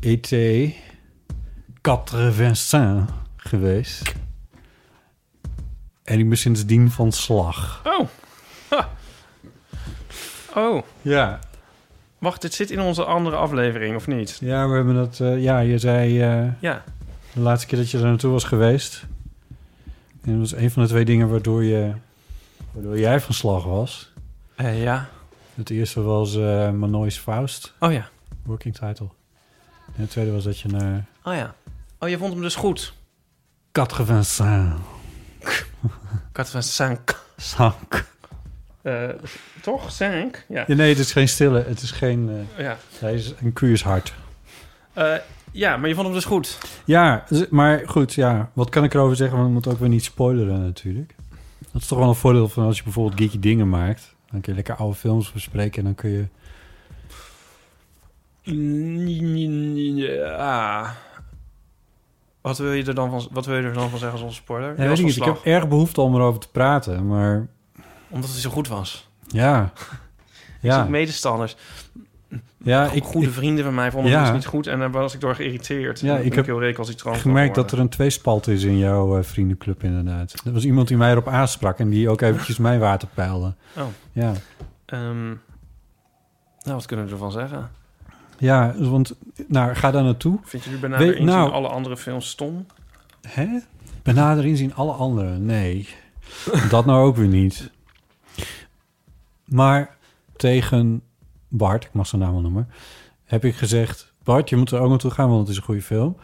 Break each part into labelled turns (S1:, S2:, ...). S1: E ET 85 geweest. En ik ben sindsdien van slag.
S2: Oh. Ha. Oh.
S1: Ja,
S2: Wacht, dit zit in onze andere aflevering, of niet?
S1: ja we hebben dat... eh, ja, je zei eh,
S2: Ja.
S1: de laatste keer dat je er naartoe was geweest. En dat was een van de twee dingen waardoor, je, waardoor jij van slag was.
S2: Eh, ja.
S1: Het eerste was eh Manois Faust,
S2: Oh ja.
S1: working title. En het tweede was dat je naar
S2: Oh ja. Oh, je vond hem dus goed.
S1: 85
S2: Kat van Sank.
S1: sank.
S2: Eh, toch? Sank? Ja.
S1: Ja, nee, het is geen stille. Het is geen... eh,
S2: Ja.
S1: hij is een curious hart.
S2: Eh, ja, maar je vond hem dus goed.
S1: Ja, z- maar goed, ja. Wat kan ik erover zeggen? Want we moeten ook weer niet spoileren natuurlijk. Dat is toch wel een voordeel van als je bijvoorbeeld geeky dingen maakt. Dan kun je lekker oude films bespreken en dan kun je... Ah.
S2: Ja. Wat wil je er dan van, wat wil je er dan van zeggen zonder spoiler?
S1: Ja,
S2: Je
S1: weet
S2: was
S1: ik
S2: van
S1: niet, ik heb
S2: slag,
S1: erg behoefte om erover te praten, maar
S2: Omdat het zo goed was.
S1: ja.
S2: Ja.
S1: Ja,
S2: medestanders.
S1: ja ik,
S2: Goede
S1: ik
S2: vrienden van mij vonden
S1: Ja.
S2: het dus niet goed. En daar was ik door geïrriteerd.
S1: Ja,
S2: En dan
S1: ik
S2: ben
S1: heb
S2: heel rekel als ik trouwens
S1: gemerkt dat er een tweespalt is in jouw eh, vriendenclub inderdaad. Er was iemand die mij erop aansprak en die ook eventjes mijn water peilde.
S2: Oh.
S1: Ja.
S2: Ehm, nou, wat kunnen we ervan zeggen?
S1: Ja, want nou, ga daar naartoe.
S2: Vind je nu bijna
S1: Weet-
S2: de inzien
S1: nou-
S2: alle andere films stom?
S1: Hè? Benader inzien alle anderen. Nee, dat nou ook weer niet. Maar tegen Bart, ik mag zijn naam wel noemen, heb ik gezegd... Bart, je moet er ook naartoe gaan, want het is een goede film.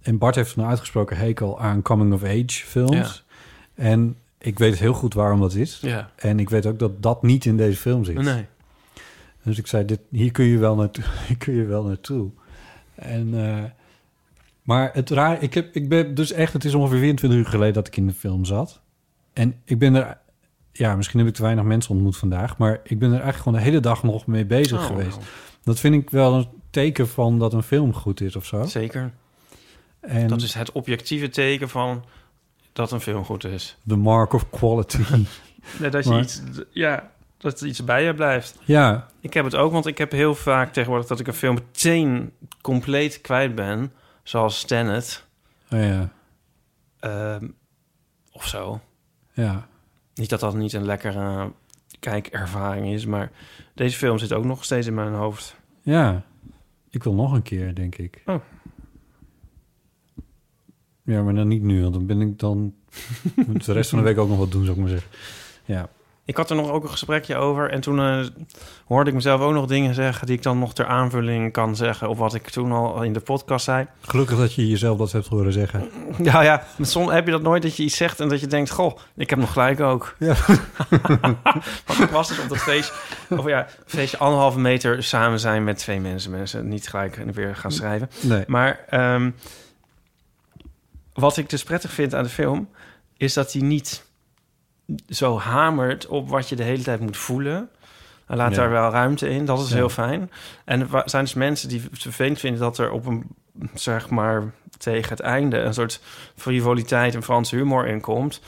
S1: En Bart heeft een uitgesproken hekel aan coming-of-age films. En ik weet heel goed waarom dat is.
S2: Ja.
S1: En ik weet ook dat dat niet in deze film zit.
S2: Nee.
S1: Dus ik zei, dit, hier, kun je wel naartoe, hier kun je wel naartoe. En, eh, maar het raar, ik, heb, ik ben dus echt, het is ongeveer 24 uur geleden dat ik in de film zat. En ik ben er, ja, misschien heb ik te weinig mensen ontmoet vandaag, maar ik ben er eigenlijk gewoon de hele dag nog mee bezig
S2: Oh,
S1: geweest.
S2: nou,
S1: Dat vind ik wel een teken van dat een film goed is of zo.
S2: Zeker.
S1: En
S2: Dat is het objectieve teken van dat een film goed is.
S1: the mark of quality.
S2: Nee, dat je
S1: Maar-
S2: iets, ja, dat er iets bij je blijft.
S1: ja,
S2: Ik heb het ook, want ik heb heel vaak tegenwoordig dat ik een film meteen compleet kwijt ben. Zoals Tenet
S1: oh ja,
S2: ehm, of zo.
S1: ja.
S2: Niet dat dat niet een lekkere eh, kijkervaring is, maar deze film zit ook nog steeds in mijn hoofd.
S1: Ja, ik wil nog een keer, denk ik.
S2: Oh.
S1: Ja, maar dan niet nu, want dan ben ik dan... moet de rest van de week ook nog wat doen, zou ik maar zeggen. Ja,
S2: Ik had er nog ook een gesprekje over en toen eh, hoorde ik mezelf ook nog dingen zeggen die ik dan nog ter aanvulling kan zeggen op wat ik toen al in de podcast zei.
S1: gelukkig dat je jezelf dat hebt horen zeggen.
S2: Ja, ja. Maar soms heb je dat nooit dat je iets zegt en dat je denkt, goh, ik heb nog gelijk ook.
S1: Ja.
S2: Want ik was dus op dat feest, of ja, feestje anderhalve meter samen zijn met twee mensen. Mensen niet gelijk weer gaan schrijven.
S1: Nee.
S2: Maar ehm, wat ik dus prettig vind aan de film, is dat hij niet zo hamert op wat je de hele tijd moet voelen. Hij laat
S1: Ja.
S2: daar wel ruimte in, dat is
S1: Ja.
S2: heel fijn. En er wa- zijn dus mensen die het vervelend vinden dat er op een, zeg maar, tegen het einde een soort frivoliteit en Franse humor in komt.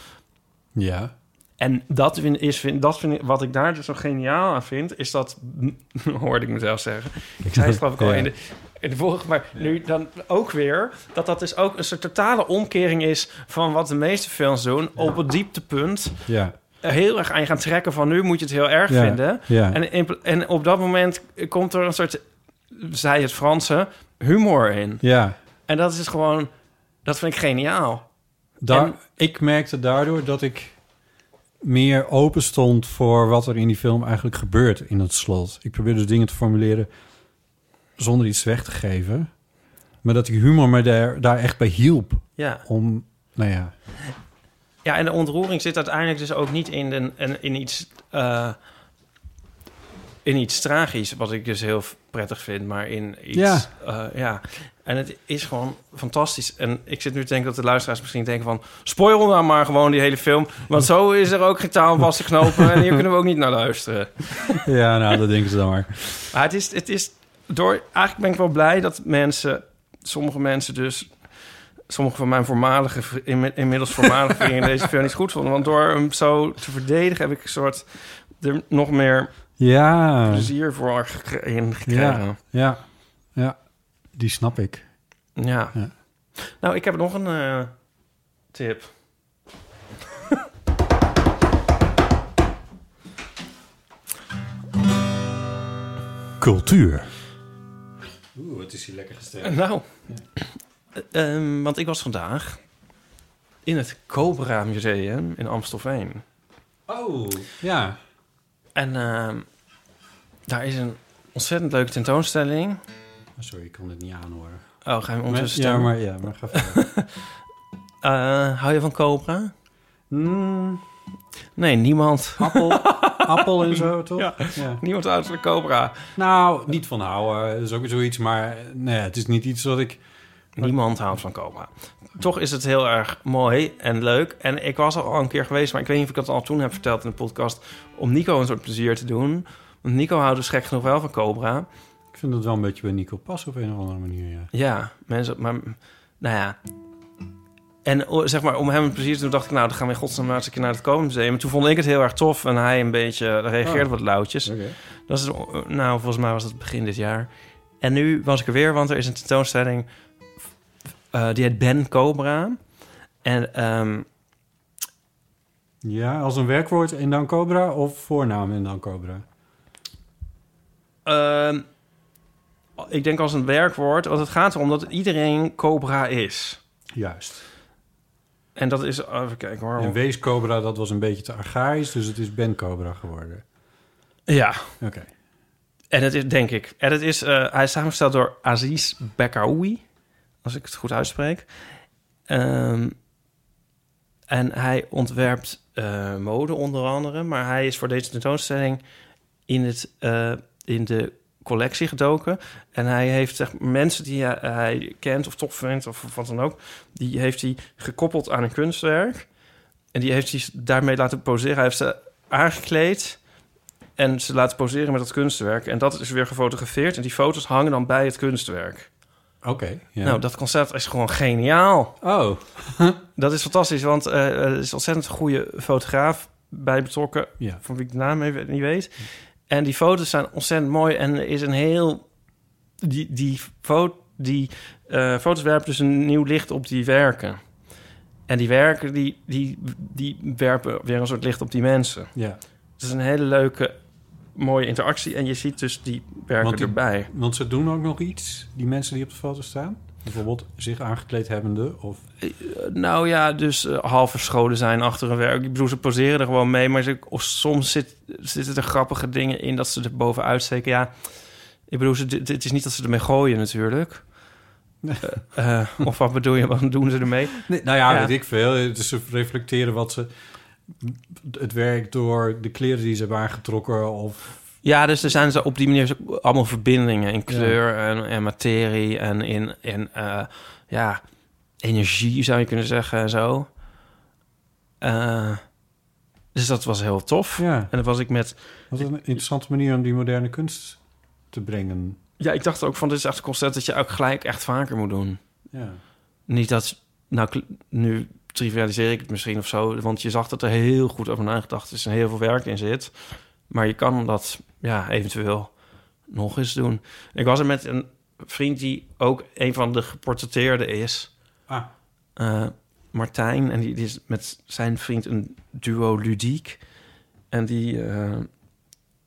S1: Ja,
S2: En dat vind, is, vind, dat vind ik, wat ik daar dus zo geniaal aan vind, is dat, hoorde ik mezelf zeggen. Ik zei het geloof ik al
S1: Ja.
S2: in, de, in de vorige, maar nu dan ook weer, dat dat dus ook een soort totale omkering is van wat de meeste films doen. Op het dieptepunt
S1: ja,
S2: er heel erg aan je gaan trekken van nu moet je het heel erg
S1: Ja.
S2: vinden.
S1: ja.
S2: En, in pla- en op dat moment komt er een soort zij het Franse humor in.
S1: Ja,
S2: En dat is gewoon, dat vind ik geniaal.
S1: daar,
S2: En-
S1: ik merkte daardoor dat ik meer open stond voor wat er in die film eigenlijk gebeurt in het slot. Ik probeer dus dingen te formuleren zonder iets weg te geven. Maar dat die humor me daar, daar echt bij hielp
S2: Ja.
S1: om, nou ja,
S2: ja, en de ontroering zit uiteindelijk dus ook niet in, een, een- in iets. eh, in iets tragisch, wat ik dus heel prettig vind, maar in iets...
S1: Ja.
S2: eh, ja. En het is gewoon fantastisch. En ik zit nu te denken dat de luisteraars misschien denken van... spoil nou maar gewoon die hele film... want zo is er ook geen taal vast te knopen... en hier kunnen we ook niet naar luisteren.
S1: ja nou, dat denken ze dan maar.
S2: Maar het is, het is door. Eigenlijk ben ik wel blij dat mensen, sommige mensen dus. Sommige van mijn voormalige, vri- inmi- inmiddels voormalige vrienden deze film niet goed vonden. Want door hem zo te verdedigen heb ik een soort er nog meer
S1: Ja,
S2: plezier voor gek- in gekregen.
S1: ja, ja, die snap ik.
S2: Ja.
S1: Ja.
S2: Nou, ik heb nog een eh, tip.
S1: Cultuur. Oeh, het is hier lekker
S2: Eh,
S1: gesteld.
S2: Nou, eh, ehm, want ik was vandaag in het Cobra Museum in Amstelveen.
S1: Oh, ja.
S2: En ehm, daar is een ontzettend leuke tentoonstelling.
S1: Oh, Sorry, ik kon dit niet aanhoren.
S2: Oh, ga je hem ondertussen
S1: ja,
S2: stemmen?
S1: maar, ja, maar ga verder.
S2: Eh, hou je van Cobra?
S1: Mm,
S2: Nee, niemand.
S1: appel, appel en zo, toch?
S2: Ja.
S1: Ja.
S2: Niemand houdt van Cobra.
S1: Nou, niet van houden, dat is ook weer zoiets. Maar eh, nee, het is niet iets wat ik...
S2: Niemand houdt van Cobra. Toch is het heel erg mooi en leuk. En ik was al een keer geweest, maar ik weet niet of ik dat al toen heb verteld in de podcast... om Nico een soort plezier te doen. Want Nico houdt dus gek genoeg wel van Cobra.
S1: Ik vind dat wel een beetje bij Nico pas op een of andere manier, ja.
S2: Ja, mensen, maar nou ja. En o- zeg maar, om hem plezier te doen, dacht ik, nou, dan gaan we in godsnaam maar eens een keer naar het Komen Museum. En toen vond ik het heel erg tof en hij een beetje reageerde
S1: Oh.
S2: wat lauwtjes.
S1: Oké.
S2: Dat is, eh, nou, volgens mij was dat begin dit jaar. En nu was ik er weer, want er is een tentoonstelling eh, die heet Ben Cobra. En ehm,
S1: Ja, als een werkwoord en dan Cobra of voornaam en dan Cobra?
S2: ehm, ik denk als een werkwoord, want het gaat erom dat iedereen Cobra is.
S1: Juist.
S2: En dat is, even kijken hoor.
S1: En wees Cobra, dat was een beetje te archaïs, dus het is Ben Cobra geworden.
S2: Ja,
S1: Oké.
S2: En het is, denk ik. En het is, eh, hij is samengesteld door Aziz Bekaoui, als ik het goed uitspreek. Ehm, en hij ontwerpt eh, mode onder andere, maar hij is voor deze tentoonstelling in, het, eh, in de collectie gedoken. En hij heeft zeg, mensen die hij, hij kent of tof vindt of wat dan ook, die heeft hij gekoppeld aan een kunstwerk. En die heeft hij daarmee laten poseren. Hij heeft ze aangekleed. En ze laten poseren met dat kunstwerk. En dat is weer gefotografeerd. En die foto's hangen dan bij het kunstwerk.
S1: Oké, ja.
S2: Nou, dat concept is gewoon geniaal.
S1: Oh,
S2: Dat is fantastisch, want eh, er is een ontzettend goede fotograaf bij betrokken.
S1: ja.
S2: Van wie ik de naam even niet weet. En die foto's zijn ontzettend mooi. En er is een heel... Die, die, fo- die eh, foto's werpen dus een nieuw licht op die werken. En die werken, die, die, die werpen weer een soort licht op die mensen.
S1: Ja,
S2: Het is een hele leuke, mooie interactie. En je ziet dus die werken
S1: Want die-
S2: erbij.
S1: want ze doen ook nog iets, die mensen die op de foto staan. Bijvoorbeeld zich aangekleed hebbende of...
S2: Eh, Nou ja, dus eh, half verscholen zijn achter een werk. Ik bedoel, ze poseren er gewoon mee. Maar ze, of soms zit, zitten er grappige dingen in dat ze er bovenuit steken. Ja, ik bedoel, ze, dit, dit is niet dat ze ermee gooien natuurlijk.
S1: Nee.
S2: Eh, eh, of wat bedoel je, wat doen ze ermee?
S1: Nee, nou ja,
S2: Ja.
S1: weet ik veel. Het is ze reflecteren wat ze... Het werk door de kleren die ze hebben aangetrokken of...
S2: Ja, dus er zijn ze op die manier zo- allemaal verbindingen in kleur en, en materie en in, in eh, ja, energie zou je kunnen zeggen en zo. Eh, dus dat was heel tof.
S1: Ja,
S2: En dan was ik met.
S1: wat een interessante manier om die moderne kunst te brengen.
S2: Ja, ik dacht ook van dit is echt een concept dat je ook gelijk echt vaker moet doen.
S1: Ja,
S2: Niet dat. Nou, kl- nu trivialiseer ik het misschien of zo. Want je zag dat er heel goed over nagedacht is en heel veel werk in zit. Maar je kan dat ja, eventueel nog eens doen. Ik was er met een vriend die ook een van de geportretteerden is.
S1: Ah.
S2: Eh, Martijn. En die, die is met zijn vriend een duo ludiek. En die eh,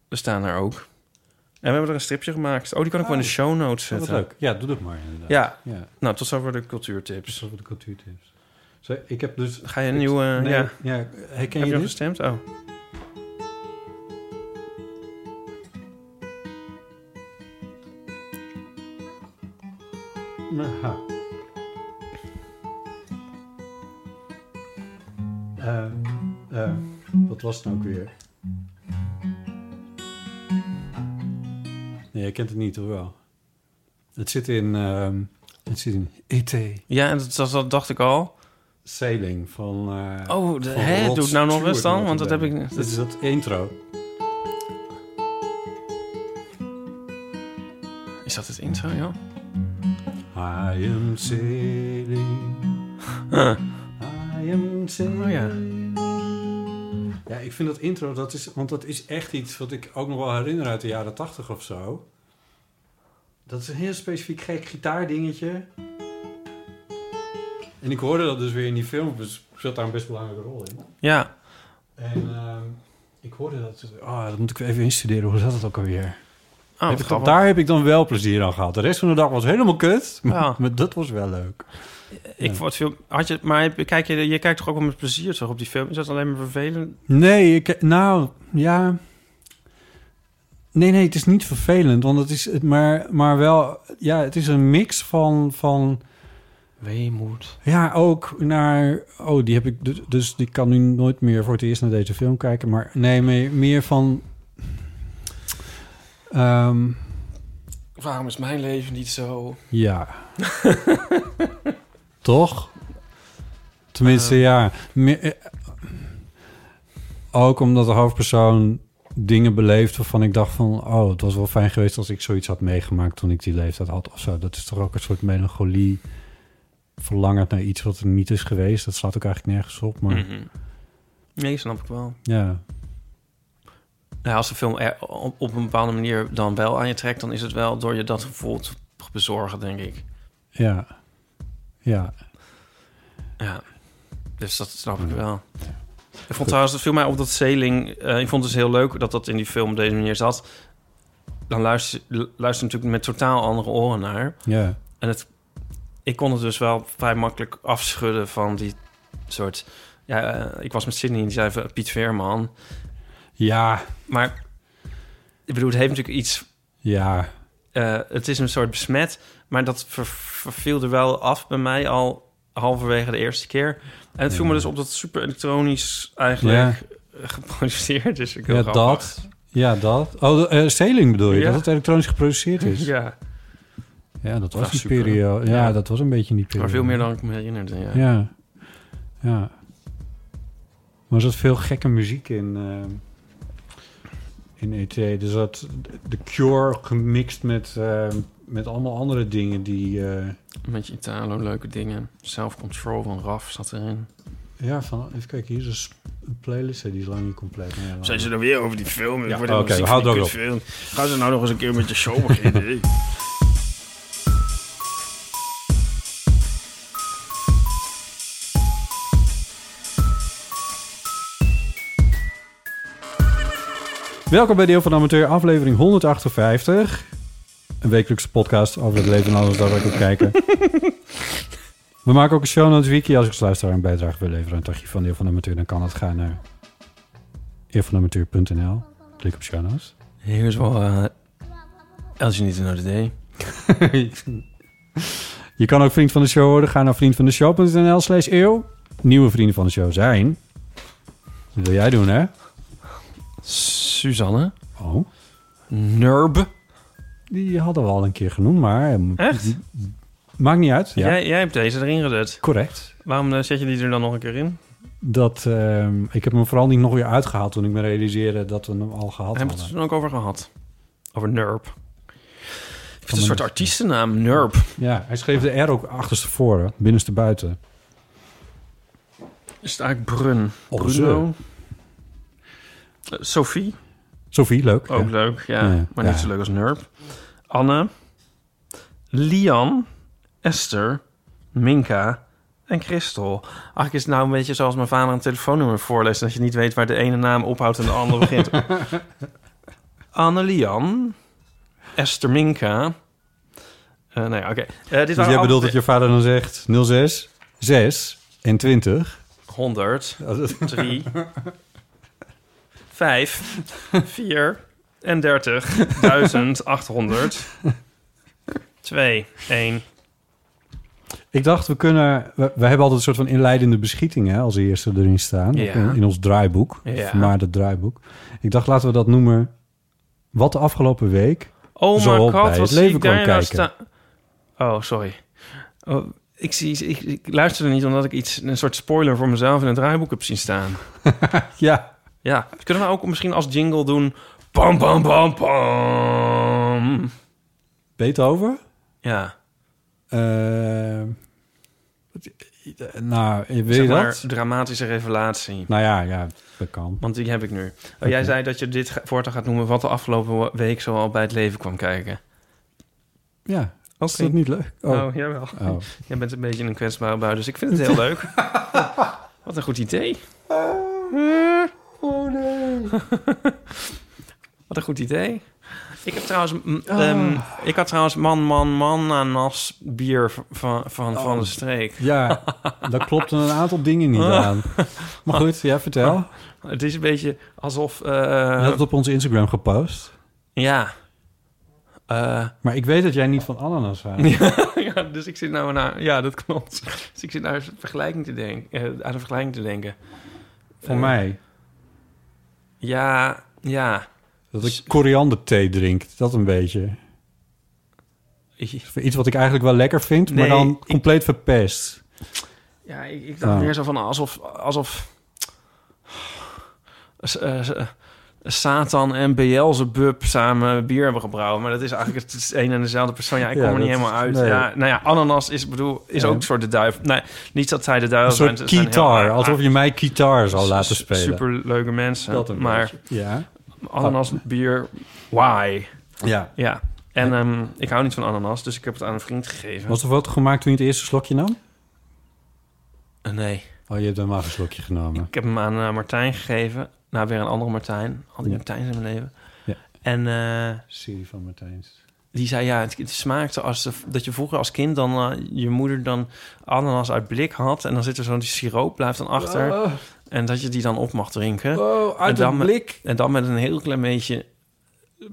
S2: we staan daar ook. we hebben er een stripje gemaakt. Oh, die kan ik wel in de show notes
S1: Oh, wat
S2: zetten.
S1: leuk. Ja, doe dat maar inderdaad.
S2: Ja.
S1: ja.
S2: Nou, tot zover de
S1: Dus
S2: cultuurtips.
S1: dat voor de cultuurtips. Zo, ik heb dus...
S2: Ga je een nieuwe... eh,
S1: Nee,
S2: ja.
S1: ja. herken
S2: Heb je
S1: je
S2: nog
S1: dit?
S2: gestemd? Oh.
S1: Aha. Eh, eh, wat was het nou ook weer? Nee, jij kent het niet, hoor wel. Het zit in... ehm, het zit in E E.T.
S2: Ja, en dat, dat, dat dacht ik al.
S1: Sailing van... eh,
S2: Oh, de,
S1: van
S2: hè,
S1: Rod
S2: doe het nou nog
S1: Stewart,
S2: eens dan, want dat heb
S1: notabene.
S2: ik...
S1: Dit is dat intro.
S2: Is dat het intro, joh?
S1: I am sailing. I am sailing.
S2: Oh ja.
S1: Ja, ik vind dat intro, dat is, want dat is echt iets wat ik ook nog wel herinner uit de jaren tachtig of zo. Dat is een heel specifiek gek gitaardingetje. En ik hoorde dat dus weer in die film, dus zat daar een best belangrijke rol in.
S2: Ja,
S1: En ehm, ik hoorde dat, oh, dat moet ik even instuderen, hoe zat dat ook alweer?
S2: oh,
S1: Heb
S2: wat
S1: ik-
S2: grappig.
S1: daar heb ik dan wel plezier aan gehad. De rest van de dag was helemaal kut, maar,
S2: Ja.
S1: maar dat was wel leuk.
S2: Ik vond het veel... Had je, maar heb- kijk je, je kijkt toch ook wel met plezier terug op die film? Is dat alleen maar vervelend?
S1: Nee, ik, nou, ja. Nee, nee, het is niet vervelend, want het is, het- maar, maar wel, ja, het is een mix van, van,
S2: Weemoed.
S1: ja, ook naar, oh, die heb ik, dus- dus die kan nu nooit meer voor het eerst naar deze film kijken, maar nee, meer, meer van, ehm,
S2: Waarom is mijn leven niet zo...
S1: Ja. Toch? Tenminste,
S2: Ehm.
S1: ja. Me- eh, ook omdat de hoofdpersoon dingen beleeft waarvan ik dacht van... oh, het was wel fijn geweest als ik zoiets had meegemaakt toen ik die leeftijd had of zo. Dat is toch ook een soort melancholie verlangend naar iets wat er niet is geweest. Dat slaat ook eigenlijk nergens op, maar
S2: Mhm. Nee, snap ik wel.
S1: ja.
S2: Nou, als de film er op, op een bepaalde manier dan wel aan je trekt... dan is het wel door je dat gevoel te bezorgen, denk ik.
S1: Ja. Ja.
S2: Ja, dus dat snap ik wel. Ik vond trouwens, het viel mij op dat Zeling... eh, ik vond het dus heel leuk dat dat in die film op deze manier zat. Dan luister je natuurlijk met totaal andere oren naar.
S1: Ja.
S2: En het, ik kon het dus wel vrij makkelijk afschudden van die soort... Ja, eh, ik was met Sydney en die zei van Piet Veerman.
S1: Ja.
S2: Maar ik bedoel, het heeft natuurlijk iets...
S1: Ja.
S2: eh, het is een soort besmet, maar dat ver- verviel er wel af bij mij al halverwege de eerste keer. En het viel me dus op dat het super elektronisch eigenlijk eh, geproduceerd is. Vind ik heel
S1: Ja,
S2: grappig.
S1: dat. Ja, dat. Oh, de, eh, Steling bedoel je?
S2: Ja.
S1: Dat het elektronisch geproduceerd is?
S2: Ja,
S1: Ja, dat was
S2: Ja,
S1: die
S2: super.
S1: periode. Ja,
S2: Ja.
S1: dat was een beetje in die
S2: maar
S1: periode.
S2: veel meer dan ik me herinnerde. Ja.
S1: Ja. Ja. Maar er zat veel gekke muziek in, eh, in E.T. Er zat The Cure gemixt met, eh, met allemaal andere dingen die... eh,
S2: Met je Italo, leuke dingen. Self-control van Raf zat erin.
S1: ja, van, even kijken, hier is een s- een playlist. hè, Die is lang niet compleet. maar ja, lang.
S3: Zijn ze er weer over die film? Ik
S1: Ja,
S3: word
S1: oké,
S3: helemaal ziek
S1: we
S3: van
S1: houden
S3: die
S1: er
S3: kutfilm. Gaan ze nou nog eens een keer met je show beginnen? hé?
S1: Welkom bij Deel van de Amateur, aflevering 158. Een wekelijkse podcast over het leven en alles dat we ook kijken. we maken ook een show notes wiki. Als ik als luisteraar een bijdrage wil leveren aan het archief van Deel van de Amateur, dan kan dat gaan naar eervanamateur.nl. Klik op show notes.
S2: Here's wel uh, als je niet in Notre Day.
S1: Je kan ook vriend van de show worden. Ga naar vriendvandeshow.nl slash eeuw. Nieuwe vrienden van de show zijn... Dat wil jij doen, hè?
S2: Suzanne.
S1: Oh,
S2: Nurb.
S1: die hadden we al een keer genoemd, maar... eh,
S2: Echt?
S1: Maakt niet uit. Ja,
S2: Jij, jij hebt deze erin gedut.
S1: correct.
S2: Waarom eh, zet je die er dan nog een keer in?
S1: Dat, ehm, ik heb hem vooral niet nog weer uitgehaald toen ik me realiseerde dat we hem al gehad
S2: Daar hebben we
S1: hadden.
S2: het er toen ook over gehad. Over Nurb. Ik vind het
S1: me
S2: een soort
S1: niet.
S2: artiestennaam, Nurb.
S1: Ja, hij schreef de R ook achterstevoren, binnenste buiten.
S2: Is het eigenlijk Brun?
S1: Of
S2: Bruno? Eh, Sophie?
S1: Sophie, leuk.
S2: Ook
S1: ja.
S2: leuk, ja.
S1: Ja,
S2: maar niet
S1: ja.
S2: zo leuk als Nurb. Anne. Lian. Esther. Minka. En Christel. Eigenlijk is het nou een beetje zoals mijn vader een telefoonnummer voorleest... en dat je niet weet waar de ene naam ophoudt en de andere begint. Anne Lian. Esterminka. Eh, nou ja, oké. Eh, dit
S1: Dus jij
S2: waren
S1: bedoelt
S2: allemaal-
S1: dat je vader dan zegt 06, 6 en 20.
S2: 100,
S1: Ja, dat-
S2: 3, 5, 4 en 30, 1800, 2, 1.
S1: Ik dacht, we kunnen... We, we hebben altijd een soort van inleidende beschietingen hè, als eerste erin staan.
S2: Ja.
S1: In, in ons draaiboek.
S2: Ja.
S1: Maar dat draaiboek. Ik dacht, laten we dat noemen... Wat de afgelopen week...
S2: Oh
S1: Zo
S2: mijn
S1: op
S2: god,
S1: bij
S2: wat
S1: het
S2: zie
S1: leven
S2: ik daar
S1: kwam
S2: nou
S1: kijken.
S2: staan. Oh, sorry. Oh, ik, zie, ik, ik luisterde niet omdat ik iets, een soort spoiler voor mezelf in het draaiboek heb zien staan.
S1: Ja,
S2: Ja, dat kunnen we ook misschien als jingle doen. Pam, pam, pam, pam.
S1: Beethoven?
S2: Ja,
S1: Eh, wat- eh, nou, wil
S2: zeg
S1: je
S2: maar
S1: dat?
S2: dramatische revelatie.
S1: Nou ja, ja, dat kan.
S2: Want die heb ik nu. Oh, Jij zei dat je dit ga- voortaan gaat noemen wat de afgelopen week zoal bij het leven kwam kijken.
S1: Ja,
S2: Oké.
S1: is dat niet leuk?
S2: Oh,
S1: Oh.
S2: jawel.
S1: Oh.
S2: Jij bent een beetje een kwetsbare bui, dus ik vind het heel leuk. wat een goed idee.
S1: Oh,
S2: Wat een goed idee. Ik heb trouwens, mm,
S1: Ah.
S2: ehm, ik had trouwens man, man, man ananas bier v- van, van,
S1: Oh.
S2: van de streek.
S1: Ja, daar klopten een aantal dingen niet aan. Maar goed, ja, vertel.
S2: Oh. Het is een beetje alsof, eh,
S1: Je had het op onze Instagram gepost.
S2: ja. Eh,
S1: Maar ik weet dat jij niet van ananas houdt.
S2: ja, dus ik zit nou naar, ja, dat klopt. Dus ik zit naar een vergelijking te denken, eh, aan een vergelijking te denken.
S1: Voor
S2: Eh,
S1: mij.
S2: Ja, ja.
S1: Dat ik korianderthee drink. Dat een beetje. Iets wat ik eigenlijk wel lekker vind, maar
S2: Nee,
S1: dan
S2: ik- Oh,
S1: compleet verpest.
S2: Ja, ik, ik dacht
S1: Ja.
S2: meer zo van alsof... alsof S- eh, s- eh, Satan en Beelzebub samen bier hebben gebrouwd. Maar dat is eigenlijk het is een en dezelfde persoon. Ja, ik
S1: Ja,
S2: kom er niet
S1: dat-
S2: helemaal uit.
S1: nee.
S2: Ja, nou ja, ananas is, bedoel, is
S1: Ja.
S2: ook een soort de duivel. Nee, niet dat zij de duivel
S1: Een
S2: zijn.
S1: soort gitaar. Alsof je mij gitaar zal laten spelen.
S2: Super leuke mensen.
S1: Dat een
S2: maar
S1: beetje. Ja.
S2: ananas, bier, why?
S1: ja.
S2: Ja. En ehm, ik hou niet van ananas, dus ik heb het aan een vriend gegeven.
S1: Was de foto gemaakt toen je het eerste slokje nam?
S2: Eh, Nee.
S1: Oh, je hebt helemaal geen slokje genomen.
S2: Ik heb hem aan eh, Martijn gegeven. Nou, weer een andere Martijn. Al die
S1: Ja.
S2: Martijns in mijn leven.
S1: Ja.
S2: En eh,
S1: Siri van Martijns.
S2: die zei, ja, het, het smaakte als de- dat je vroeger als kind dan eh, je moeder dan ananas uit blik had. En dan zit er zo'n die siroop, blijft dan achter. En dat je die dan op mag drinken.
S1: Oh,
S2: uit En dan het met-
S1: blik.
S2: En dan met een heel klein beetje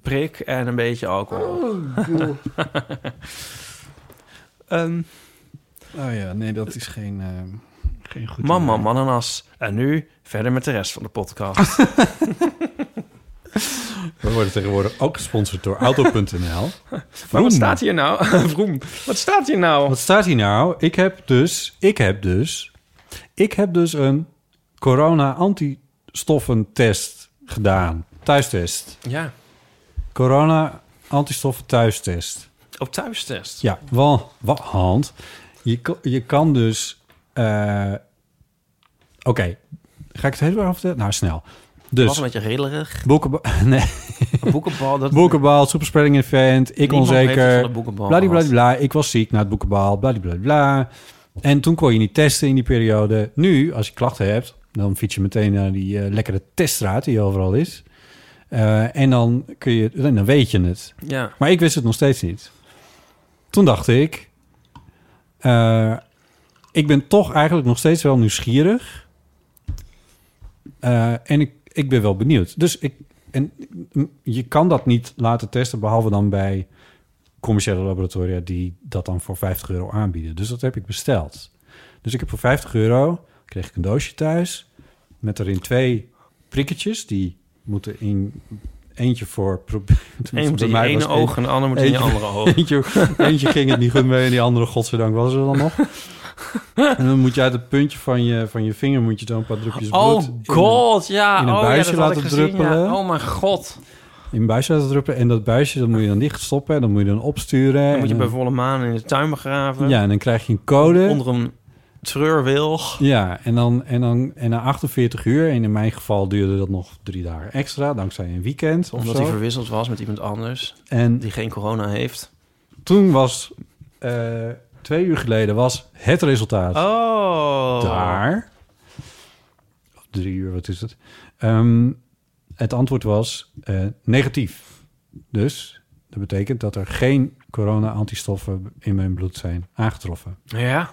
S2: prik en een beetje alcohol. Ehm,
S1: Oh ja, nee, dat is geen, eh, geen goed
S2: mam, mam, ananas. En nu verder met de rest van de
S1: Ah,
S2: podcast.
S1: We worden tegenwoordig ook gesponsord door Auto.nl.
S2: maar wat staat hier nou? Vroem, wat staat hier nou?
S1: Wat staat hier nou? Ik heb dus, ik heb dus, ik heb dus een corona-antistoffentest gedaan. Thuistest.
S2: Ja,
S1: Corona-antistoffen thuistest.
S2: op thuistest.
S1: Ja, wel, wat hand. Je, ko- je kan dus. eh, Oké, ga ik het helemaal vertellen? Nou, snel.
S2: was
S1: Dus,
S2: een beetje rillerig.
S1: boekenbal, nee,
S2: Een boekenbal. Dat
S1: boekenbal, superspreading event, ik
S2: Niemand heeft het van
S1: onzeker.
S2: de boekenbal gehad.
S1: Bladibladibla, ik was ziek na het boekenbal, bladibladibla. En toen kon je niet testen in die periode. Nu, als je klachten hebt, dan fiets je meteen naar die eh, lekkere teststraat die overal is. Eh, en dan, kun je, dan weet je het.
S2: Ja.
S1: Maar ik wist het nog steeds niet. Toen dacht ik... eh, ik ben toch eigenlijk nog steeds wel nieuwsgierig. Eh, en ik, ik ben wel benieuwd. Dus ik... En m- je kan dat niet laten testen... behalve dan bij commerciële laboratoria... die dat dan voor 50 euro aanbieden. Dus dat heb ik besteld. Dus ik heb voor 50 euro... kreeg ik een doosje thuis... met erin twee prikketjes... die moeten in... eentje voor... pro-
S2: Eén moet
S1: bij
S2: in je
S1: mij
S2: ene
S1: was één-
S2: oog en de ander moet in je
S1: eentje-
S2: andere oog.
S1: Eentje, eentje ging het niet goed mee en die andere, godzijdank, was er dan nog. En dan moet je uit het puntje van je, van je vinger moet je dan een paar drupjes bloed
S2: Oh
S1: in een-
S2: god, ja.
S1: in een
S2: oh,
S1: buisje
S2: ja, dat had ik
S1: laten
S2: gezien,
S1: druppelen.
S2: ja. Oh mijn god.
S1: in een buisje laten druppen. En dat buisje, dat moet je dan dicht stoppen en dan moet je dan opsturen.
S2: Dan moet je
S1: en
S2: bij volle maan in de tuin begraven.
S1: ja, en dan krijg je een code.
S2: Onder een treurwilg.
S1: Ja, en dan, en dan en na 48 uur, en in mijn geval duurde dat nog drie dagen extra, dankzij een weekend of
S2: Omdat
S1: zo.
S2: hij verwisseld was met iemand anders
S1: En
S2: die geen corona heeft.
S1: toen was, eh, twee uur geleden, was het resultaat.
S2: Oh.
S1: daar. Of drie uur, wat is het? Ehm, het antwoord was eh, negatief. Dus Dat betekent dat er geen corona-antistoffen in mijn bloed zijn aangetroffen.
S2: Ja.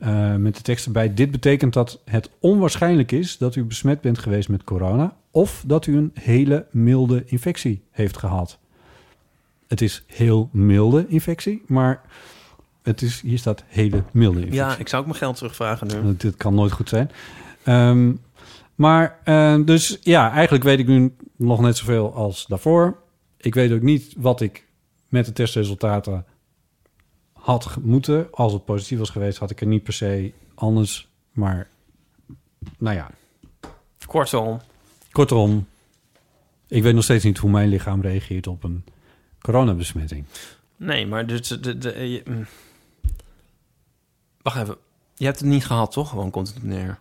S1: Eh, met de tekst erbij. Dit betekent dat het onwaarschijnlijk is dat u besmet bent geweest met corona. of dat u een hele milde infectie heeft gehad. Het is heel milde infectie, maar het is, hier staat hele milde infectie.
S2: ja, ik zou ook mijn geld terugvragen nu.
S1: Want Dit kan nooit goed zijn. Ehm, maar eh, dus ja, eigenlijk weet ik nu nog net zoveel als daarvoor. Ik weet ook niet wat ik met de testresultaten had ge- moeten. Als het positief was geweest, had ik er niet per se anders. Maar nou ja,
S2: Kortom,
S1: kortom, ik weet nog steeds niet hoe mijn lichaam reageert op een coronabesmetting.
S2: nee, maar dus de, de, de- je- mm. Wacht even. Je hebt het niet gehad, toch? Gewoon komt het op neer.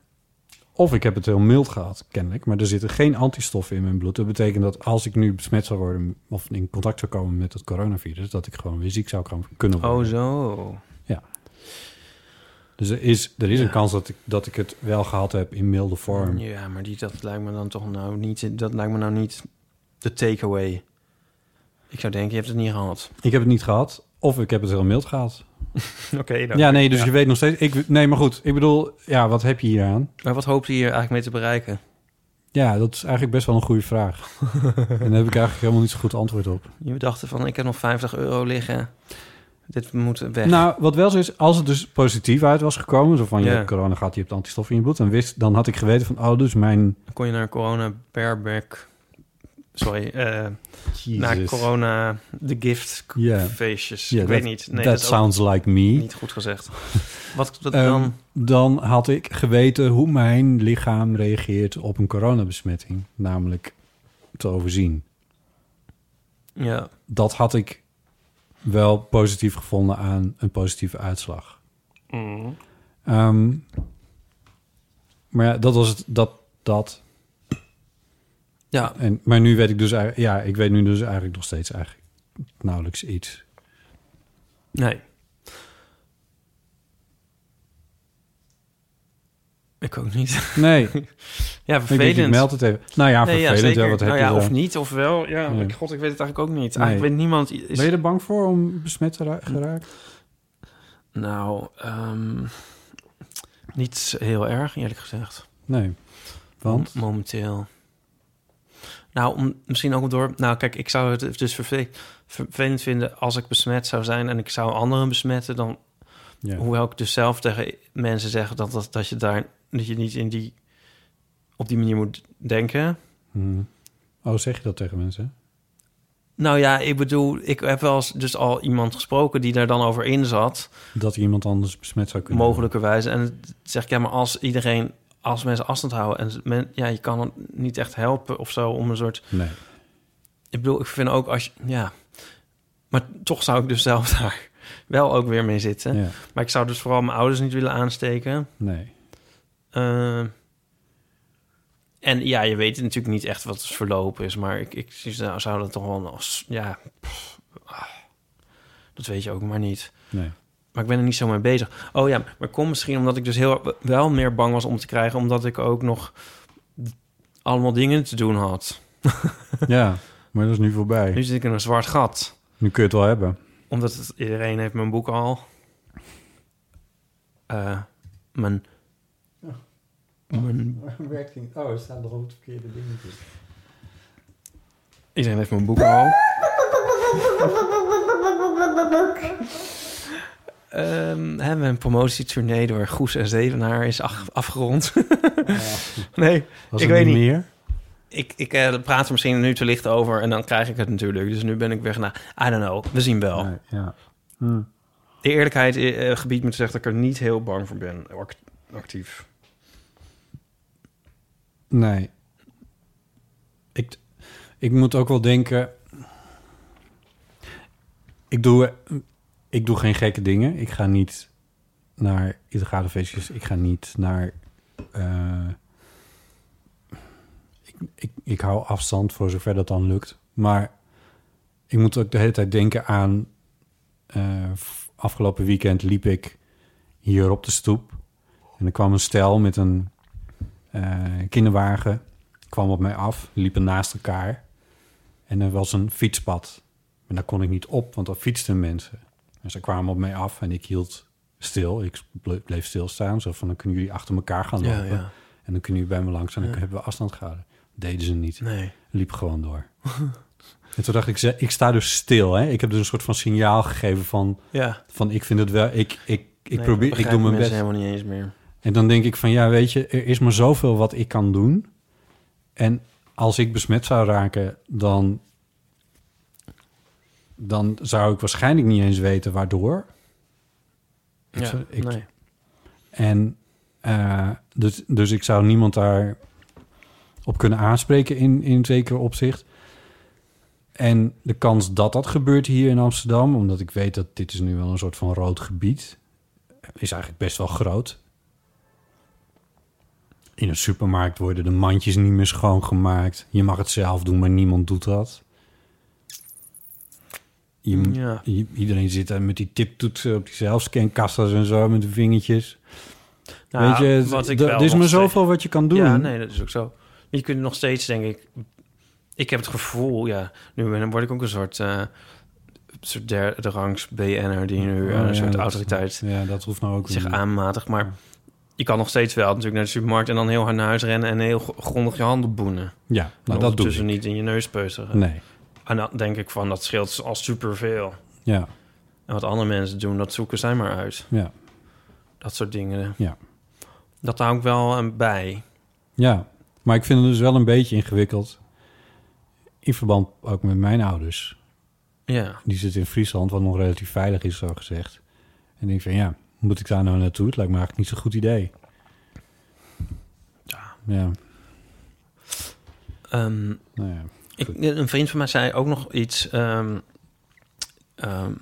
S1: Of ik heb het heel mild gehad, kennelijk. Maar er zitten geen antistoffen in mijn bloed. Dat betekent dat als ik nu besmet zou worden... of in contact zou komen met het coronavirus... dat ik gewoon weer ziek zou kan- kunnen worden.
S2: Oh, zo.
S1: Dus er is, er is een kans dat ik, dat ik het wel gehad heb in milde vorm.
S2: Ja, maar die, dat lijkt me dan toch nou niet... Dat lijkt me nou niet de takeaway. Ik zou denken, je hebt het niet gehad.
S1: Ik heb het niet gehad. Of ik heb het heel mild gehad.
S2: Oké,
S1: Ja, nee, dus je weet nog steeds... Ik, nee, maar goed. Ik bedoel, ja, wat heb je hier aan?
S2: Maar wat hoopt je hier eigenlijk mee te bereiken?
S1: Ja, dat is eigenlijk best wel een goede vraag. en daar heb ik eigenlijk helemaal niet zo goed antwoord op.
S2: Je dacht van, ik heb nog 50 euro liggen. Dit moet weg.
S1: Nou, wat wel zo is, als het dus positief uit was gekomen, zo van je
S2: Ja.
S1: hebt corona gehad, je hebt antistoffen in je bloed, dan, wist, dan had ik geweten van, oh, dus mijn.
S2: Dan kon je naar corona bareback... Sorry, eh naar
S1: Jezus.
S2: corona the gift k-
S1: Ja.
S2: feestjes.
S1: Ja,
S2: ik
S1: dat-
S2: weet niet. Nee,
S1: that
S2: dat is ook
S1: sounds like me.
S2: niet goed gezegd. Wat, wat
S1: Ehm,
S2: dan?
S1: Dan had ik geweten hoe mijn lichaam reageert op een coronabesmetting, namelijk te overzien.
S2: Ja,
S1: Dat had ik wel positief gevonden aan een positieve uitslag. Ehm, maar ja, dat was het, dat, dat
S2: ja
S1: En, maar nu weet ik dus eigenlijk, ja, ik weet nu dus eigenlijk nog steeds eigenlijk nauwelijks iets.
S2: nee. Ik ook niet.
S1: Nee, ik,
S2: Ja,
S1: denk, ik
S2: vervelend.
S1: meld het even. Nou ja,
S2: Nee, ja,
S1: vervelend.
S2: zeker.
S1: ja, wat heb
S2: nou
S1: je
S2: ja,
S1: dan?
S2: of niet, of wel. Ja,
S1: Ja.
S2: ik- god, ik weet het eigenlijk ook niet.
S1: Nee.
S2: Eigenlijk weet niemand... Is...
S1: Ben je er bang voor om besmet te ra- geraakt?
S2: Nou, ehm, niet heel erg, eerlijk gezegd.
S1: Nee, want
S2: Mom- Momenteel. Nou, om, misschien ook door... Nou, kijk, ik zou het dus verve- vervelend vinden als ik besmet zou zijn... en ik zou anderen besmetten, dan...
S1: ja.
S2: Hoewel ik dus zelf tegen mensen zeg dat, dat, dat je daar... dat je niet in die, op die manier moet denken.
S1: Hm. Oh, zeg je dat tegen mensen?
S2: Nou ja, ik bedoel, ik heb wel eens dus al iemand gesproken... die daar dan over in zat...
S1: Dat iemand anders besmet zou kunnen
S2: mogelijkerwijs. En het- zeg ik, ja, maar als iedereen, als mensen afstand houden en ze- men, ja, je kan het niet echt helpen of zo om een soort.
S1: worden? Nee.
S2: Ik bedoel, ik vind ook als je, ja, maar toch zou ik dus zelf daar wel ook weer mee zitten.
S1: Ja,
S2: Maar ik zou dus vooral mijn ouders niet willen aansteken.
S1: nee.
S2: Eh, en ja, je weet natuurlijk niet echt wat het verloop is, maar ik, ik zou zou dat toch wel als, ja, pff, ah, dat weet je ook maar niet.
S1: Nee.
S2: Maar ik ben er niet zo mee bezig. Oh ja, maar kom misschien omdat ik dus heel wel meer bang was om te krijgen, omdat ik ook nog allemaal dingen te doen had.
S1: ja, maar dat is nu voorbij.
S2: Nu zit ik in een zwart gat,
S1: Nu kun je het wel hebben.
S2: omdat het- iedereen heeft mijn boek al. Eh, mijn, mijn,
S1: Oh, er staan nog op verkeerde dingetjes.
S2: iedereen heeft mijn boek al. Ehm hebben we een promotietournee door Goes en Zevenaar is af- afgerond. nee,
S1: Was
S2: Ik
S1: er
S2: weet
S1: niet
S2: niet.
S1: meer?
S2: Ik, ik eh, praat er misschien nu te licht over en dan krijg ik het natuurlijk. Dus nu ben ik weg naar... I don't know, we zien wel.
S1: Nee, ja.
S2: De eerlijkheid eh, gebiedt me te zeggen dat ik er niet heel bang voor ben. Act- actief.
S1: Nee. Ik, ik moet ook wel denken. Ik doe, ik doe geen gekke dingen. Ik ga niet naar illegale feestjes. Ik ga niet naar. eh, ik, ik, ik hou afstand voor zover dat dan lukt. Maar ik moet ook de hele tijd denken aan. eh, f- afgelopen weekend liep ik hier op de stoep. En er kwam een stel met een eh, kinderwagen kwam op mij af, liepen naast elkaar. En er was een fietspad Maar daar kon ik niet op, want dan fietsten mensen. En ze kwamen op mij af en ik hield stil. Ik ble- bleef stilstaan. Zo van, dan kunnen jullie achter elkaar gaan
S2: Ja,
S1: lopen.
S2: ja.
S1: En dan kunnen jullie bij me langs en dan hebben we afstand gehouden. Deden ze niet.
S2: Nee.
S1: Liep gewoon door. en toen dacht ik, ze- ik sta dus stil. Hè? Ik heb dus een soort van signaal gegeven van...
S2: Ja.
S1: van ik vind het wel... Ik, ik, ik,
S2: Nee,
S1: probeer, ik
S2: begrijp
S1: doe mijn
S2: mensen
S1: best.
S2: helemaal niet eens meer.
S1: En dan denk ik van, ja, weet je, er is maar zoveel wat ik kan doen. En als ik besmet zou raken, dan, dan zou ik waarschijnlijk niet eens weten waardoor. Ik
S2: Ja,
S1: zou- ik-
S2: nee.
S1: En eh, dus, dus ik zou niemand daar op kunnen aanspreken in, in zekere opzicht. En de kans dat dat gebeurt hier in Amsterdam, omdat ik weet dat dit is nu wel een soort van rood gebied, is eigenlijk best wel groot. In een supermarkt worden de mandjes niet meer schoongemaakt. Je mag het zelf doen, maar niemand doet dat. Je,
S2: Ja.
S1: i- iedereen zit daar met die tiptoetsen op die zelfscankassas en zo met de vingertjes.
S2: Nou,
S1: Weet je, het-
S2: wat ik
S1: d-
S2: wel
S1: er is
S2: nog
S1: maar
S2: steeds-
S1: zoveel wat je kan doen.
S2: Ja, nee, dat is ook zo. Je kunt nog steeds, denk ik... Ik heb het gevoel, ja... Nu ben- word ik ook een soort... eh soort derde rangs BN'er... die nu
S1: Oh,
S2: eh, een
S1: ja,
S2: soort
S1: dat-
S2: autoriteit
S1: Ja, dat hoeft nou ook
S2: zich
S1: niet.
S2: aanmatigt. Maar je kan nog steeds wel natuurlijk naar de supermarkt... en dan heel hard naar huis rennen... en heel gr- grondig je handen boenen.
S1: Ja, nou,
S2: En
S1: dat doe
S2: ondertussen
S1: ik.
S2: niet eh. in je neus peuteren.
S1: Nee,
S2: En dan denk ik van, dat scheelt al superveel.
S1: ja,
S2: En wat andere mensen doen, dat zoeken zij maar uit.
S1: ja,
S2: Dat soort dingen.
S1: Ja.
S2: Dat hou ik wel eh, bij.
S1: ja. Maar ik vind het dus wel een beetje ingewikkeld. In verband ook met mijn ouders.
S2: Ja.
S1: Die zitten in Friesland, wat nog relatief veilig is, zo gezegd. En ik denk van, ja, moet ik daar nou naartoe? Het lijkt me eigenlijk niet zo'n goed idee. Ja. Ja,
S2: Ehm,
S1: nou ja.
S2: Ik,
S1: Goed.
S2: een vriend van mij zei ook nog iets. ehm ehm,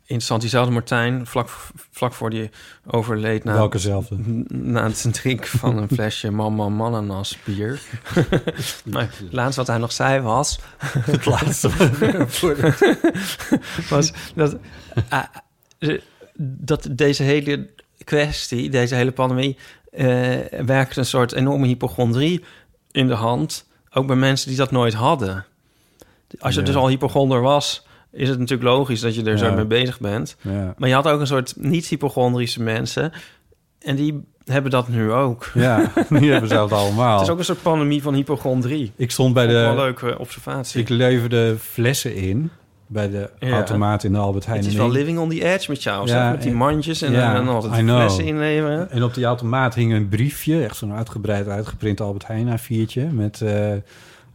S2: interessant, diezelfde Martijn, vlak, v- vlak voor die overleed na,
S1: Welkezelfde.
S2: na het drinken van een flesje man man mananas bier. maar het laatste wat hij nog zei was...
S1: Het laatste.
S2: was dat, ah, ze- dat deze hele kwestie, deze hele pandemie, eh, werkt een soort enorme hypochondrie in de hand. Ook bij mensen die dat nooit hadden. Als je
S1: Ja.
S2: dus al hypochonder was, is het natuurlijk logisch dat je er zo
S1: Ja.
S2: mee bezig bent.
S1: Ja.
S2: Maar je had ook een soort niet-hypochondrische mensen. En die hebben dat nu ook.
S1: ja, die hebben ze het allemaal.
S2: Het is ook een soort pandemie van hypochondrie.
S1: Ik stond bij
S2: Ook wel een
S1: Oh. de...
S2: leuke observatie.
S1: Ik leverde flessen in bij de
S2: Ja.
S1: automaat in de Albert Heijn.
S2: het is
S1: En
S2: wel
S1: ik-
S2: living on the edge met jou,
S1: Ja,
S2: zeg, met die
S1: en-
S2: mandjes en,
S1: ja,
S2: en dan
S1: I
S2: altijd
S1: know.
S2: flessen inleveren.
S1: En op die automaat hing een briefje, echt zo'n uitgebreid uitgeprint Albert Heijn A4'tje... met eh,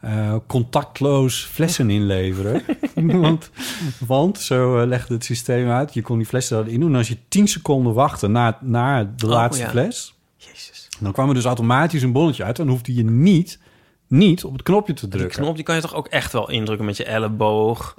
S1: eh, contactloos flessen inleveren. want, want, zo eh, legde het systeem uit, je kon die flessen erin doen. En als je 10 seconden wachtte na, na de
S2: Oh,
S1: laatste
S2: ja.
S1: fles...
S2: Jezus.
S1: dan kwam er dus automatisch een bonnetje uit... en dan hoefde je niet, niet op het knopje te
S2: Die
S1: drukken.
S2: knop die kan je toch ook echt wel indrukken met je elleboog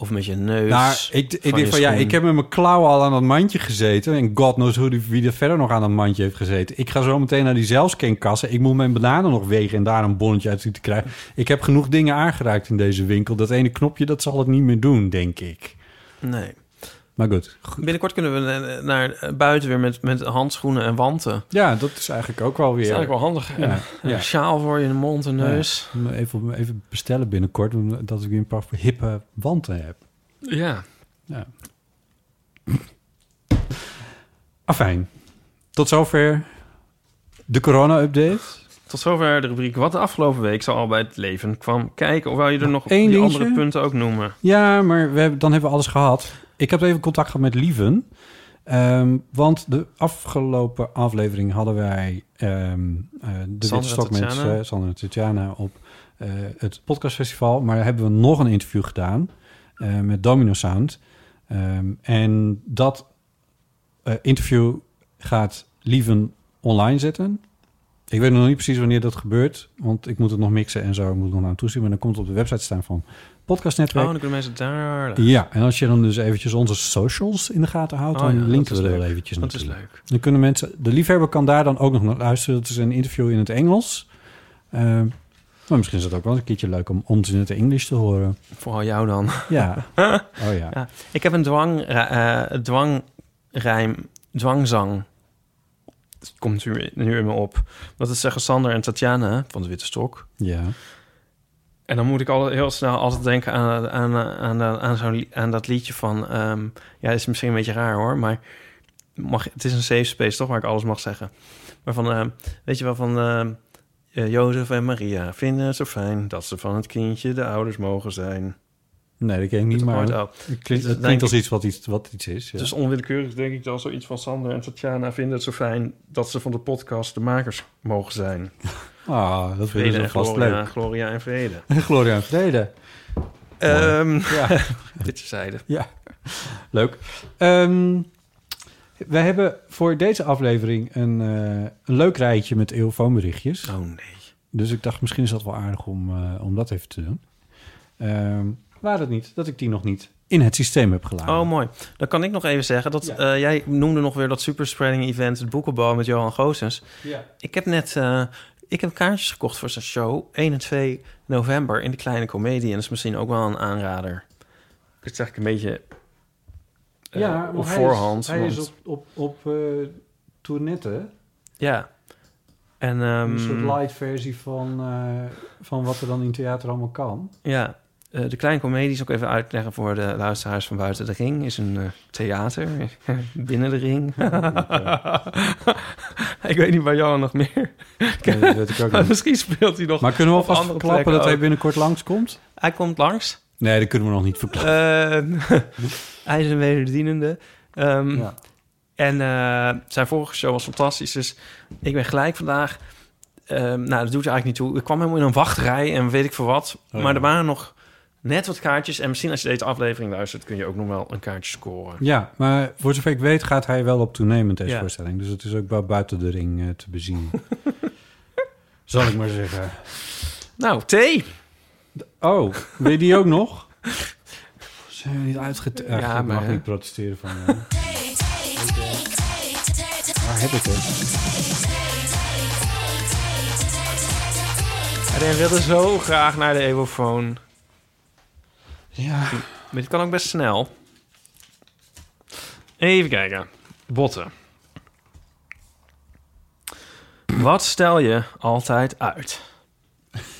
S2: of met je neus.
S1: Nou, ik, ik
S2: Dus je
S1: denk van ja,
S2: schoen.
S1: ik heb met mijn klauwen al aan dat mandje gezeten. En god knows hoe die, wie er verder nog aan dat mandje heeft gezeten. Ik ga zo meteen naar die zelfscankassen. Ik moet mijn bananen nog wegen en daar een bonnetje uit zien te krijgen. Ik heb genoeg dingen aangeraakt in deze winkel. Dat ene knopje, dat zal het niet meer doen, denk ik.
S2: Nee.
S1: Maar goed. Go-
S2: Binnenkort kunnen we eh, naar eh, buiten weer met, met handschoenen en wanten. Dat
S1: Ja, dat is eigenlijk ook wel
S2: is
S1: weer...
S2: eigenlijk wel handig.
S1: Ja,
S2: En Een
S1: ja.
S2: sjaal voor je in de mond en neus.
S1: Even, even bestellen binnenkort, dat ik weer een paar hippe wanten heb.
S2: Ja.
S1: Ja. Afijn. Tot zover de corona-update.
S2: Tot zover de rubriek Wat de afgelopen week zo al bij het leven kwam kijken. Of wil je er nog
S1: één
S2: die
S1: dingetje?
S2: andere punten ook noemen?
S1: Ja, maar we hebben, dan hebben we alles gehad. Ik heb even contact gehad met Lieven. Ehm, want de afgelopen aflevering hadden wij ehm, eh, de
S2: Sandra
S1: Witte Stok met
S2: Tatiana.
S1: eh, Sandra en Tatjana op eh, het podcastfestival. Maar hebben we nog een interview gedaan eh, met Domino Sound. Ehm, en dat eh, interview gaat Lieven online zetten. Ik weet nog niet precies wanneer dat gebeurt. Want ik moet het nog mixen en zo. Ik moet er nog aan toezien. Maar dan komt het op de website staan van Podcast
S2: Oh,
S1: Netwerk.
S2: dan kunnen mensen daar...
S1: Ja, en als je dan dus eventjes onze socials in de gaten houdt,
S2: Eh, Oh
S1: dan
S2: ja,
S1: linken
S2: dat
S1: we er
S2: is leuk.
S1: wel eventjes
S2: Dat is
S1: natuurlijk.
S2: leuk.
S1: Dan kunnen mensen, de liefhebber kan daar dan ook nog naar luisteren. Dat is een interview in het Engels. Ehm, maar misschien is het ook wel een keertje leuk om ons in het Engels te horen.
S2: Vooral jou dan.
S1: Ja. oh ja.
S2: Ja, ik heb een dwang, eh dwangrijm, dwangzang. Het komt nu, nu in me op. Dat is zeggen Sander en Tatjana van de Witte Stok.
S1: Ja.
S2: En dan moet ik al heel snel altijd denken aan, aan, aan, aan, aan, zo'n li- aan dat liedje van... ehm, ja, is misschien een beetje raar hoor, maar mag, het is een safe space toch, waar ik alles mag zeggen. Maar van, ehm, weet je wel, van ehm, eh, Jozef en Maria vinden het zo fijn... dat ze van het kindje de ouders mogen zijn.
S1: Nee, dat ken ik niet,
S2: Dit
S1: maar
S2: hoort
S1: het
S2: ook.
S1: klinkt, het
S2: denk
S1: klinkt als
S2: ik-
S1: iets wat iets, wat iets is. Ja.
S2: Dus onwillekeurig denk ik dan zoiets van Sander en Tatjana vinden het zo fijn... dat ze van de podcast de makers mogen zijn.
S1: ah, dat vinden
S2: Vrede
S1: ze
S2: en
S1: vast
S2: Gloria,
S1: leuk.
S2: Gloria en Vrede.
S1: Gloria en vrede.
S2: Ehm
S1: Ja,
S2: dit zeiden.
S1: ja. leuk. Ehm, we hebben voor deze aflevering een, eh, een leuk rijtje met eeuwfoonberichtjes.
S2: Oh nee.
S1: Dus ik dacht, misschien is dat wel aardig om, eh, om dat even te doen. Ehm waar het niet dat ik die nog niet in het systeem heb geladen.
S2: Oh, mooi. Dan kan ik nog even zeggen dat eh, jij noemde nog weer dat superspreading event, het boekenbal met Johan Goossens.
S1: ja.
S2: Ik heb net eh, ik heb kaartjes gekocht voor zijn show 1 en 2 november in de Kleine Comedie. En dat is misschien ook wel een aanrader. Dat zeg ik een beetje eh,
S1: ja,
S2: op
S1: want
S2: voorhand.
S1: Hij is, hij
S2: want-
S1: is op, op, op eh, tournette.
S2: Ja. En, ehm,
S1: een soort light versie van, eh, van wat er dan in theater allemaal kan.
S2: Ja, eh, de Kleine Comedie is ook even uitleggen voor de luisteraars van buiten de ring. Is een eh, theater binnen de ring.
S1: eh.
S2: ik weet niet waar Johan nog meer.
S1: Nee, dat weet ik ook
S2: Maar
S1: niet.
S2: Misschien speelt hij nog.
S1: Maar kunnen we
S2: op
S1: alvast
S2: andere
S1: verklappen
S2: plekken
S1: dat hij
S2: ook.
S1: binnenkort langskomt?
S2: Hij komt langs.
S1: Nee, dat kunnen we nog niet verklappen.
S2: Ehm, hij is een wederdienende. Ehm,
S1: Ja.
S2: En eh, zijn vorige show was fantastisch. Dus ik ben gelijk vandaag. ehm, nou, dat doet er eigenlijk niet toe. Ik kwam helemaal in een wachtrij en weet ik voor wat.
S1: Oh.
S2: Maar er waren nog net wat kaartjes. En misschien als je deze aflevering luistert, kun je ook nog wel een kaartje scoren.
S1: ja, maar voor zover ik weet gaat hij wel op tournee met deze
S2: Ja.
S1: voorstelling. Dus het is ook wel buiten de ring eh, te bezien. Zal ik maar zeggen.
S2: Nou, thee.
S1: Oh, wil je die ook nog? Zijn we niet uitgetekend?
S2: Ja,
S1: Ja, ik mag
S2: maar-
S1: niet protesteren van... eh. Waar heb ik het?
S2: Hij wilde zo graag naar de Evofoon.
S1: Ja.
S2: Maar dit kan ook best snel. Even kijken. Botten. Wat stel je altijd uit?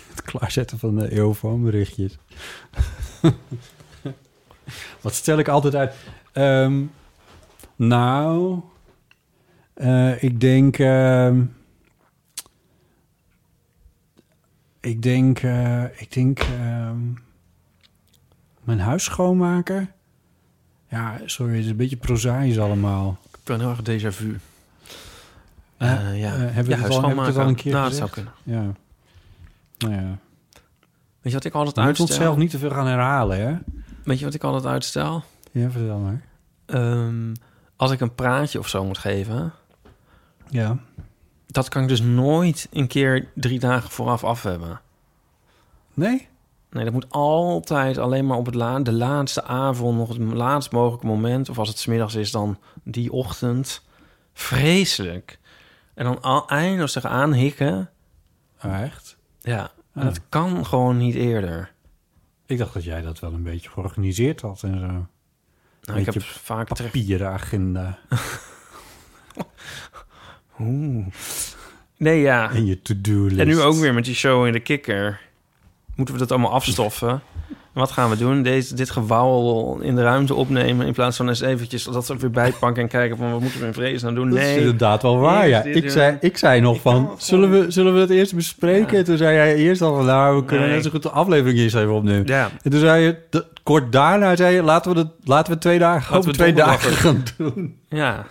S1: Het klaarzetten van de eeuwfoonberichtjes. Wat stel ik altijd uit? Ehm, nou, eh, ik denk. ehm, ik denk. eh, ik denk. ehm, mijn huis schoonmaken. Ja, sorry, het is een beetje prozaïs allemaal.
S2: Ik ben heel erg déjà vu.
S1: Eh,
S2: Eh, ja.
S1: eh, hebben we
S2: Ja,
S1: het al- hebben we het
S2: huis schoonmaken.
S1: al een keer
S2: Nou, dat
S1: gezegd?
S2: zou kunnen.
S1: Ja. Nou ja.
S2: Weet je wat ik altijd
S1: We moeten
S2: uitstel?
S1: onszelf niet te veel gaan herhalen, hè?
S2: Weet je wat ik altijd uitstel?
S1: Ja, vertel maar.
S2: Ehm, als ik een praatje of zo moet geven,
S1: Ja.
S2: dat kan ik dus nooit een keer drie dagen vooraf af hebben.
S1: Nee?
S2: Nee, dat moet altijd alleen maar op het la de laatste avond, nog het laatst mogelijke moment. Of als het 's middags is, dan die ochtend. Vreselijk. En dan al eindeloos aan hikken.
S1: Oh, echt?
S2: Ja, en
S1: Ah.
S2: dat kan gewoon niet eerder.
S1: Ik dacht dat jij dat wel een beetje georganiseerd had en zo.
S2: Nou, ik heb
S1: Beetje
S2: vaak terecht...
S1: Papieren agenda
S2: Oeh. Nee, ja.
S1: en je to-do-list.
S2: En nu ook weer met die show in de kikker. Moeten we dat allemaal afstoffen? En wat gaan we doen? Deze, dit gewauwel in de ruimte opnemen... in plaats van eens eventjes dat er weer bijpakken... en kijken van wat moeten we in vrees aan doen?
S1: Dat is
S2: Nee,
S1: inderdaad wel waar,
S2: Eerst
S1: ja.
S2: dit
S1: Ik
S2: doen.
S1: zei, ik zei nog van, zullen we, zullen we het eerst bespreken?
S2: Ja.
S1: Toen zei jij eerst al van, nou, we kunnen
S2: Nee.
S1: net zo goed de aflevering eerst even opnemen.
S2: ja.
S1: En toen zei je, d- kort daarna zei je, laten we, dat, laten we twee dagen,
S2: Laten
S1: over
S2: we
S1: twee
S2: donderdag
S1: dagen gaan doen.
S2: Ja,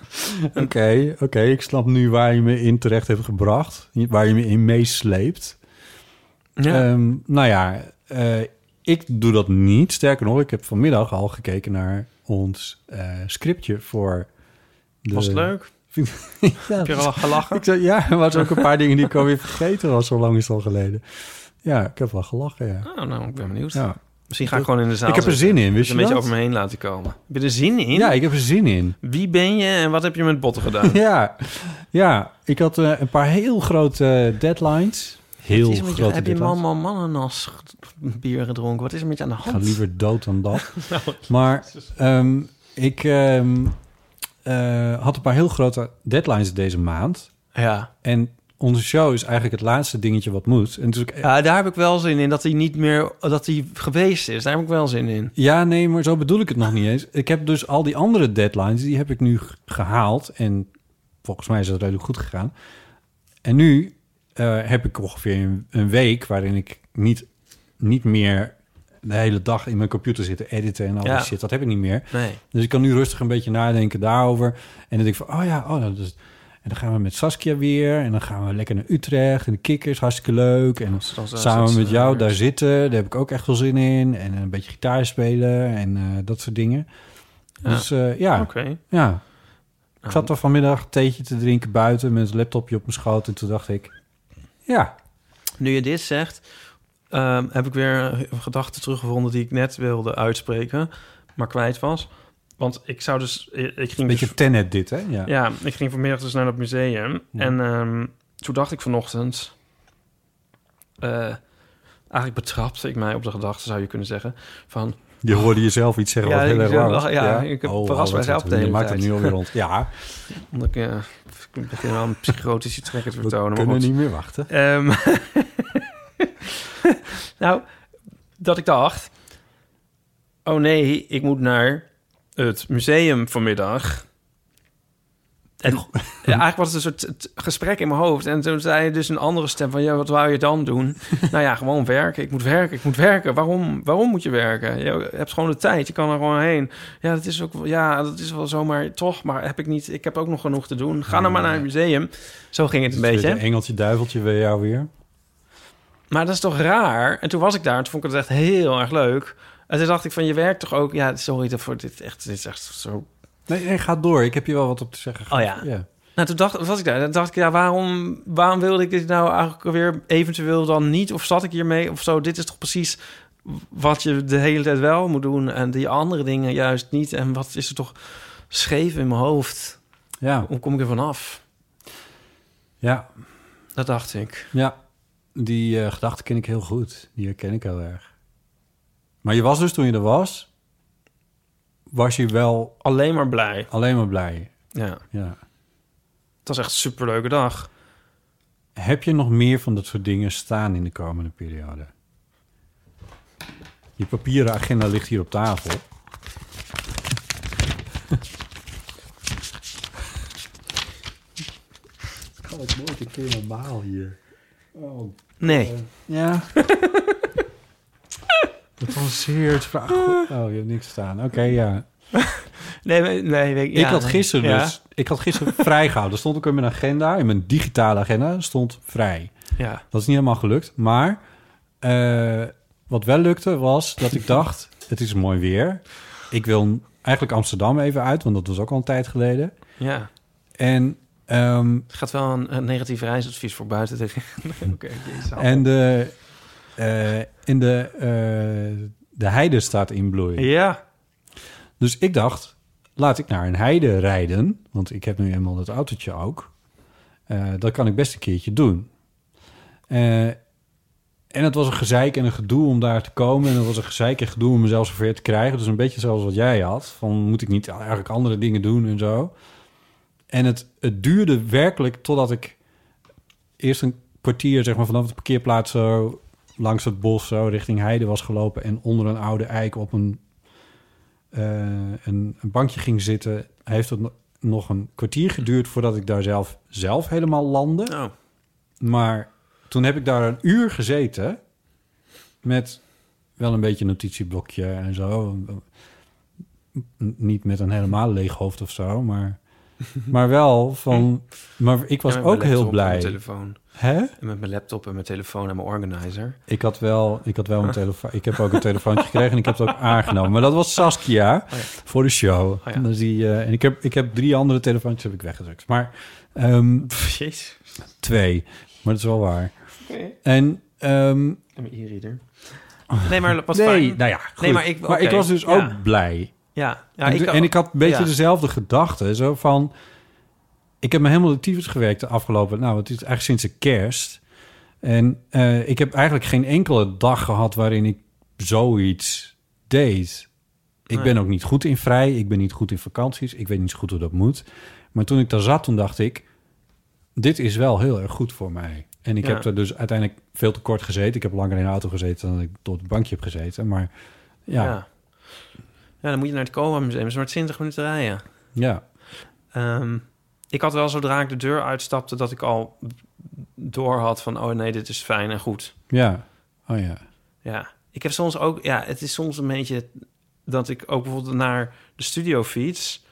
S1: Oké, oké, ik snap nu waar je me in terecht hebt gebracht. Waar je me in meesleept.
S2: ja.
S1: Ehm, nou ja, eh, ik doe dat niet. Sterker nog, ik heb vanmiddag al gekeken naar ons eh, scriptje voor... De...
S2: was het leuk?
S1: ja,
S2: Heb je er al gelachen?
S1: ik zei, ja, er waren ook een paar dingen die ik alweer vergeten was. Zo lang is het al geleden. Ja, ik heb wel gelachen, ja.
S2: Oh, nou, ik ben benieuwd.
S1: ja.
S2: Misschien ga ik gewoon in de zaal
S1: Ik heb er
S2: zitten.
S1: zin in,
S2: Het
S1: wist
S2: een
S1: je
S2: beetje
S1: dat?
S2: over me heen laten komen. Heb je er zin in?
S1: Ja, ik heb er zin in.
S2: Wie ben je en wat heb je met botten gedaan?
S1: Ja, ja ik had eh, een paar heel grote eh, deadlines. Heel
S2: Wat is er met je-
S1: grote
S2: heb je
S1: deadlines.
S2: man, man, mannenas g- bier gedronken? Wat is er met je aan de
S1: Ik
S2: hand?
S1: ga liever dood dan dat. maar ehm, ik ehm, eh, had een paar heel grote deadlines deze maand.
S2: Ja,
S1: En onze show is eigenlijk het laatste dingetje wat moet. En dus eh, het is ook
S2: Ja, daar heb ik wel zin in dat hij niet meer dat hij geweest is. Daar heb ik wel zin in.
S1: Ja, nee, maar zo bedoel ik het nog niet eens. Ik heb dus al die andere deadlines, die heb ik nu g- gehaald. En volgens mij is dat redelijk goed gegaan. En nu eh, heb ik ongeveer een, een week waarin ik niet, niet meer de hele dag in mijn computer zit te editen en al
S2: Ja.
S1: die shit. Dat heb ik niet meer.
S2: Nee.
S1: Dus ik kan nu rustig een beetje nadenken daarover. En dan denk ik van, oh ja, oh, dat is... En dan gaan we met Saskia weer. En dan gaan we lekker naar Utrecht. En de kikkers, hartstikke leuk. En
S2: is- dat is- dat
S1: samen
S2: is,
S1: met
S2: eh,
S1: jou
S2: leuk.
S1: daar zitten. Daar heb ik ook echt veel zin in. En een beetje gitaar spelen en eh, dat soort dingen.
S2: Ja.
S1: Dus eh, ja,
S2: Oké.
S1: ja. Ik zat er vanmiddag een theetje te drinken buiten met een laptopje op mijn schoot. En toen dacht ik, ja,
S2: Nu je dit zegt, ehm, heb ik weer gedachten teruggevonden die ik net wilde uitspreken, maar kwijt was. Want ik zou dus, ik ik
S1: een
S2: ging
S1: beetje
S2: dus-
S1: tenet dit, hè? Ja.
S2: ja, ik ging vanmiddag dus naar dat museum en ehm, toen dacht ik vanochtend, eh, eigenlijk betrapte ik mij op de gedachte, zou je kunnen zeggen, van
S1: Je hoorde jezelf iets zeggen
S2: Ja,
S1: wat heel
S2: ik
S1: erg
S2: zeg-
S1: raar was. Oh,
S2: ja, ik heb verrast
S1: wat-
S2: mijzelf
S1: wat-
S2: de hele
S1: Je maakt het
S2: tijd.
S1: nu alweer rond. Ja,
S2: Omdat ik, eh, ik begin wel een psychotische trekker te
S1: we
S2: vertonen. maar
S1: kunnen
S2: goed.
S1: niet meer wachten.
S2: Ehm, nou, dat ik dacht... Oh nee, ik moet naar het museum vanmiddag. En ja, eigenlijk was het een soort t- gesprek in mijn hoofd. En toen zei dus een andere stem van... Ja, wat wou je dan doen? nou ja, gewoon werken. Ik moet werken, ik moet werken. Waarom, waarom moet je werken? Je hebt gewoon de tijd, je kan er gewoon heen. Ja, dat is, ook, wel- ja, dat is wel zomaar toch. Maar heb ik, niet, ik heb ook nog genoeg te doen. Ga nou maar naar het museum. Zo ging het een
S1: Het is
S2: beetje.
S1: weer de engeltje duiveltje weer jou weer.
S2: Maar dat is toch raar? En toen was ik daar en toen vond ik het echt heel erg leuk. En toen dacht ik van, je werkt toch ook... Ja, sorry daarvoor, dit, is echt, dit is echt zo...
S1: Nee, nee, ga door. Ik heb je wel wat op te zeggen.
S2: Oh ja.
S1: Ja.
S2: Nou, toen dacht, was ik daar. Dan dacht ik, ja, waarom, waarom wilde ik dit nou eigenlijk weer eventueel dan niet? Of zat ik hiermee of zo? Dit is toch precies wat je de hele tijd wel moet doen... en die andere dingen juist niet. En wat is er toch scheef in mijn hoofd?
S1: Ja.
S2: Hoe kom ik er vanaf?
S1: ja,
S2: Dat dacht ik.
S1: ja. Die eh, gedachte ken ik heel goed. Die herken ik heel erg. Maar je was dus toen je er was, was je wel
S2: Alleen maar blij.
S1: alleen maar blij.
S2: Ja,
S1: Ja.
S2: het was echt een superleuke dag.
S1: Heb je nog meer van dat soort dingen staan in de komende periode? Je papieren agenda ligt hier op tafel. Ik kan het nooit een keer normaal hier. Oh,
S2: Nee.
S1: Ja. Dat was een zeer vraag. Oh, je hebt niks staan. Oké, ja.
S2: Nee, nee, nee, weet-
S1: Ik
S2: ja.
S1: had gisteren
S2: Ja.
S1: dus... Ik had gisteren vrijgehouden. Er stond ook in mijn agenda, in mijn digitale agenda, stond vrij.
S2: Ja.
S1: Dat is niet helemaal gelukt. Maar eh, wat wel lukte was dat ik dacht... het is mooi weer. Ik wil eigenlijk Amsterdam even uit, want dat was ook al een tijd geleden.
S2: Ja,
S1: En, ehm,
S2: het gaat wel een, een negatief reisadvies voor buiten. tegen- Oké, jezus.
S1: en de, eh, in de, eh, de heide staat in bloei.
S2: Ja,
S1: Dus ik dacht, laat ik naar een heide rijden. Want ik heb nu eenmaal dat autootje ook. Eh, dat kan ik best een keertje doen. Eh, en het was een gezeik en een gedoe om daar te komen. En het was een gezeik en gedoe om mezelf zover te krijgen. Dus een beetje zoals wat jij had. Van moet ik niet eigenlijk andere dingen doen en zo. En het, het duurde werkelijk totdat ik eerst een kwartier zeg maar, vanaf de parkeerplaats zo langs het bos zo richting Heide was gelopen. En onder een oude eik op een eh, een, een bankje ging zitten, heeft het no- nog een kwartier geduurd voordat ik daar zelf, zelf helemaal landde.
S2: nou,
S1: Maar toen heb ik daar een uur gezeten met wel een beetje een notitieblokje en zo. N- Niet met een helemaal leeg hoofd of zo, maar, maar wel van... Maar ik was
S2: ja, met mijn
S1: ook heel
S2: laptop en
S1: blij.
S2: Mijn telefoon.
S1: Hè?
S2: En met mijn laptop en mijn telefoon en mijn organizer.
S1: Ik had wel, ik had wel een telefoon. Ik heb ook een telefoontje gekregen en ik heb het ook aangenomen. Maar dat was Saskia voor de show.
S2: Oh ja.
S1: En dan zie je- en ik heb, ik heb drie andere telefoontjes heb ik weggedrukt. Maar ehm,
S2: Jezus.
S1: twee. Maar dat is wel waar. En ehm,
S2: En mijn e-reader. Nee, maar wat
S1: nee,
S2: fijn.
S1: nou ja, goed.
S2: Nee, maar ik- oké,
S1: was dus
S2: ja.
S1: ook blij.
S2: Ja, ja
S1: en,
S2: ik,
S1: ik, en ik had een beetje dus-
S2: ja.
S1: dezelfde gedachte. Zo van, ik heb me helemaal de tyfus gewerkt de afgelopen... Nou, het is eigenlijk sinds de kerst. En eh, ik heb eigenlijk geen enkele dag gehad waarin ik zoiets deed. Ik
S2: Nee.
S1: ben ook niet goed in vrij. Ik ben niet goed in vakanties. Ik weet niet zo goed hoe dat moet. Maar toen ik daar zat, toen dacht ik... dit is wel heel erg goed voor mij. En ik
S2: Ja.
S1: heb er dus uiteindelijk veel te kort gezeten. Ik heb langer in de auto gezeten dan ik tot het bankje heb gezeten. Maar ja, ja.
S2: ja. Ja, dan moet je naar het Kowa Museum. Het is maar 20 minuten rijden. Ehm, ik had wel zodra ik de deur uitstapte dat ik al door had van oh nee, dit is fijn en goed.
S1: Ja. Oh ja.
S2: Ja, ik heb soms ook, ja, het is soms een beetje dat ik ook bijvoorbeeld naar de studio fiets.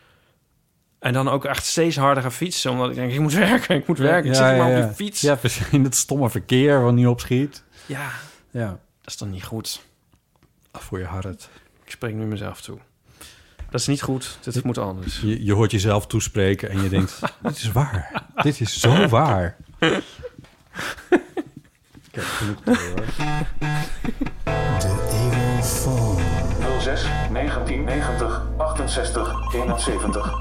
S2: En dan ook echt steeds harder ga fietsen, omdat ik denk, ik moet werken, ik moet werken. ik
S1: Ja,
S2: zit hier maar
S1: ja,
S2: op
S1: ja.
S2: die fiets.
S1: Ja, precies. In het stomme verkeer wat niet opschiet.
S2: ja,
S1: Ja.
S2: dat is dan niet goed.
S1: Voor je hart.
S2: Ik spreek nu mezelf toe. Dat is niet goed, dit moet anders.
S1: Je, je hoort jezelf toespreken en je denkt... dit is waar. Dit is zo waar. Kijk, genoeg te horen.
S4: 06 1990 68 71.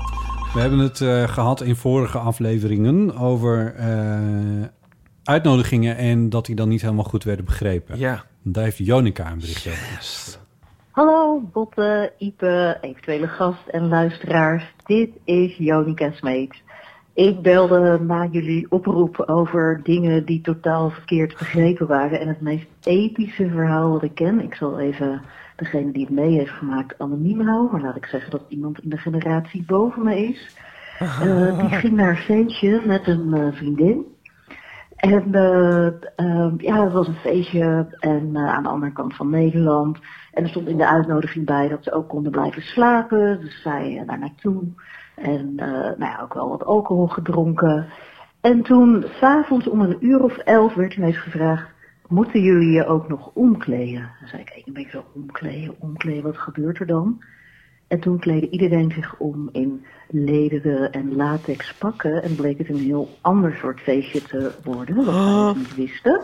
S1: We hebben het eh, gehad in vorige afleveringen over eh, uitnodigingen en dat die dan niet helemaal goed werden begrepen.
S2: Ja,
S1: Daar heeft Jonica een berichtje over.
S5: Hallo Botte, Ipe, eventuele gast en luisteraars. Dit is Jonica Smeet. Ik belde na jullie oproep over dingen die totaal verkeerd begrepen waren. En het meest epische verhaal dat ik ken, ik zal even degene die het mee heeft gemaakt anoniem houden. Maar laat ik zeggen dat iemand in de generatie boven me is. Eh, die ging naar een feestje met een eh, vriendin. En eh, eh, ja, het was een feestje en eh, aan de andere kant van Nederland. En er stond in de uitnodiging bij dat ze ook konden blijven slapen. Dus zij eh, daar naartoe. En eh, nou ja, ook wel wat alcohol gedronken. En toen, s'avonds om een uur of elf, werd ineens gevraagd... Moeten jullie je ook nog omkleden? Dan zei ik, ik een beetje zo omkleden, omkleden, wat gebeurt er dan? En toen kleedde iedereen zich om in lederen en latex pakken. En bleek het een heel ander soort feestje te worden, wat wij dus niet wisten.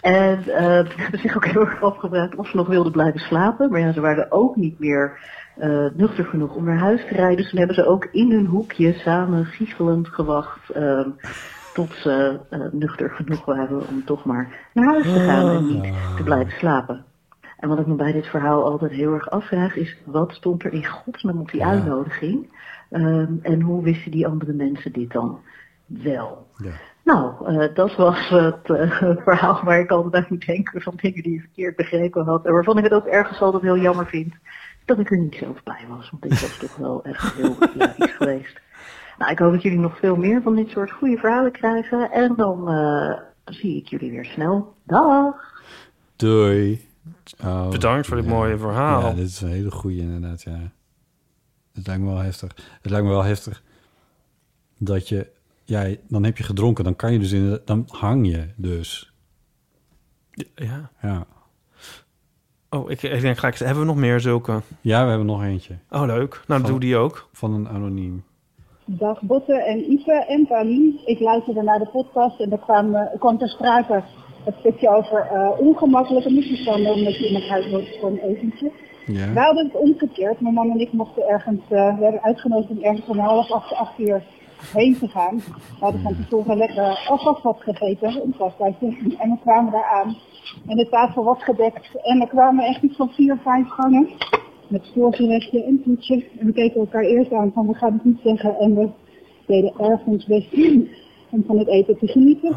S5: En eh ze hebben zich ook heel erg afgevraagd of ze nog wilden blijven slapen. Maar ja, ze waren ook niet meer eh nuchter genoeg om naar huis te rijden. Dus toen hebben ze ook in hun hoekje samen giechelend gewacht... eh, tot ze eh, nuchter genoeg waren om toch maar naar huis te gaan en niet te blijven slapen. En wat ik me bij dit verhaal altijd heel erg afvraag is, wat stond er in godsnaam op die uitnodiging? Ehm, en hoe wisten die andere mensen dit dan wel?
S1: Ja.
S5: Nou, eh, dat was het eh, verhaal waar ik altijd aan moet denken van dingen die ik verkeerd begrepen had. En waarvan ik het ook ergens altijd heel jammer vind dat ik er niet zelf bij was. Want dit was toch wel echt heel ja, iets geweest. Nou, ik hoop dat jullie nog veel meer van dit soort goede verhalen krijgen. En dan eh, zie ik jullie weer snel. Dag!
S1: Doei. Oh,
S2: bedankt voor dit
S1: ja.
S2: mooie
S1: Ja,
S2: verhaal.
S1: dit is een hele goeie inderdaad, ja. Het lijkt me wel heftig. Het lijkt me wel heftig dat je... Ja, dan heb je gedronken. Dan kan je dus in... Dan hang je dus.
S2: Ja.
S1: Ja.
S2: Oh, ik, ik denk gelijk, hebben we nog meer zulke?
S1: Ja, we hebben nog eentje.
S2: Oh, leuk. Nou, doe die ook.
S1: Van een anoniem.
S6: Dag Botte en Ipe en Paulien. Ik luisterde naar de podcast en daar kwam, eh, kwam ter sprake het stukje over eh, ongemakkelijke misverstanden omdat je iemand huis wordt voor een etentje.
S1: Ja.
S6: Wij hadden het omgekeerd. Mijn man en ik mochten ergens, eh, we werden uitgenodigd om ergens om half acht, acht uur heen te gaan. We hadden van tevoren lekker alvast wat gegeten, een vastbijtje. En we kwamen daar aan en de tafel was gedekt. En er kwamen echt iets van vier, vijf gangen met voorgerechten en toetsen. En we keken elkaar eerst aan van we gaan het niet zeggen en we deden erg ons best om van het eten te genieten.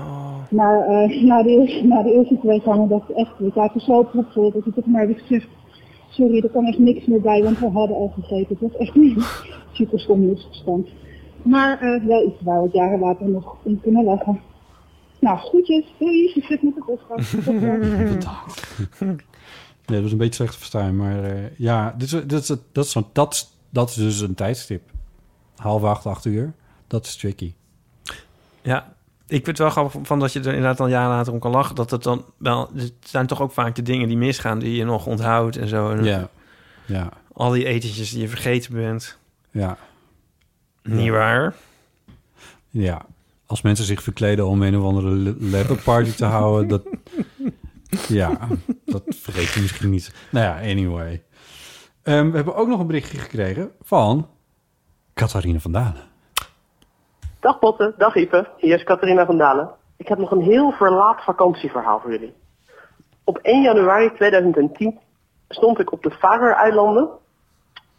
S6: Maar eh, na, de eerste, na de eerste twee gangen dacht ik echt, we zaten zo propvol dat ik het maar heb gezegd. Sorry, er kan echt niks meer bij, want we hadden al gegeten. Het was echt een super stom misverstand. Maar eh, wel iets waar we het jaren later nog om kunnen lachen. Nou, groetjes. Doei, succes met de podcast. Tot ziens.
S1: Nee, dat was een beetje slecht te verstaan. Maar eh, ja, dit is, dit is, dat, is zo'n- dat, is- dat is dus een tijdstip. Half acht, acht uur. Dat is tricky.
S2: Ja. Ik vind het wel grappig van dat je er inderdaad al jaren later om kan lachen. Dat het dan wel... Het zijn toch ook vaak de dingen die misgaan die je nog onthoudt en zo. En
S1: Ja. Ja.
S2: Al die etentjes die je vergeten bent.
S1: Ja.
S2: Niet waar?
S1: Ja. Als mensen zich verkleden om een of andere le- letterparty te houden, dat... Ja, dat vergeet je misschien niet. Nou ja, anyway. Ehm, we hebben ook nog een berichtje gekregen van... Catharine van Dalen.
S7: Dag Botte, dag Ipe. Hier is Catharina van Dalen. Ik heb nog een heel verlaat vakantieverhaal voor jullie. Op 1 januari 2010 stond ik op de Faroe-eilanden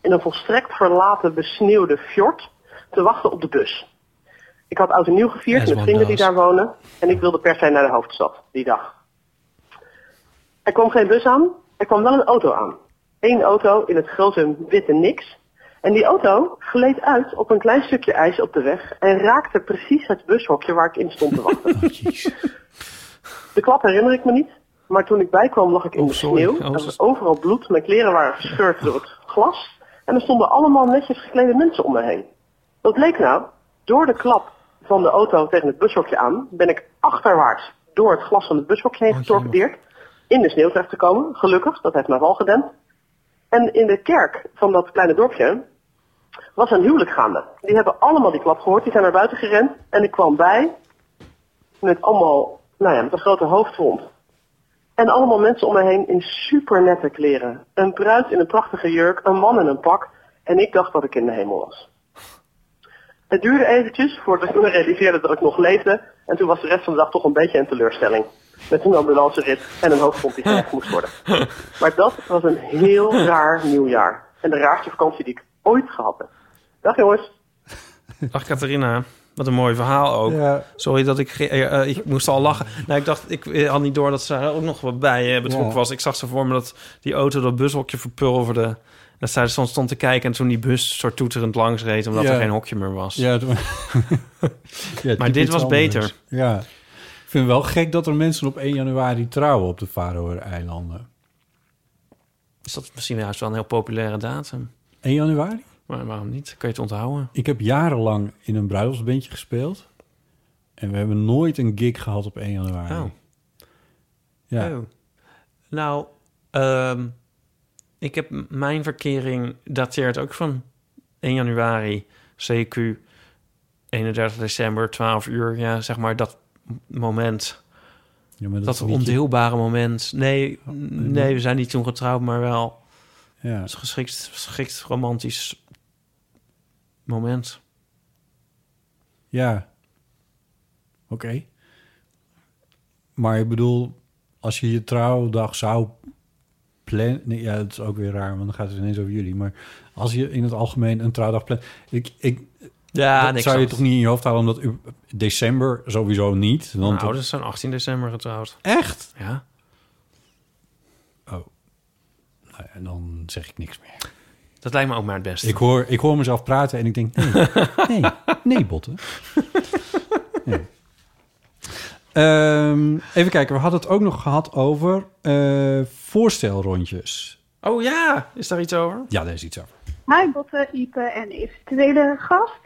S7: in een volstrekt verlaten besneeuwde fjord te wachten op de bus. Ik had oud en nieuw gevierd
S2: As
S7: met
S2: one
S7: vrienden die
S2: does.
S7: daar wonen. En ik wilde per se naar de hoofdstad die dag. Er kwam geen bus aan. Er kwam wel een auto aan. Eén auto in het grote witte niks. En die auto gleed uit op een klein stukje ijs op de weg. En raakte precies het bushokje waar ik in stond te wachten.
S1: Oh,
S7: De klap herinner ik me niet. Maar toen ik bijkwam lag ik in
S2: Oh,
S7: de
S2: sorry.
S7: sneeuw.
S2: Oh,
S7: Er
S2: zo-
S7: was overal bloed. Mijn kleren waren verscheurd door het glas. En er stonden allemaal netjes geklede mensen om me heen. Wat bleek nou? Door de klap van de auto tegen het bushokje aan... ben ik achterwaarts door het glas van het bushokje heen
S2: Oh, jemig.
S7: getorpedeerd. In de sneeuw terecht te komen. Gelukkig, dat heeft mij wel gedempt. En in de kerk van dat kleine dorpje was een huwelijk gaande. Die hebben allemaal die klap gehoord. Die zijn naar buiten gerend. En ik kwam bij met allemaal, nou ja, met een grote hoofdwond. En allemaal mensen om me heen in supernette kleren. Een bruid in een prachtige jurk, een man in een pak. En ik dacht dat ik in de hemel was. Het duurde eventjes voordat ik me realiseerde dat ik nog leefde. En toen was de rest van de dag toch een beetje een teleurstelling. Met een ambulancerit en een hoofdwond die gelegd moest worden. Maar dat was een heel raar nieuwjaar. En de raarste vakantie die ik ooit gehad heb. Dag jongens.
S2: Dag Catharina. Wat een mooi verhaal ook.
S1: Ja,
S2: Sorry dat ik... ge- eh, eh, ik moest al lachen. Nou, ik dacht, ik eh, had niet door dat ze daar ook nog wat bij eh, betrokken
S1: Ja.
S2: was. Ik zag ze voor me dat die auto dat bushokje verpulverde. En dat zij er soms stond te kijken en toen die bus soort toeterend langs reed... omdat
S1: Ja.
S2: er geen hokje meer was.
S1: ja, het- Ja,
S2: Maar dit
S1: typisch
S2: was
S1: anders.
S2: beter.
S1: Ja. Ik vind het wel gek dat er mensen op 1 januari trouwen op de Faroe-eilanden.
S2: Dus dat is misschien juist wel een heel populaire datum.
S1: 1 januari?
S2: Maar waarom niet? Kun je het onthouden?
S1: Ik heb jarenlang in een bruiloftsbandje gespeeld. En we hebben nooit een gig gehad op 1 januari.
S2: Oh.
S1: Ja.
S2: Oh. Nou, ehm, ik heb m- mijn verkering dateert ook van 1 januari, CQ, 31 december, 12 uur. Ja, zeg maar dat m- moment.
S1: Ja, maar
S2: Dat,
S1: liedje-
S2: ondeelbare moment. Nee,
S1: Oh,
S2: n- nee, we zijn niet toen getrouwd, maar wel
S1: Ja.
S2: een geschikt, geschikt romantisch moment.
S1: Ja. Oké. Maar ik bedoel, als je je trouwdag zou plannen... Nee, ja, dat is ook weer raar, want dan gaat het ineens over jullie. Maar als je in het algemeen een trouwdag plant... Ik, ik,
S2: Ja,
S1: dat zou je toch niet in je hoofd houden, omdat u- december sowieso niet. Want
S2: Mijn ouders zijn 18 december getrouwd.
S1: Echt? Oh.
S2: Ja.
S1: Nou ja, dan zeg ik niks meer.
S2: Dat lijkt me ook maar het beste.
S1: Ik hoor, ik hoor mezelf praten en ik denk, nee, nee, nee, botten. Nee. Ehm, even kijken, we hadden het ook nog gehad over eh, voorstelrondjes.
S2: Oh ja, is daar iets over?
S1: Ja, daar is iets over.
S6: Hi Botte, Ipe en eventuele gast.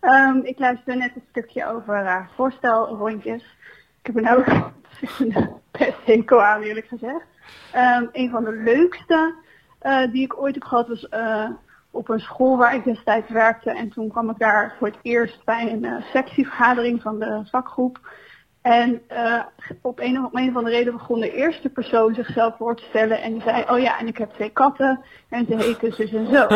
S6: Ehm, ik luisterde net een stukje over eh, voorstelrondjes. Ik heb er nou ook best hekel aan eerlijk gezegd. Ehm, een van de leukste eh, die ik ooit heb gehad was eh, op een school waar ik destijds werkte. En toen kwam ik daar voor het eerst bij een eh, sectievergadering van de vakgroep. En eh, op, een, om een van de redenen begon de eerste persoon zichzelf voor te stellen. En die zei, oh ja, en ik heb twee katten. En ze heten zus en zo.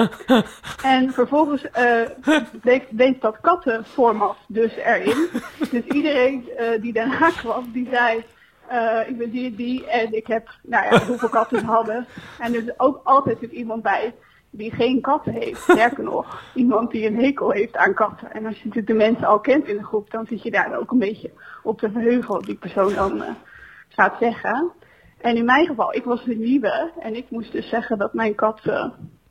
S6: En vervolgens eh, bleek, bleek dat kattenformat dus erin. Dus iedereen eh, die daarna kwam, die zei... eh, ik ben die en die en ik heb, nou ja, hoeveel katten ze hadden. En er is ook altijd weer iemand bij die geen katten heeft. Sterker nog, iemand die een hekel heeft aan katten. En als je natuurlijk de mensen al kent in de groep, dan zit je daar ook een beetje op te verheugen wat die persoon dan eh, gaat zeggen. En in mijn geval, ik was de nieuwe en ik moest dus zeggen dat mijn kat eh,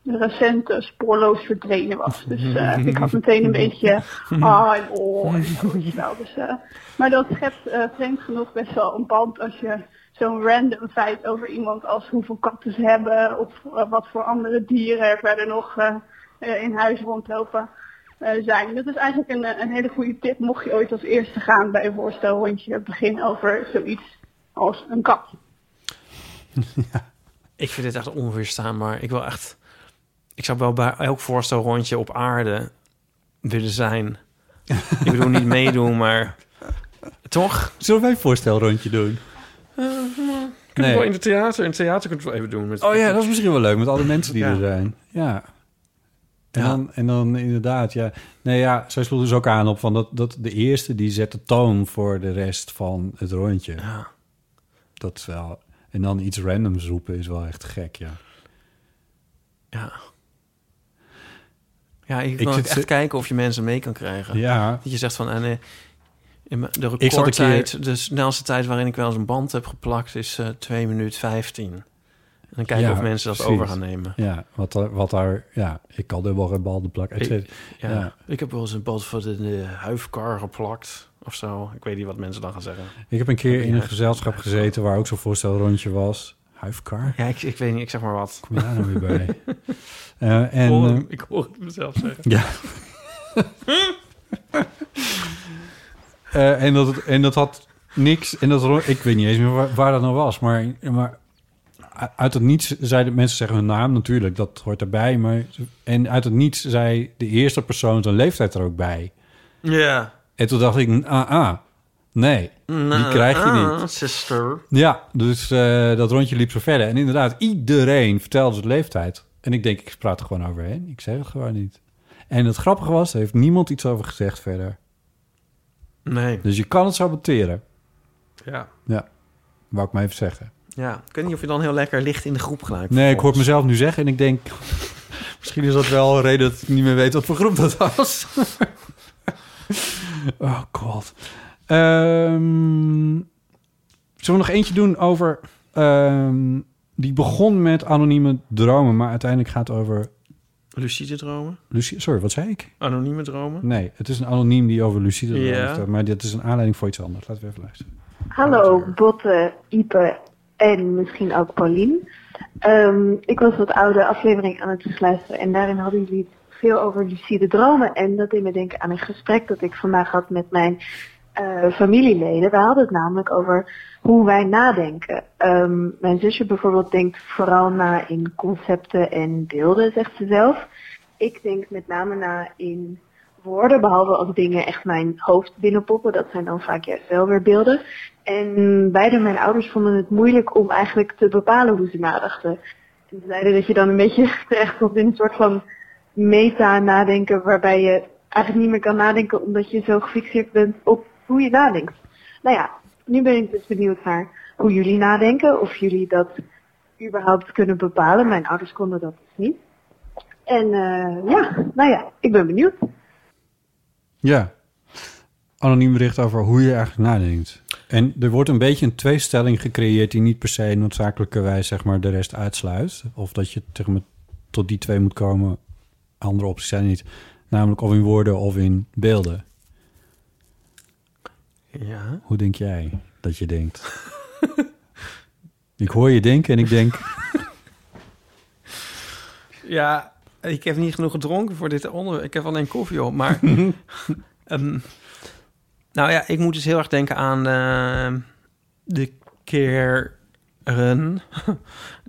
S6: recent eh, spoorloos verdwenen was. Dus eh, ik had meteen een beetje ah en oh en zo, weet je wel. Dus, eh, maar dat schept eh, vreemd genoeg best wel een band als je zo'n random feit over iemand als hoeveel katten ze hebben of eh, wat voor andere dieren er verder nog eh, eh, in huis rondlopen eh, zijn. Dat is eigenlijk een, eh, een hele goede tip mocht je ooit als eerste gaan bij een voorstelrondje beginnen over zoiets als een kat.
S2: Ik vind dit echt onweerstaanbaar. Ik wil echt... Ik zou wel bij elk voorstelrondje op aarde willen zijn. Ik bedoel, niet meedoen, maar... Toch?
S1: Zullen wij een voorstelrondje doen?
S2: Kunnen we wel
S1: nee.
S2: in het theater. In het theater kunnen we het wel even doen. Met...
S1: Oh ja, dat is misschien wel leuk met alle mensen die
S2: Ja.
S1: er zijn. Ja. En,
S2: Ja.
S1: Dan, en dan inderdaad, ja. Nee, ja, zij sloeg dus ook aan op van dat, dat de eerste die zet de toon voor de rest van het rondje.
S2: Ja.
S1: Dat is wel. En dan iets randoms roepen is wel echt gek, ja.
S2: Ja. Ja, ik
S1: Ik
S2: wil
S1: zit
S2: echt
S1: ze-
S2: kijken of je mensen mee kan krijgen.
S1: Ja.
S2: Dat je zegt van... eh, nee, in mijn- de
S1: Ik zat een keer-
S2: recordtijd, de snelste tijd waarin ik wel eens een band heb geplakt... is eh 2 minuut 15. En dan kijken
S1: Ja,
S2: of mensen dat
S1: precies.
S2: over gaan nemen.
S1: Ja, wat, er- wat daar... Ja, ik kan er wel een bal de plak. et
S2: Ik,
S1: cetera.
S2: ja,
S1: Ja.
S2: ik heb wel eens een band voor de, de huifkar geplakt of zo. Ik weet niet wat mensen dan gaan zeggen.
S1: Ik heb een keer in een gezelschap gezeten waar ook zo'n voorstelrondje was. Huifkar?
S2: Ja, ik, ik weet niet, ik zeg maar wat.
S1: Kom je daar nou weer bij? Eh, en,
S2: ik, hoor,
S1: eh,
S2: hem- ik hoor het mezelf zeggen.
S1: Ja. Eh, en, dat, en dat had niks. En dat, ro- ik weet niet eens meer waar, waar dat nou was. Maar, maar uit het niets zeiden mensen zeggen hun naam natuurlijk. Dat hoort erbij. Maar, en uit het niets zei de eerste persoon zijn leeftijd er ook bij.
S2: Ja. Ah,
S1: En toen dacht ik, ah, ah nee,
S2: Nou,
S1: die krijg je niet.
S2: Sister.
S1: Ja, dus eh, dat rondje liep zo verder. En inderdaad, iedereen vertelde zijn leeftijd. En ik denk, ik praat er gewoon overheen. Ik zeg het gewoon niet. En het grappige was, er heeft niemand iets over gezegd verder.
S2: Nee.
S1: Dus je kan het saboteren.
S2: Ja.
S1: Ja, wou ik maar even zeggen.
S2: ja. Ik weet niet of je dan heel lekker licht in de groep gelijk.
S1: Nee, ik hoor het mezelf nu zeggen en ik denk... Misschien is dat wel een reden dat ik niet meer weet wat voor groep dat was. oh god. Ehm, zullen we nog eentje doen over... ehm, die begon met anonieme dromen, maar uiteindelijk gaat het over...
S2: Lucide dromen.
S1: Lucie, sorry, wat zei ik?
S2: Anonieme dromen.
S1: Nee, het is een anoniem die over lucide dromen
S2: Ja.
S1: heeft, Maar dit is een aanleiding voor iets anders. Laten we even luisteren.
S5: Hallo Botte, Ipe en misschien ook Paulien. Ehm, ik was wat oude aflevering aan het luisteren en daarin hadden jullie het veel over lucide dromen. En dat deed me denken aan een gesprek dat ik vandaag had met mijn eh, familieleden. We hadden het namelijk over hoe wij nadenken. Ehm, mijn zusje bijvoorbeeld denkt vooral na in concepten en beelden, zegt ze zelf. Ik denk met name na in woorden, behalve als dingen echt mijn hoofd binnenpoppen. Dat zijn dan vaak juist wel weer beelden. En beide mijn ouders vonden het moeilijk om eigenlijk te bepalen hoe ze nadachten. En ze zeiden dat je dan een beetje terecht komt in een soort van meta-nadenken waarbij je eigenlijk niet meer kan nadenken omdat je zo gefixeerd bent op hoe je nadenkt. Nou ja, nu ben ik dus benieuwd naar hoe jullie nadenken, of jullie dat überhaupt kunnen bepalen. Mijn ouders konden dat dus niet. En eh, ja, nou ja, ik ben benieuwd.
S1: Ja. Anoniem bericht over hoe je eigenlijk nadenkt. En er wordt een beetje een tweestelling gecreëerd die niet per se noodzakelijkerwijs zeg maar, de rest uitsluit. Of dat je zeg maar, tot die twee moet komen. Andere opties zijn er niet. Namelijk of in woorden of in beelden.
S2: Ja.
S1: Hoe denk jij dat je denkt? ik hoor je denken en ik denk...
S2: Ja. Ik heb niet genoeg gedronken voor dit onderwerp. Ik heb alleen koffie op, maar... ehm, nou ja, ik moet dus heel erg denken aan ehm, de keren...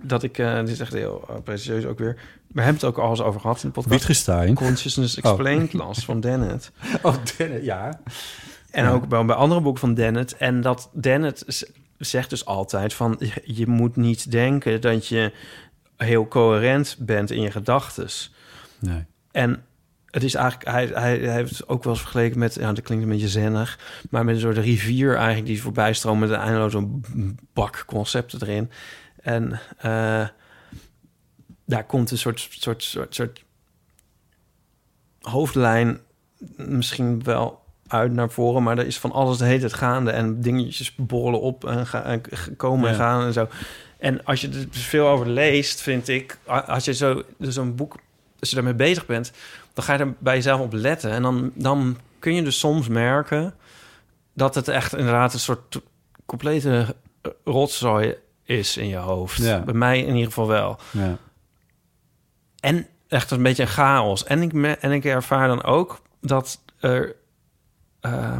S2: dat ik... eh, dit is echt heel eh, pretentieus ook weer. We hebben het ook al eens over gehad in de podcast.
S1: Wittgenstein.
S2: Consciousness Explained las van Dennett.
S1: Oh, ja.
S2: En ook bij, bij andere boeken van Dennett. En dat Dennett z- zegt dus altijd van... je- je moet niet denken dat je heel coherent bent in je gedachtes.
S1: Nee.
S2: En het is eigenlijk... Hij, hij, hij heeft het ook wel eens vergeleken met... Ja, dat klinkt een beetje zennig. Maar met een soort rivier eigenlijk die voorbij stroomt... met een eindeloze bak concepten erin. En eh, daar komt een soort, soort, soort, soort hoofdlijn misschien wel uit naar voren, maar er is van alles de hele tijd gaande en dingetjes borrelen op en, ga- en g- komen en
S1: Ja.
S2: gaan en zo. En als je er dus veel over leest, vind ik, a- als je zo zo'n boek, als je daarmee bezig bent, dan ga je er bij jezelf op letten en dan, dan kun je dus soms merken dat het echt inderdaad een soort complete eh, rotzooi is in je hoofd.
S1: Ja.
S2: Bij mij in ieder geval wel.
S1: Ja.
S2: En echt een beetje een chaos. En ik, me- en ik ervaar dan ook dat er. eh,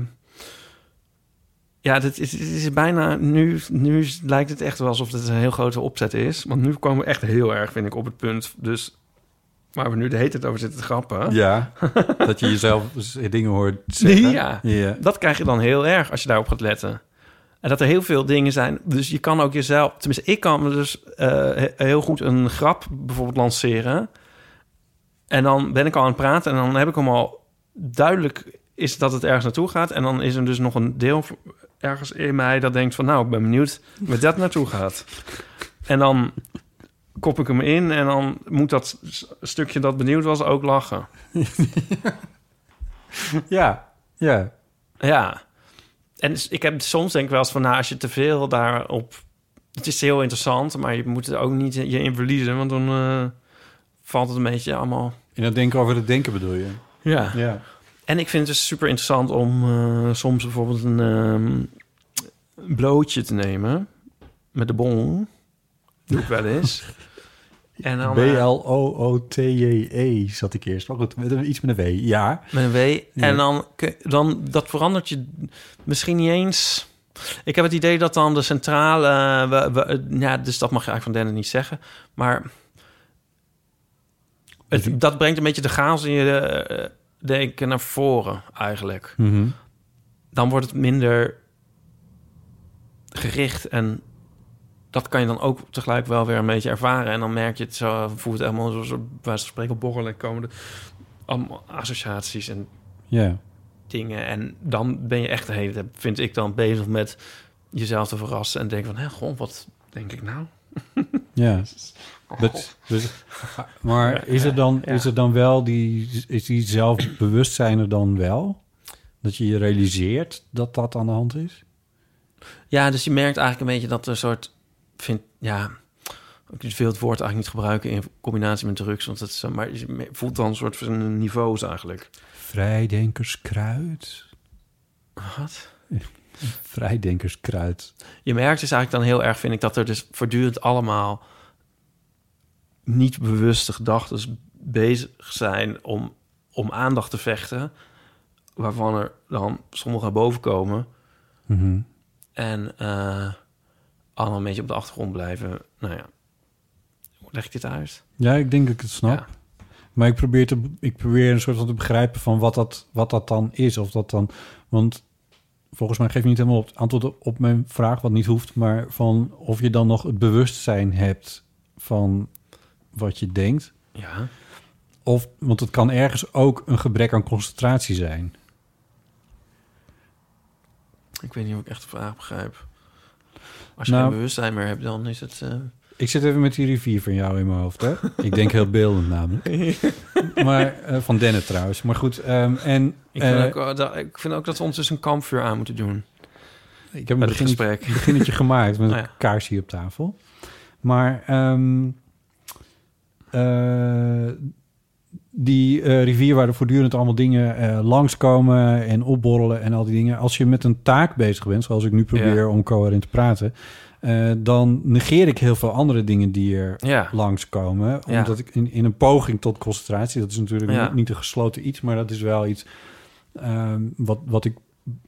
S2: ja, dit is, dit is bijna. Nu, nu lijkt het echt wel alsof dit een heel grote opzet is. Want nu komen we echt heel erg, vind ik, op het punt. Dus waar we nu de hele tijd over zitten te grappen.
S1: ja. dat je jezelf dingen hoort zeggen.
S2: Ja.
S1: ja.
S2: Dat krijg je dan heel erg als je daarop gaat letten. En dat er heel veel dingen zijn. Dus je kan ook jezelf. Tenminste, ik kan me dus eh, he- heel goed een grap bijvoorbeeld lanceren. En dan ben ik al aan het praten en dan heb ik hem al duidelijk is dat het ergens naartoe gaat. En dan is er dus nog een deel v- ergens in mij dat denkt van nou, ik ben benieuwd waar dat naartoe gaat. En dan kop ik hem in en dan moet dat s- stukje dat benieuwd was ook lachen.
S1: ja, ja.
S2: Ja. En s- ik heb soms denk ik wel eens van, nou, als je te veel daarop... Het is heel interessant, maar je moet er ook niet je in verliezen, want dan eh, valt het een beetje allemaal...
S1: In dat denken over het denken bedoel je?
S2: Ja.
S1: Ja.
S2: En ik vind het dus super interessant om eh, soms bijvoorbeeld een ehm, een blootje te nemen met de bong. Doe ik wel eens. en dan, eh,
S1: B-L-O-O-T-J-E E zat ik eerst. Maar goed, met een- iets met een W. Ja.
S2: Met een W.
S1: Ja.
S2: En dan, kun- dan dat verandert je misschien niet eens. Ik heb het idee dat dan de centrale. eh, we- we- eh, ja, dus dat mag je eigenlijk van Dennen niet zeggen. Maar het, dat brengt een beetje de chaos in je eh, denken naar voren, eigenlijk.
S1: Mhm.
S2: Dan wordt het minder gericht en dat kan je dan ook tegelijk wel weer een beetje ervaren. En dan merk je het zo, voelt het helemaal zoals bij wijze van spreken borrelen komen er allemaal associaties en
S1: Ja.
S2: dingen. En dan ben je echt de hele tijd, vind ik dan, bezig met jezelf te verrassen en denken van, hé, goh, wat denk ik nou?
S1: Ja. Dat- dus- maar is er, dan, is er dan wel die, is die zelfbewustzijn er dan wel? Dat je je realiseert dat dat aan de hand is?
S2: Ja, dus je merkt eigenlijk een beetje dat er een soort... Vind, ja, ik wil het woord eigenlijk niet gebruiken in combinatie met drugs. Want het is, eh, maar je me- voelt dan een soort van niveaus eigenlijk.
S1: Vrijdenkerskruid.
S2: Wat?
S1: Vrijdenkerskruid.
S2: Je merkt dus eigenlijk dan heel erg, vind ik, dat er dus voortdurend allemaal... niet bewuste gedachten bezig zijn om, om aandacht te vechten... waarvan er dan sommige naar boven komen...
S1: Mhm.
S2: En eh allemaal een beetje op de achtergrond blijven. Nou ja, hoe leg ik dit uit?
S1: Ja, ik denk dat ik het snap. Maar ik probeer, te, ik probeer een soort van te begrijpen van wat dat, wat dat dan is. Of dat dan. Want volgens mij geef je niet helemaal op, antwoord op, op mijn vraag, wat niet hoeft, maar van of je dan nog het bewustzijn hebt van wat je denkt.
S2: Ja.
S1: Of, want het kan ergens ook een gebrek aan concentratie zijn.
S2: Ik weet niet of ik echt de vraag begrijp. Als je
S1: Nou-
S2: geen bewustzijn meer hebt, dan is het... eh,
S1: Ik zit even met die rivier van jou in mijn hoofd, hè? Ik denk heel beeldend namelijk. Maar, eh, van Dennet trouwens. Maar goed, ehm, en...
S2: ik,
S1: eh,
S2: vind ook, wel dat, ik vind ook dat we ondertussen een kampvuur aan moeten doen.
S1: Ik heb een
S2: Met het
S1: beginnetje,
S2: gesprek.
S1: een beginnetje gemaakt met
S2: Oh ja.
S1: een kaars hier op tafel. Maar ehm, eh, die eh, rivier waar er voortdurend allemaal dingen eh, langskomen en opborrelen en al die dingen. Als je met een taak bezig bent, zoals ik nu probeer
S2: Ja.
S1: om coherent te praten, eh, dan negeer ik heel veel andere dingen die er
S2: Ja.
S1: langskomen.
S2: Ja.
S1: Omdat ik in, in een poging tot concentratie, dat is natuurlijk
S2: Ja.
S1: niet, niet een gesloten iets, maar dat is wel iets ehm, wat, wat ik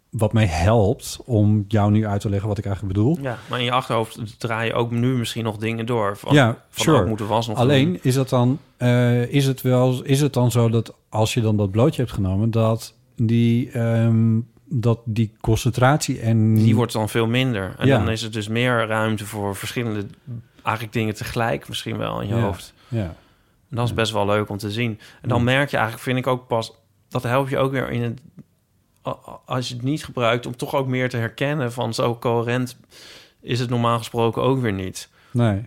S1: wat mij helpt om jou nu uit te leggen wat ik eigenlijk bedoel.
S2: Ja. Maar in je achterhoofd draai je ook nu misschien nog dingen door. Van,
S1: ja,
S2: van
S1: sure.
S2: oh, moeten we was nog
S1: Alleen
S2: doen.
S1: is dat dan eh, is het wel is het dan zo dat als je dan dat blootje hebt genomen dat die ehm, dat die concentratie en
S2: Die wordt dan veel minder. En
S1: Ja.
S2: dan is er dus meer ruimte voor verschillende... Eigenlijk dingen tegelijk misschien wel in je
S1: Ja.
S2: hoofd.
S1: ja
S2: En dat is best wel leuk om te zien. En dan merk je eigenlijk, vind ik ook pas... dat help je ook weer in het... a- a- als je het niet gebruikt... om toch ook meer te herkennen van... zo coherent is het normaal gesproken ook weer niet.
S1: nee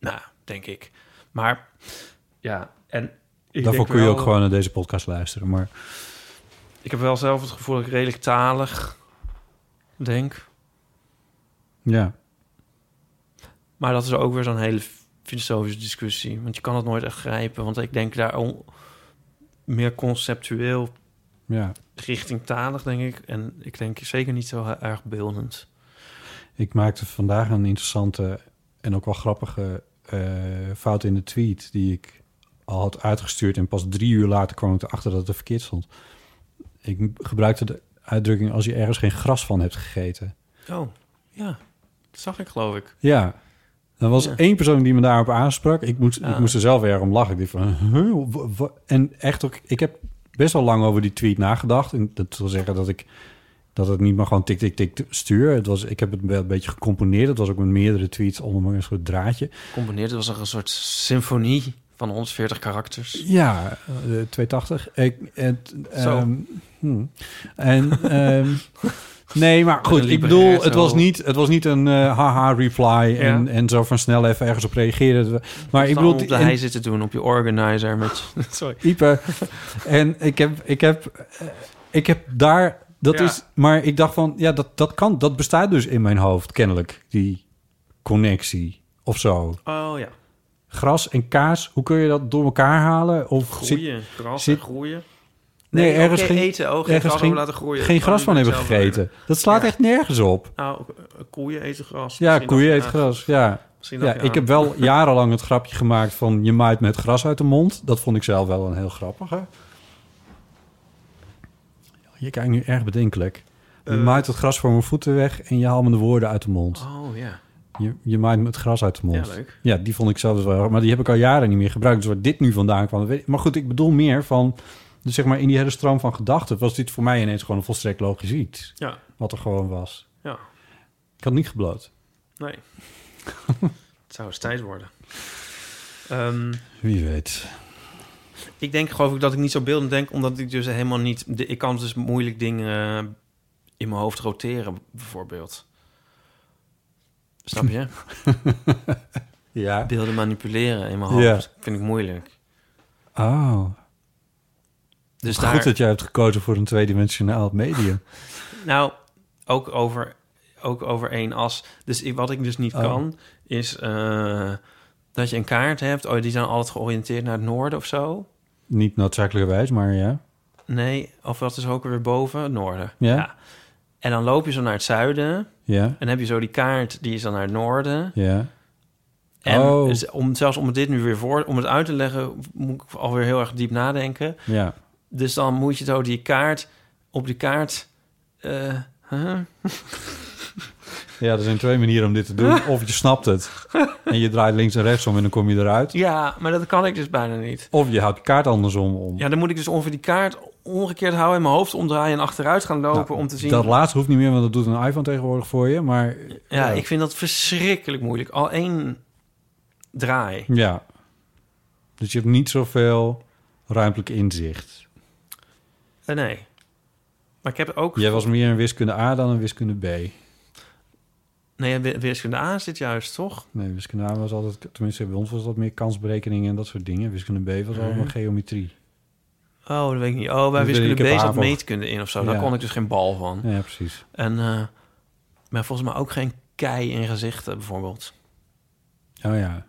S2: Nou, denk ik. Maar ja, en... Ik
S1: daarvoor
S2: denk
S1: kun je
S2: wel-
S1: ook gewoon naar deze podcast luisteren, maar
S2: Ik heb wel zelf het gevoel dat ik redelijk talig denk.
S1: ja
S2: Maar dat is ook weer zo'n hele filosofische discussie. Want je kan het nooit echt grijpen. Want ik denk daar al meer conceptueel
S1: ja
S2: richting talig, denk ik. En ik denk zeker niet zo he- erg beeldend.
S1: Ik maakte vandaag een interessante en ook wel grappige eh, fout in de tweet die ik al had uitgestuurd. En pas drie uur later kwam ik erachter dat het verkeerd stond. Ik m- gebruikte de uitdrukking als je ergens geen gras van hebt gegeten.
S2: Oh, ja. Dat zag ik, geloof ik.
S1: Ja, er was
S2: Ja.
S1: één persoon die me daarop aansprak. Ik moest, ik
S2: Ah.
S1: moest er zelf erg om lachen. Ik dacht van, huh, wa- wa- En echt ook, ik heb best wel lang over die tweet nagedacht. En dat wil zeggen dat ik dat het niet maar gewoon tik, tik, tik stuur. Het was, ik heb het wel een beetje gecomponeerd. Het was ook met meerdere tweets onder een soort draadje.
S2: Combineerd was er een soort symfonie van 140 karakters.
S1: Ja, eh, 280. Ik, het,
S2: Zo.
S1: ehm, hmm. En ehm, Nee, maar
S2: Met
S1: goed,
S2: een
S1: ik bedoel,
S2: liberair
S1: het
S2: zo.
S1: was niet, het was niet een eh, haha reply en, en zo van snel even ergens op reageren. Maar ik bedoel,
S2: op de
S1: en-
S2: hei zitten doen, op je organizer met... Sorry.
S1: Ipe. En ik heb, ik heb, eh, ik heb daar. Dat
S2: Ja.
S1: is, maar ik dacht van, ja, dat, dat kan, dat bestaat dus in mijn hoofd kennelijk, die connectie of zo.
S2: Oh ja.
S1: Gras en kaas, hoe kun je dat door elkaar halen? Of
S2: Groeien,
S1: zit-
S2: gras
S1: zit-
S2: en groeien.
S1: Nee,
S2: Nee,
S1: ergens
S2: oké,
S1: geen
S2: eten, oh, geen
S1: ergens
S2: gras over laten groeien.
S1: Geen
S2: Dat
S1: gras
S2: kan
S1: van
S2: je
S1: hebben
S2: zelf
S1: gegeten. Dat slaat echt nergens op.
S2: Nou, eh, koeien eten gras.
S1: Ja,
S2: Misschien
S1: koeien
S2: dat-
S1: eten gras. Ja.
S2: Misschien dat
S1: ja
S2: je
S1: ik
S2: aan-
S1: heb wel jarenlang het grapje gemaakt van je maait met gras uit de mond. Dat vond ik zelf wel een heel grappige. Je kijkt nu erg bedenkelijk. Je
S2: Eh.
S1: maait het gras voor mijn voeten weg en je haalt me de woorden uit de mond.
S2: Oh ja.
S1: Je, je maait me het gras uit de mond.
S2: Ja, leuk.
S1: Ja, die vond ik zelfs wel erg. Maar die heb ik al jaren niet meer gebruikt. Dus waar dit nu vandaan kwam. dat weet ik. Maar goed, ik bedoel meer van... Dus zeg maar, in die hele stroom van gedachten... was dit voor mij ineens gewoon een volstrekt logisch iets.
S2: Ja.
S1: Wat er gewoon was.
S2: Ja,
S1: Ik had niet gebloot.
S2: nee. het zou eens tijd worden. Ehm,
S1: Wie weet.
S2: ik denk geloof ik dat ik niet zo beeldend denk, omdat ik dus helemaal niet... De, ik kan dus moeilijk dingen in mijn hoofd roteren, bijvoorbeeld. Snap je?
S1: Ja.
S2: Beelden manipuleren in mijn
S1: Ja.
S2: hoofd vind ik moeilijk.
S1: Oh.
S2: Dus
S1: Goed
S2: daar-
S1: dat jij hebt gekozen voor een tweedimensionaal medium.
S2: Nou, ook over, ook over één as. Dus ik- wat ik dus niet
S1: Oh.
S2: kan, is eh, dat je een kaart hebt. Oh, die zijn altijd georiënteerd naar het noorden of zo.
S1: niet noodzakelijkerwijs, maar ja.
S2: Nee, of wat is er ook weer boven? Het noorden.
S1: Ja.
S2: En dan loop je zo naar het zuiden.
S1: Ja.
S2: En dan heb je zo die kaart, die is dan naar het noorden.
S1: Ja.
S2: En
S1: Oh.
S2: z- om, zelfs om dit nu weer voor, om het uit te leggen, moet ik alweer heel erg diep nadenken.
S1: Ja.
S2: Dus dan moet je zo die kaart, op die kaart... eh, huh?
S1: Ja, er zijn twee manieren om dit te doen. Of je snapt het en je draait links en rechts om en dan kom je eruit.
S2: Ja, maar dat kan ik dus bijna niet.
S1: Of je houdt de kaart andersom om.
S2: Ja, dan moet ik dus ongeveer die kaart omgekeerd houden... en mijn hoofd omdraaien en achteruit gaan lopen
S1: Nou,
S2: om te zien...
S1: Dat laatste hoeft niet meer, want dat doet een iPhone tegenwoordig voor je. Maar
S2: ja, ik vind dat verschrikkelijk moeilijk. Al één draai.
S1: ja. Dus je hebt niet zoveel ruimtelijk inzicht.
S2: Eh, nee. Maar ik heb ook...
S1: Jij was meer een wiskunde A dan een wiskunde B.
S2: Nee, wi- wiskunde A zit juist, toch?
S1: Nee, wiskunde A was altijd, tenminste bij ons was dat meer kansberekeningen en dat soort dingen. Wiskunde B was
S2: Mhm.
S1: allemaal geometrie.
S2: Oh, dat weet ik niet. Oh, bij
S1: Ik
S2: wiskunde
S1: weet niet, ik
S2: B
S1: heb
S2: zat
S1: AVO.
S2: meetkunde in of zo.
S1: Ja.
S2: Daar kon ik dus geen bal van.
S1: Ja, precies.
S2: En eh, maar volgens mij ook geen kei in gezichten, bijvoorbeeld.
S1: Oh ja.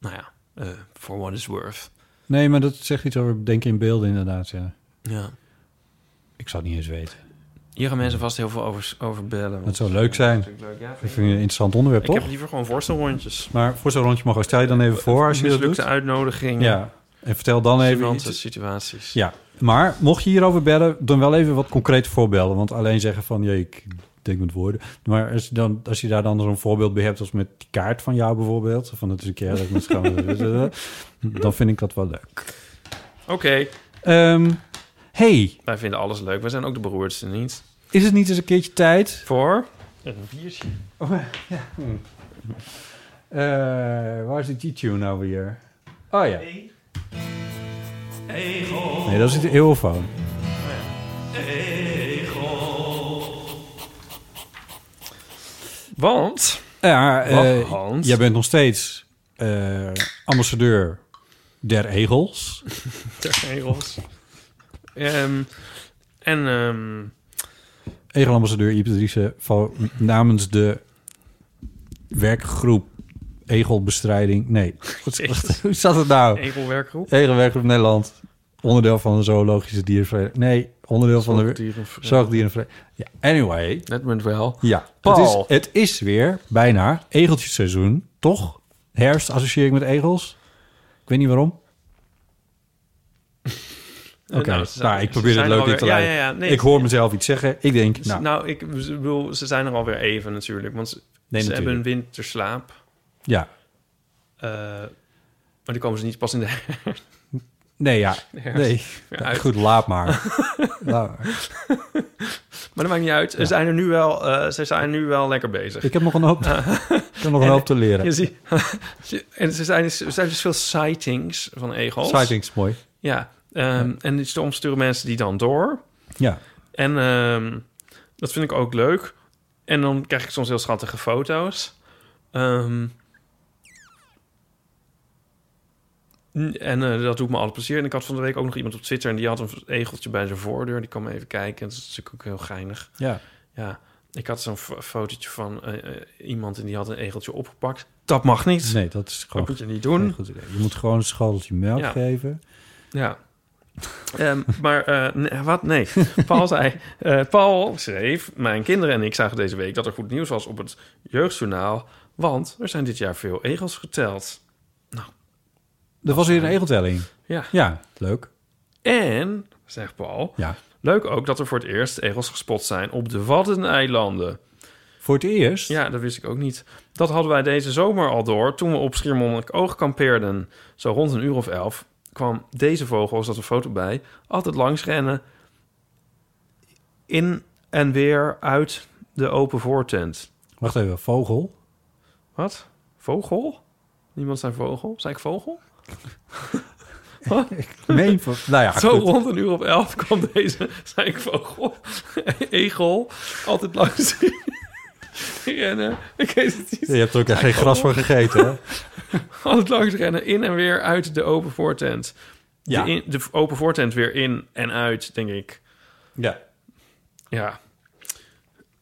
S2: Nou ja, eh, for what is worth.
S1: Nee, maar dat zegt iets over denken in beelden inderdaad, ja.
S2: Ja.
S1: Ik zou het niet eens weten.
S2: Hier gaan mensen vast heel veel over, over bellen. want-
S1: Dat zou leuk zijn.
S2: Dat is
S1: Ik
S2: natuurlijk leuk, ja.
S1: vind het een interessant onderwerp,
S2: Ik
S1: toch?
S2: heb liever gewoon voorstelrondjes.
S1: Maar voor zo'n rondje mag ook. Stel je dan even voor als je dat
S2: Mislukte
S1: doet.
S2: uitnodigingen.
S1: Ja. En vertel dan even
S2: Gênante
S1: iets.
S2: situaties.
S1: Ja. Maar mocht je hierover bellen, dan wel even wat concreet voorbellen. Want alleen zeggen van, jee, ik denk met woorden. Maar als je, dan, als je daar dan zo'n voorbeeld bij hebt, als met die kaart van jou bijvoorbeeld. Van het is een keer dat ik met schoon... dan vind ik dat wel leuk.
S2: Oké,
S1: Ehm, hey,
S2: wij vinden alles leuk. Wij zijn ook de beroerdste niet.
S1: is het niet eens een keertje tijd?
S2: Voor? Een biertje.
S1: Eh, waar is die G-tune nou weer? Oh ja. Nee, dat is de eeuwfoon.
S2: Want...
S1: Ja, eh,
S2: Wat, Hans?
S1: jij bent nog steeds eh, ambassadeur der egels.
S2: De regels. Ehm, en ehm,
S1: Egelambassadeur Iep Driessen van namens de werkgroep Egelbestrijding. Nee, Wat- wat- hoe zat het nou?
S2: Egelwerkgroep.
S1: Egelwerkgroep Nederland. Onderdeel van de zoologische dierenvereniging. Nee, onderdeel van de
S2: Zoogdierenvereniging.
S1: zoogdierenvereniging. Ja, anyway.
S2: Net met wel.
S1: Ja, het is,
S2: Paul.
S1: het is weer bijna egeltjesseizoen, toch? Herfst associeer ik met egels. Ik weet niet waarom. Oké,
S2: nou,
S1: nou,
S2: ze
S1: ik
S2: zijn- ze
S1: probeer het
S2: zijn
S1: leuk
S2: alweer-
S1: in te
S2: ja,
S1: leiden.
S2: ja, ja, nee,
S1: ik hoor mezelf iets zeggen. Ik denk,
S2: Nou,
S1: nou,
S2: ik bedoel, ze zijn er alweer even natuurlijk. Want ze,
S1: Nee,
S2: ze
S1: natuurlijk.
S2: hebben een winterslaap.
S1: ja.
S2: eh, maar die komen ze niet pas in de herfst.
S1: Nee, ja. Nee.
S2: Ja,
S1: Ja,
S2: uit.
S1: goed, laat maar. Laat maar.
S2: Maar dat maakt niet uit. Ze, zijn er nu wel, eh, ze zijn nu wel lekker bezig.
S1: Ik heb nog een hoop, ik heb nog een hoop te
S2: Je
S1: leren.
S2: ziet, en ze zijn, er zijn dus veel sightings van egels.
S1: Sightings, mooi.
S2: dus Ja. ehm, En soms sturen mensen die dan door.
S1: Ja,
S2: En ehm, dat vind ik ook leuk. En dan krijg ik soms heel schattige foto's. Ehm, n- en eh, dat doet me alle plezier. En ik had van de week ook nog iemand op Twitter... en die had een egeltje bij zijn voordeur. Die kwam even kijken. En dat is natuurlijk ook heel geinig.
S1: Ja.
S2: Ja. Ik had zo'n fo- fotootje van eh, eh, iemand... en die had een egeltje opgepakt. Dat mag niet.
S1: Nee, dat is gewoon...
S2: Dat moet je niet doen.
S1: geen goed idee. Je moet gewoon een schoteltje melk
S2: Ja.
S1: geven.
S2: Ja. Ehm, maar eh, nee, wat? Nee. Paul zei... eh, Paul schreef... Mijn kinderen en ik zagen deze week dat er goed nieuws was op het jeugdjournaal. Want er zijn dit jaar veel egels geteld.
S1: Er was weer een egeltelling.
S2: Ja.
S1: Ja, leuk.
S2: En, zegt Paul...
S1: Ja.
S2: Leuk ook dat er voor het eerst egels gespot zijn op de Waddeneilanden.
S1: Voor het eerst?
S2: Ja, dat wist ik ook niet. Dat hadden wij deze zomer al door toen we op Schiermonnikoog kampeerden. Zo rond een uur of elf kwam deze vogel, er zat een foto bij, altijd langs rennen. In en weer uit de open voortent.
S1: Wacht even, vogel?
S2: Wat? Vogel? Niemand zei vogel? Zei ik vogel?
S1: Meen van- nou ja,
S2: Zo
S1: goed.
S2: rond een uur of elf kwam deze, zei ik vogel, egel, altijd langs rennen. Ik weet het niet.
S1: Je hebt er ook echt geen gras voor gegeten, hè?
S2: Altijd langs rennen, in en weer uit de open voortent.
S1: Ja.
S2: De, in- de open voortent weer in en uit, denk ik.
S1: Ja.
S2: Ja.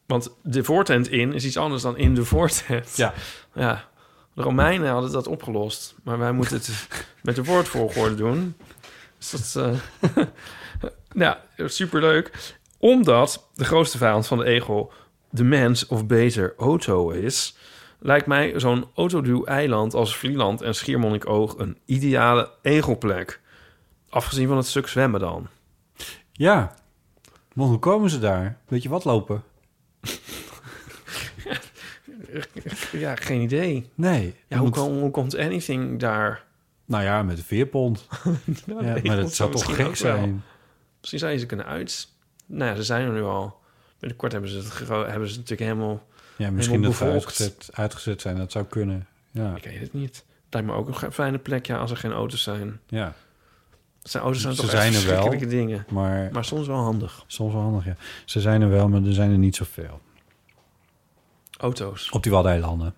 S2: Want de voortent in is iets anders dan in de voortent.
S1: Ja.
S2: Ja. De Romeinen hadden dat opgelost. Maar wij moeten het met de woordvolgorde doen. Dus dat... eh nou, superleuk. Omdat de grootste vijand van de egel... de mens, of beter, auto is... lijkt mij zo'n autoduw-eiland als Vlieland en Schiermonnikoog... een ideale egelplek. Afgezien van het stuk zwemmen dan.
S1: Ja. Want hoe komen ze daar? Weet je wat lopen?
S2: Ja, geen idee.
S1: Nee.
S2: Ja,
S1: Je
S2: hoe,
S1: moet-
S2: kom- hoe komt anything daar?
S1: Nou ja, met een veerpont.
S2: Nou,
S1: Ja,
S2: nee,
S1: maar dat
S2: moet
S1: zou
S2: dan
S1: toch
S2: misschien
S1: gek
S2: ook wel.
S1: zijn?
S2: Misschien zou je ze kunnen uit... Nou ja, ze zijn er nu al. Binnenkort hebben ze het, gero- hebben ze natuurlijk helemaal...
S1: Ja, misschien dat ze
S2: bevolkt.
S1: uitgezet, uitgezet zijn. Dat zou kunnen. Ja.
S2: Ik weet het niet. Het lijkt me ook een ge- fijne plek, ja, als er geen auto's zijn.
S1: ja.
S2: Zijn auto's zijn
S1: Ze
S2: toch
S1: zijn
S2: echt
S1: er wel.
S2: verschrikkelijke dingen.
S1: Maar
S2: Maar soms wel handig.
S1: soms wel handig, ja. Ze zijn er wel, maar er zijn er niet zoveel.
S2: Auto's.
S1: Op die Waddeneilanden.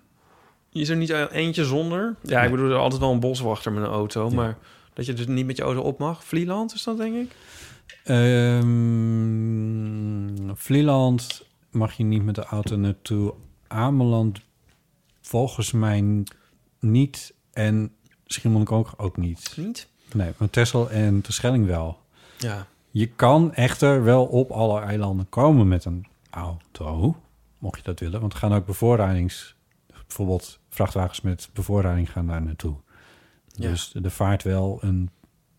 S2: Is er niet eentje zonder? Ja, ik bedoel, er is altijd wel een boswachter met een auto. Maar dat je dus niet met je auto op mag. Vlieland is dat, denk ik.
S1: Ehm Vlieland mag je niet met de auto naartoe. Ameland volgens mij niet. En Schiermonnikoog ook niet.
S2: Niet?
S1: Nee, maar Texel en Terschelling wel.
S2: Ja.
S1: Je kan echter wel op alle eilanden komen met een auto. Mocht je dat willen. Want er gaan ook bevoorradings... Bijvoorbeeld vrachtwagens met bevoorrading gaan daar naartoe.
S2: Ja.
S1: Dus er vaart wel een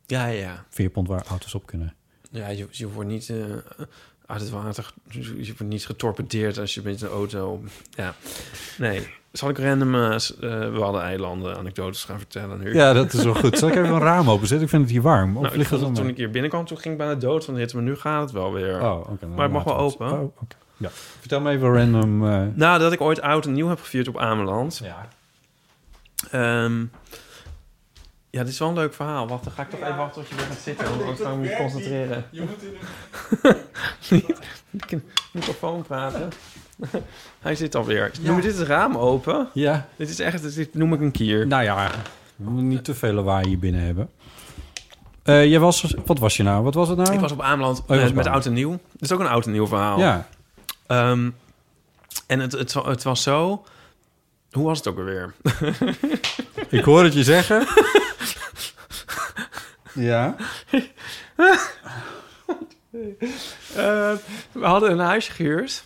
S2: Ja, ja, ja.
S1: veerpont waar auto's op kunnen.
S2: Ja, je, je wordt niet eh, uit het water... ge- Je wordt niet getorpedeerd als je met een auto... Ja. Nee. Zal ik random eh, s- eh, we hadden eilanden anekdotes gaan vertellen nu?
S1: Ja, dat is wel goed. Zal ik even een raam openzetten? Ik vind het hier warm. Of
S2: Nou,
S1: ligt
S2: ik vond
S1: het
S2: het
S1: dan
S2: toen ik hier binnenkwam, toen ging ik bijna dood van de hitte. Maar nu gaat het wel weer.
S1: Oh, oké. dan
S2: Maar het mag wel
S1: laten we
S2: open.
S1: Oh, oké. ja. Vertel me even random... eh,
S2: Nou, dat ik ooit oud en nieuw heb gevierd op Ameland.
S1: Ja.
S2: Ehm, ja, dit is wel een leuk verhaal. Wacht, dan ga ik toch even wachten tot je weer gaat zitten. Want anders kan ik me niet concentreren. Je moet in de microfoon praten. Hij zit alweer. Noem je dit het raam open?
S1: ja.
S2: Dit is echt, dit noem ik een kier.
S1: Nou ja, we moeten niet te veel lawaai hier binnen hebben. Eh jij was... Wat was je nou? Wat was het nou?
S2: Ik was op Ameland
S1: je was
S2: eh,
S1: op
S2: met
S1: Ameland.
S2: oud en nieuw. Dit is ook een oud en nieuw verhaal.
S1: Ja.
S2: Ehm, en het, het, wa- het was zo... Hoe was het ook alweer?
S1: Ik hoor het je zeggen. ja.
S2: Eh, we hadden een huisje gehuurd.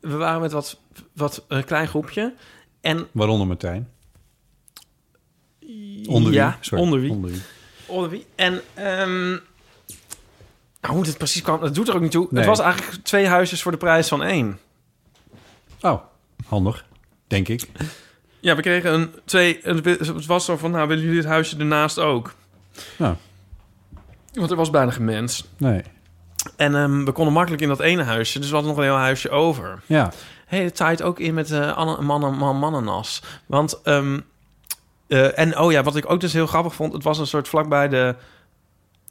S2: We waren met wat, wat een klein groepje. En
S1: Waaronder Martijn. Onder wie?
S2: ja,
S1: Sorry,
S2: onder wie?
S1: Onder wie.
S2: Onder wie? En ehm, nou, hoe dit precies kwam, dat doet er ook niet toe.
S1: Nee.
S2: Het was eigenlijk twee huisjes voor de prijs van één.
S1: Oh, handig. Denk ik.
S2: Ja, we kregen een twee. en Het was zo van, nou, willen jullie het huisje ernaast ook?
S1: Nou,
S2: Want er was bijna geen mens.
S1: nee.
S2: En ehm, we konden makkelijk in dat ene huisje, dus we hadden nog een heel huisje over.
S1: Ja.
S2: Hé, het taait ook in met eh anna- mannen, man, mannenas. Want, ehm, eh, en oh ja, wat ik ook dus heel grappig vond... het was een soort vlakbij de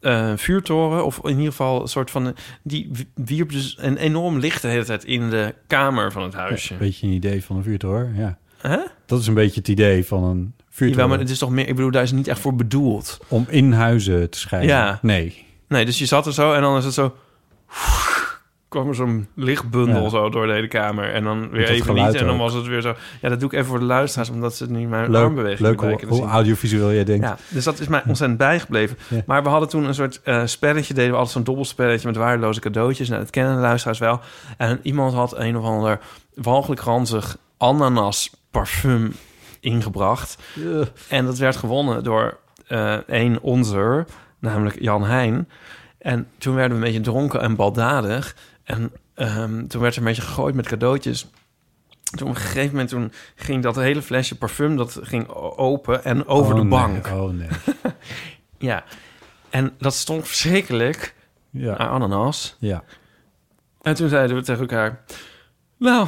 S2: eh, vuurtoren, of in ieder geval een soort van... Die wierp dus een enorm licht de hele tijd in de kamer van het huisje.
S1: Een beetje een idee van een vuurtoren, ja.
S2: Hè?
S1: Dat is een beetje het idee van een
S2: Jawel,
S1: vuurtoren.
S2: maar het is toch meer... Ik bedoel, daar is het niet echt voor bedoeld.
S1: Om in huizen te schijnen.
S2: Ja.
S1: Nee.
S2: Nee, dus je zat er zo en dan is het zo... kwam er zo'n lichtbundel
S1: Ja.
S2: zo door de hele kamer. En dan weer
S1: dat
S2: even niet.
S1: geluid
S2: En dan
S1: ook.
S2: was het weer zo... Ja, dat doe ik even voor de luisteraars, omdat ze niet mijn
S1: Leuk,
S2: armbeweging Dus
S1: leuk
S2: blijken
S1: hoe,
S2: te
S1: hoe
S2: zien.
S1: audiovisueel jij denkt.
S2: Ja, dus dat is mij ontzettend bijgebleven.
S1: Ja.
S2: Maar we hadden toen een soort eh, spelletje, deden we altijd zo'n dobbelspelletje met waardeloze cadeautjes. Nou, dat kennen de luisteraars wel. En iemand had een of ander walgelijk ranzig ananas parfum ingebracht.
S1: Ugh.
S2: En dat werd gewonnen door eh één onzer, namelijk Jan Heijn. En toen werden we een beetje dronken en baldadig. En ehm, toen werd er een beetje gegooid met cadeautjes. Toen op een gegeven moment toen ging dat hele flesje parfum dat ging o- open en over
S1: Oh,
S2: de
S1: nee.
S2: bank.
S1: Oh nee.
S2: Ja. En dat stond verschrikkelijk
S1: Ja.
S2: naar ananas.
S1: ja.
S2: En toen zeiden we tegen elkaar... Nou,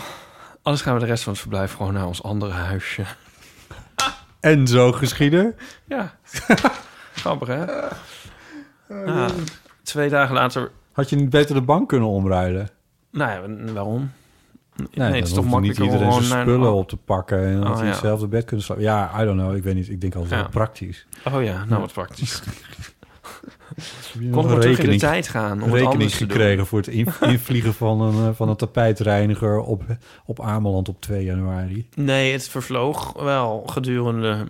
S2: anders gaan we de rest van het verblijf gewoon naar ons andere huisje.
S1: En zo geschieden.
S2: Ja. Grappig, hè?
S1: Oh,
S2: Ja. twee dagen later...
S1: Had je niet beter de bank kunnen omruilen?
S2: Nou ja, waarom? Nee,
S1: dan
S2: het is
S1: hoeft
S2: toch
S1: er
S2: makkelijker
S1: niet iedereen
S2: gewoon
S1: zijn
S2: naar...
S1: spullen op te pakken en dan
S2: Oh,
S1: had hij
S2: ja.
S1: hetzelfde bed kunnen slapen. Ja, I don't know. Ik weet niet. Ik denk altijd
S2: Ja.
S1: wel praktisch.
S2: Oh ja, nou wat praktisch.
S1: Nog
S2: Kon we terug in de
S1: rekening-
S2: tijd gaan om het
S1: rekening
S2: anders te doen.
S1: gekregen voor het in- invliegen van een, eh, van een tapijtreiniger op, op Ameland op 2 januari.
S2: Nee, het vervloog wel gedurende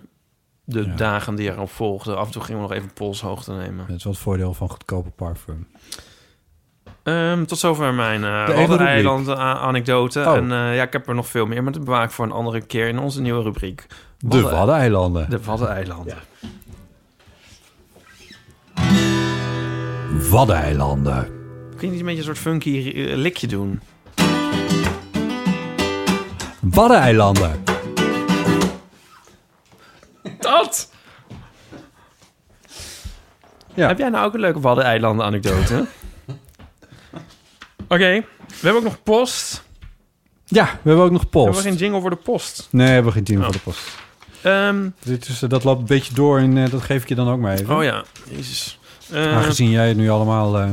S2: de dagen die erop volgden. Af en toe gingen we nog even polshoogte nemen.
S1: Dat is wel het voordeel van goedkope parfum.
S2: Ehm, tot zover mijn
S1: De
S2: eh
S1: ene rubriek.
S2: eiland anekdote.
S1: Oh.
S2: En eh, ja, ik heb er nog veel meer, maar dat bewaar ik voor een andere keer in onze nieuwe rubriek.
S1: De
S2: Wadden-
S1: Waddeneilanden.
S2: De Waddeneilanden.
S1: Waddeneilanden.
S2: Kun je niet een beetje een soort funky eh, likje doen?
S1: Waddeneilanden.
S2: Dat!
S1: Ja.
S2: Heb jij nou ook een leuke Waddeneilanden anekdote? Oké, we hebben ook nog post.
S1: Ja, we hebben ook nog
S2: Hebben
S1: post.
S2: we geen jingle voor de post?
S1: Nee, we hebben geen team
S2: Oh.
S1: voor de post.
S2: Ehm,
S1: Dit is, eh, dat loopt een beetje door en eh, dat geef ik je dan ook maar even.
S2: oh ja, jezus. Ehm,
S1: Aangezien jij het nu allemaal... eh,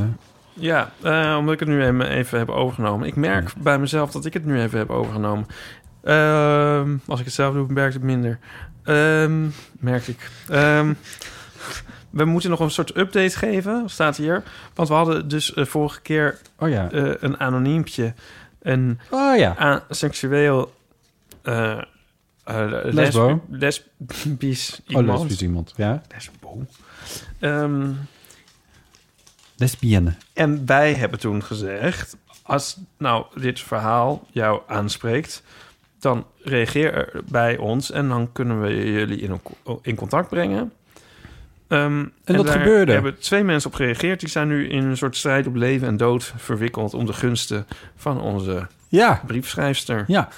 S2: Ja, eh, omdat ik het nu even, even heb overgenomen. Ik merk
S1: Hmm.
S2: bij mezelf dat ik het nu even heb overgenomen. Ehm, als ik het zelf doe, merkt het minder. Ehm merk ik. Ehm, we moeten nog een soort update geven, staat hier. Want we hadden dus eh, vorige keer
S1: oh ja.
S2: eh, een anoniempje. Een
S1: oh ja.
S2: a- seksueel... eh eh,
S1: Lesbo.
S2: lesb- Lesbisch
S1: Oh,
S2: iemand.
S1: lesbisch iemand. Ja.
S2: Lesbo. Ehm,
S1: Lesbienne.
S2: En wij hebben toen gezegd: als nou dit verhaal jou aanspreekt, dan reageer er bij ons en dan kunnen we jullie in, in contact brengen. Ehm, en,
S1: dat
S2: daar
S1: gebeurde.
S2: hebben twee mensen op gereageerd. Die zijn nu in een soort strijd op leven en dood verwikkeld om de gunsten van onze
S1: Ja.
S2: briefschrijfster.
S1: Ja.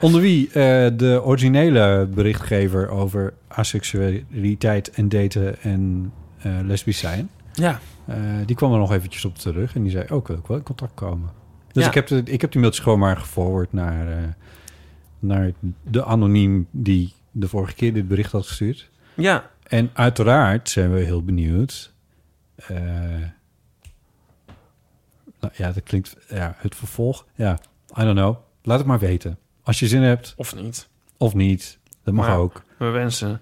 S1: Onder wie eh, de originele berichtgever over asexualiteit en daten en eh, lesbisch zijn.
S2: Ja.
S1: eh, die kwam er nog eventjes op terug en die zei ook wil ik wel in contact komen. Dus
S2: Ja.
S1: ik, heb de, ik heb die mailtjes gewoon maar geforward naar, eh, naar de anoniem die de vorige keer dit bericht had gestuurd.
S2: Ja.
S1: En uiteraard zijn we heel benieuwd. eh, nou ja, dat klinkt. Ja, het vervolg. Ja, I don't know. Laat het maar weten. Als je zin hebt
S2: Of niet.
S1: of niet, dat mag
S2: Maar-
S1: ook.
S2: We wensen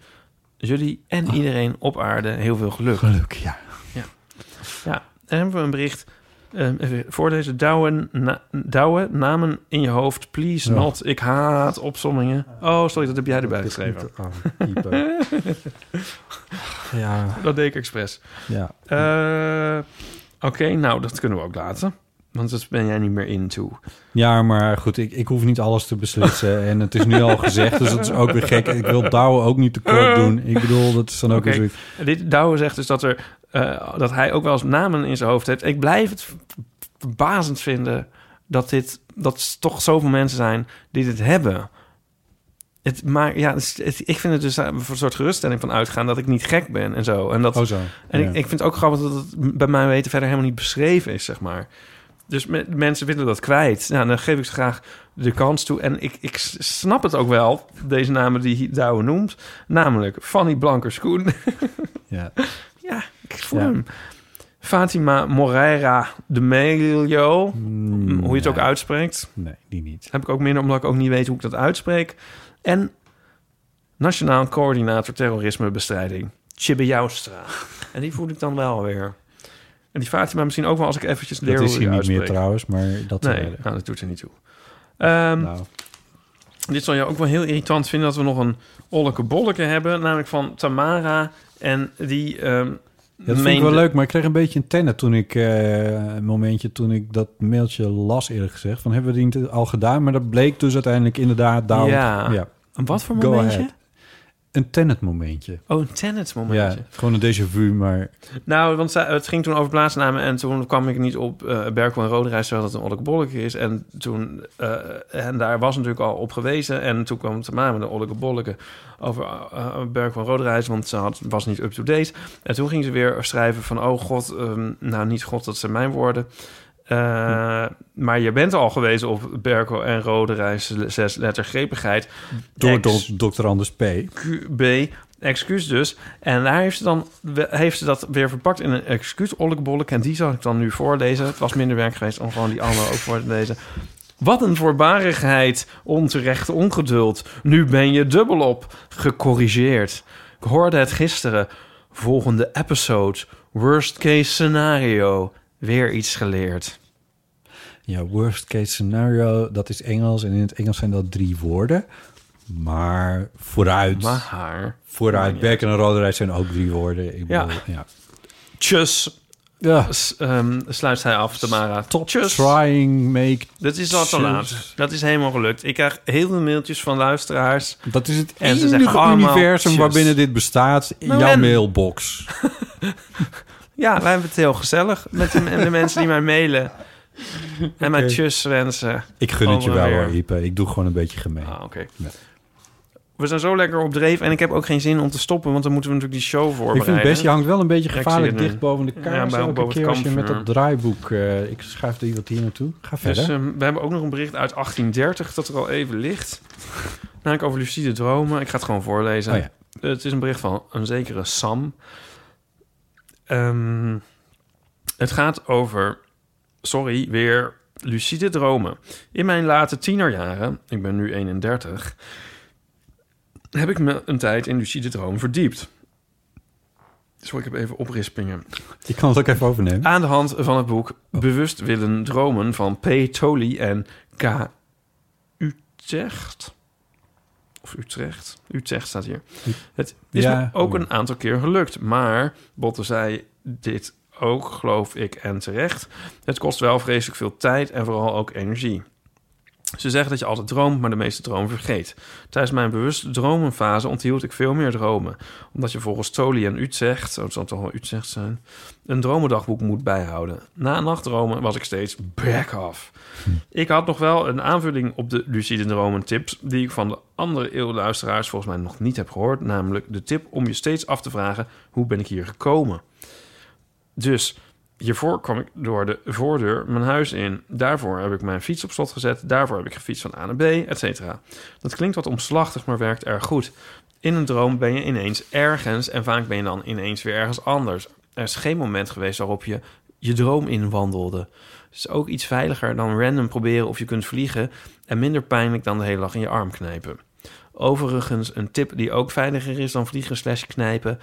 S2: jullie en iedereen op aarde heel veel geluk.
S1: Geluk, ja.
S2: Ja, dan hebben we een bericht. Ehm, even voor deze douwen, na- douwen, namen in je hoofd, please
S1: Ja.
S2: not. Ik haat opsommingen. Oh, sorry, dat heb jij erbij geschreven.
S1: ja,
S2: Dat deed ik expres.
S1: ja.
S2: Eh, Oké, nou, dat kunnen we ook laten. Want dat ben jij niet meer into.
S1: Ja, maar goed, ik, ik hoef niet alles te beslissen. En het is nu al gezegd, dus dat is ook weer gek. Ik wil Douwe ook niet tekort doen. Ik bedoel, dat is dan ook
S2: Oké.
S1: weer zoiets.
S2: Dit Douwen zegt dus dat, er, eh, dat hij ook wel eens namen in zijn hoofd heeft. Ik blijf het v- verbazend vinden dat dit dat toch zoveel mensen zijn die dit hebben. Het, maar ja, het is- het- ik vind het dus daar een soort geruststelling van uitgaan dat ik niet gek ben en zo. En dat,
S1: Oh zo.
S2: En
S1: Ja.
S2: ik, ik vind het ook grappig dat het bij mijn weten verder helemaal niet beschreven is, zeg maar. Dus me- mensen willen dat kwijt. Nou, dan geef ik ze graag de kans toe. En ik, ik s- snap het ook wel, deze namen die Douwe noemt. Namelijk Fanny Blankerskoen.
S1: ja.
S2: Ja, ik voel hem. Fatima Moreira de Melio,
S1: Mm,
S2: hoe je het ook uitspreekt.
S1: Nee, die niet.
S2: Heb ik ook minder, omdat ik ook niet weet hoe ik dat uitspreek. En Nationaal Coördinator Terrorismebestrijding, Chibe Joustra. En die voel ik dan wel weer. En die Fatima misschien ook wel als ik eventjes leer
S1: Dat
S2: hoe
S1: is
S2: je
S1: hier niet
S2: uitspreekt.
S1: meer trouwens, maar dat...
S2: Nee,
S1: eh,
S2: nou, dat doet er niet toe. Ehm,
S1: Nou.
S2: Dit zal je ook wel heel irritant vinden dat we nog een olleke bolleke hebben, namelijk van Tamara. En die. ehm
S1: Ja, dat vind ik wel leuk, maar ik kreeg een beetje een tennen toen ik... eh, een momentje toen ik dat mailtje las eerlijk gezegd. Van hebben we die niet al gedaan? Maar dat bleek dus uiteindelijk inderdaad... Daarom,
S2: Ja. Een wat voor
S1: Go
S2: momentje?
S1: ahead. Een tenet momentje.
S2: Oh, een Tenet
S1: Ja,
S2: momentje.
S1: gewoon een déjà vu, maar...
S2: Nou, want zij- het ging toen over plaatsnamen en toen kwam ik niet op eh Berkel en Roderijs, terwijl dat een ollekebolleke is. En, toen, eh, en daar was natuurlijk al op gewezen. En toen kwam Tamara met een ollekebolleke over eh, Berkel en Roderijs, want ze had, was niet up-to-date. En toen ging ze weer schrijven van, oh god, ehm, nou niet god, dat zijn mijn woorden. Eh,
S1: Hm.
S2: Maar je bent al gewezen op Berkel en Roderijs, zes lettergrepigheid.
S1: Door
S2: Ex-
S1: do- Dr. Anders P.
S2: QB. Excuus dus. En daar heeft ze, dan, we- heeft ze dat weer verpakt in een excuus ollekbollek. En die zal ik dan nu voorlezen. Het was minder werk geweest om gewoon die andere ook voor te lezen. Wat een voorbarigheid, onterecht ongeduld. Nu ben je dubbelop gecorrigeerd. Ik hoorde het gisteren. Volgende episode. Worst case scenario. Weer iets geleerd.
S1: Ja, worst case scenario, dat is Engels. En in het Engels zijn dat drie woorden. Maar vooruit,
S2: Maar haar.
S1: vooruit, Berk en Roderij zijn ook drie woorden. Ik
S2: Ja.
S1: bedoel, ja.
S2: Tjus.
S1: Ja.
S2: S- ehm, sluit hij af, Tamara. Top. Tjus.
S1: Trying, make...
S2: Dat is al te laat. Dat is helemaal gelukt. Ik krijg heel veel mailtjes van luisteraars.
S1: Dat is het
S2: En ze
S1: enige
S2: zeggen allemaal
S1: universum
S2: tjus.
S1: waarbinnen dit bestaat. In
S2: Nou,
S1: jouw
S2: en-
S1: mailbox.
S2: Ja, wij hebben het heel gezellig met de, en de mensen die mij mailen. En mijn
S1: Oké.
S2: tjus wensen.
S1: Ik gun het je wel
S2: Allemaal
S1: hoor,
S2: weer.
S1: Ipe. Ik doe gewoon een beetje gemeen.
S2: Oh, Ah, oké.
S1: Ja.
S2: We zijn zo lekker op dreef en ik heb ook geen zin om te stoppen, want dan moeten we natuurlijk die show
S1: ik
S2: voorbereiden.
S1: vind het best, je hangt wel een beetje
S2: Ja, ik
S1: gevaarlijk
S2: zie het nu.
S1: dicht boven de
S2: Ja,
S1: kaars.
S2: bij-
S1: elke
S2: boven het
S1: keer als je met
S2: kampvuur.
S1: dat draaiboek... eh, ik schuif er wat hier naartoe. Ga verder.
S2: Dus ehm, we hebben ook nog een bericht uit 1830 dat er al even ligt. Namelijk over lucide dromen. Ik ga het gewoon voorlezen.
S1: Oh ja.
S2: Het is een bericht van een zekere Sam. Ehm, het gaat over, sorry, weer lucide dromen. In mijn late tienerjaren, ik ben nu 31, heb ik me een tijd in lucide dromen verdiept. Sorry, ik heb even oprispingen.
S1: Ik kan het ook even overnemen.
S2: Aan de hand van het boek Bewust willen dromen van P. Tolly en K. Utrecht. Of Utrecht. Utrecht staat hier. Het is
S1: Ja.
S2: me ook een aantal keer gelukt. Maar Botte zei dit ook, geloof ik, en terecht. Het kost wel vreselijk veel tijd en vooral ook energie. Ze zeggen dat je altijd droomt, maar de meeste dromen vergeet. Tijdens mijn bewuste dromenfase onthield ik veel meer dromen. Omdat je volgens Toli en Utrecht, oh, het zal toch wel Utrecht zijn, een dromendagboek moet bijhouden. Na nachtdromen was ik steeds back off. Ik had nog wel een aanvulling op de lucide dromen tips... die ik van de andere eeuwluisteraars volgens mij nog niet heb gehoord. Namelijk de tip om je steeds af te vragen... hoe ben ik hier gekomen? Dus hiervoor kwam ik door de voordeur mijn huis in. Daarvoor heb ik mijn fiets op slot gezet. Daarvoor heb ik gefietst van A naar B, et cetera. Dat klinkt wat omslachtig, maar werkt erg goed. In een droom ben je ineens ergens en vaak ben je dan ineens weer ergens anders. Er is geen moment geweest waarop je je droom inwandelde. Het is ook iets veiliger dan random proberen of je kunt vliegen en minder pijnlijk dan de hele dag in je arm knijpen. Overigens een tip die ook veiliger is dan vliegen slash knijpen.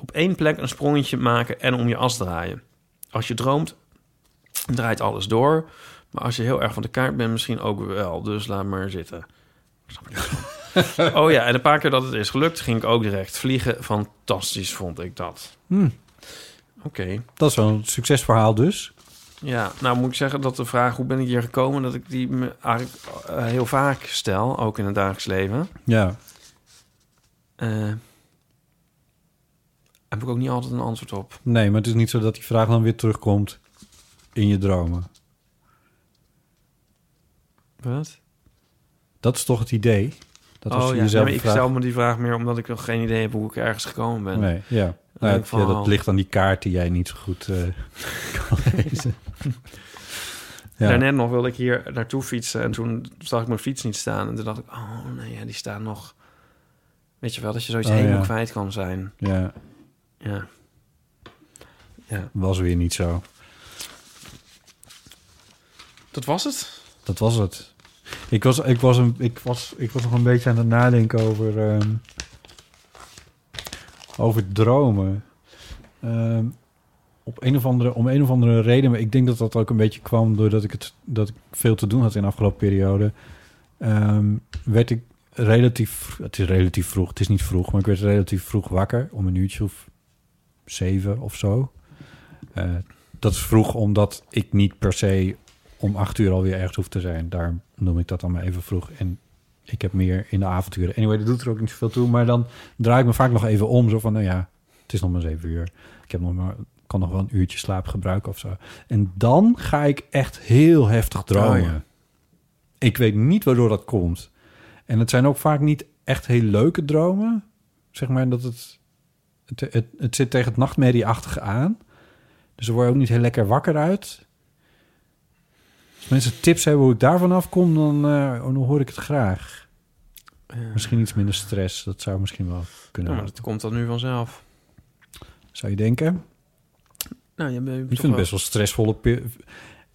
S2: Op één plek een sprongetje maken en om je as draaien. Als je droomt, draait alles door. Maar als je heel erg van de kaart bent, misschien ook wel. Dus laat maar zitten. Ik snap er niks van. oh ja, en een paar keer dat het is gelukt, ging ik ook direct vliegen. Fantastisch vond ik dat.
S1: Hmm.
S2: Oké.
S1: Dat is wel een succesverhaal dus.
S2: Ja, nou moet ik zeggen dat de vraag hoe ben ik hier gekomen, dat ik die me eigenlijk eh, heel vaak stel, ook in het dagelijks leven.
S1: Ja.
S2: Eh heb ik ook niet altijd een antwoord op.
S1: Nee, maar het is niet zo dat die vraag dan weer terugkomt in je dromen.
S2: Wat?
S1: Dat is toch het idee? Dat als
S2: oh
S1: je
S2: ja, nee,
S1: jezelf
S2: maar ik
S1: vraagt-
S2: stel me die vraag meer omdat ik nog geen idee heb hoe ik ergens gekomen ben.
S1: Nee, ja. Nou,
S2: Leuk
S1: het- ja,
S2: verhaal.
S1: dat ligt aan die kaart die jij niet zo goed eh, kan lezen. ja.
S2: Daarnet nog wilde ik hier naartoe fietsen en toen zag ik mijn fiets niet staan. En toen dacht ik, oh nee, ja, die staan nog... Weet je wel, dat je zoiets
S1: Oh,
S2: helemaal
S1: ja.
S2: kwijt kan zijn.
S1: ja.
S2: Ja. Ja.
S1: Was weer niet zo.
S2: Dat was het.
S1: Dat was het. Ik was, ik was, een, ik was, ik was nog een beetje aan het nadenken over, ehm, over dromen. Ehm, op een of andere, om een of andere reden, maar ik denk dat dat ook een beetje kwam doordat ik, het, dat ik veel te doen had in de afgelopen periode. ehm, werd ik relatief, het is relatief vroeg, het is niet vroeg, maar ik werd relatief vroeg wakker om een uurtje of zeven of zo. Eh, dat is vroeg omdat ik niet per se om acht uur alweer ergens hoef te zijn. Daarom noem ik dat dan maar even vroeg. En ik heb meer in de avonduren. Anyway, dat doet er ook niet zoveel toe. Maar dan draai ik me vaak nog even om. Zo van, nou ja, het is nog maar zeven uur. Ik heb nog maar, kan nog wel een uurtje slaap gebruiken of zo. En dan ga ik echt heel heftig dromen.
S2: Oh, ja.
S1: Ik weet niet waardoor dat komt. En het zijn ook vaak niet echt heel leuke dromen. Zeg maar dat het... Het, het, het zit tegen het nachtmerrieachtige aan. Dus er word je ook niet heel lekker wakker uit. Als mensen tips hebben hoe ik daarvan afkom, dan, eh, dan hoor ik het graag. Misschien iets minder stress. Dat zou misschien wel kunnen.
S2: Nou, dat komt dan nu vanzelf.
S1: Zou je denken?
S2: Nou, je bent
S1: Ik vind het best wel stressvolle... pe-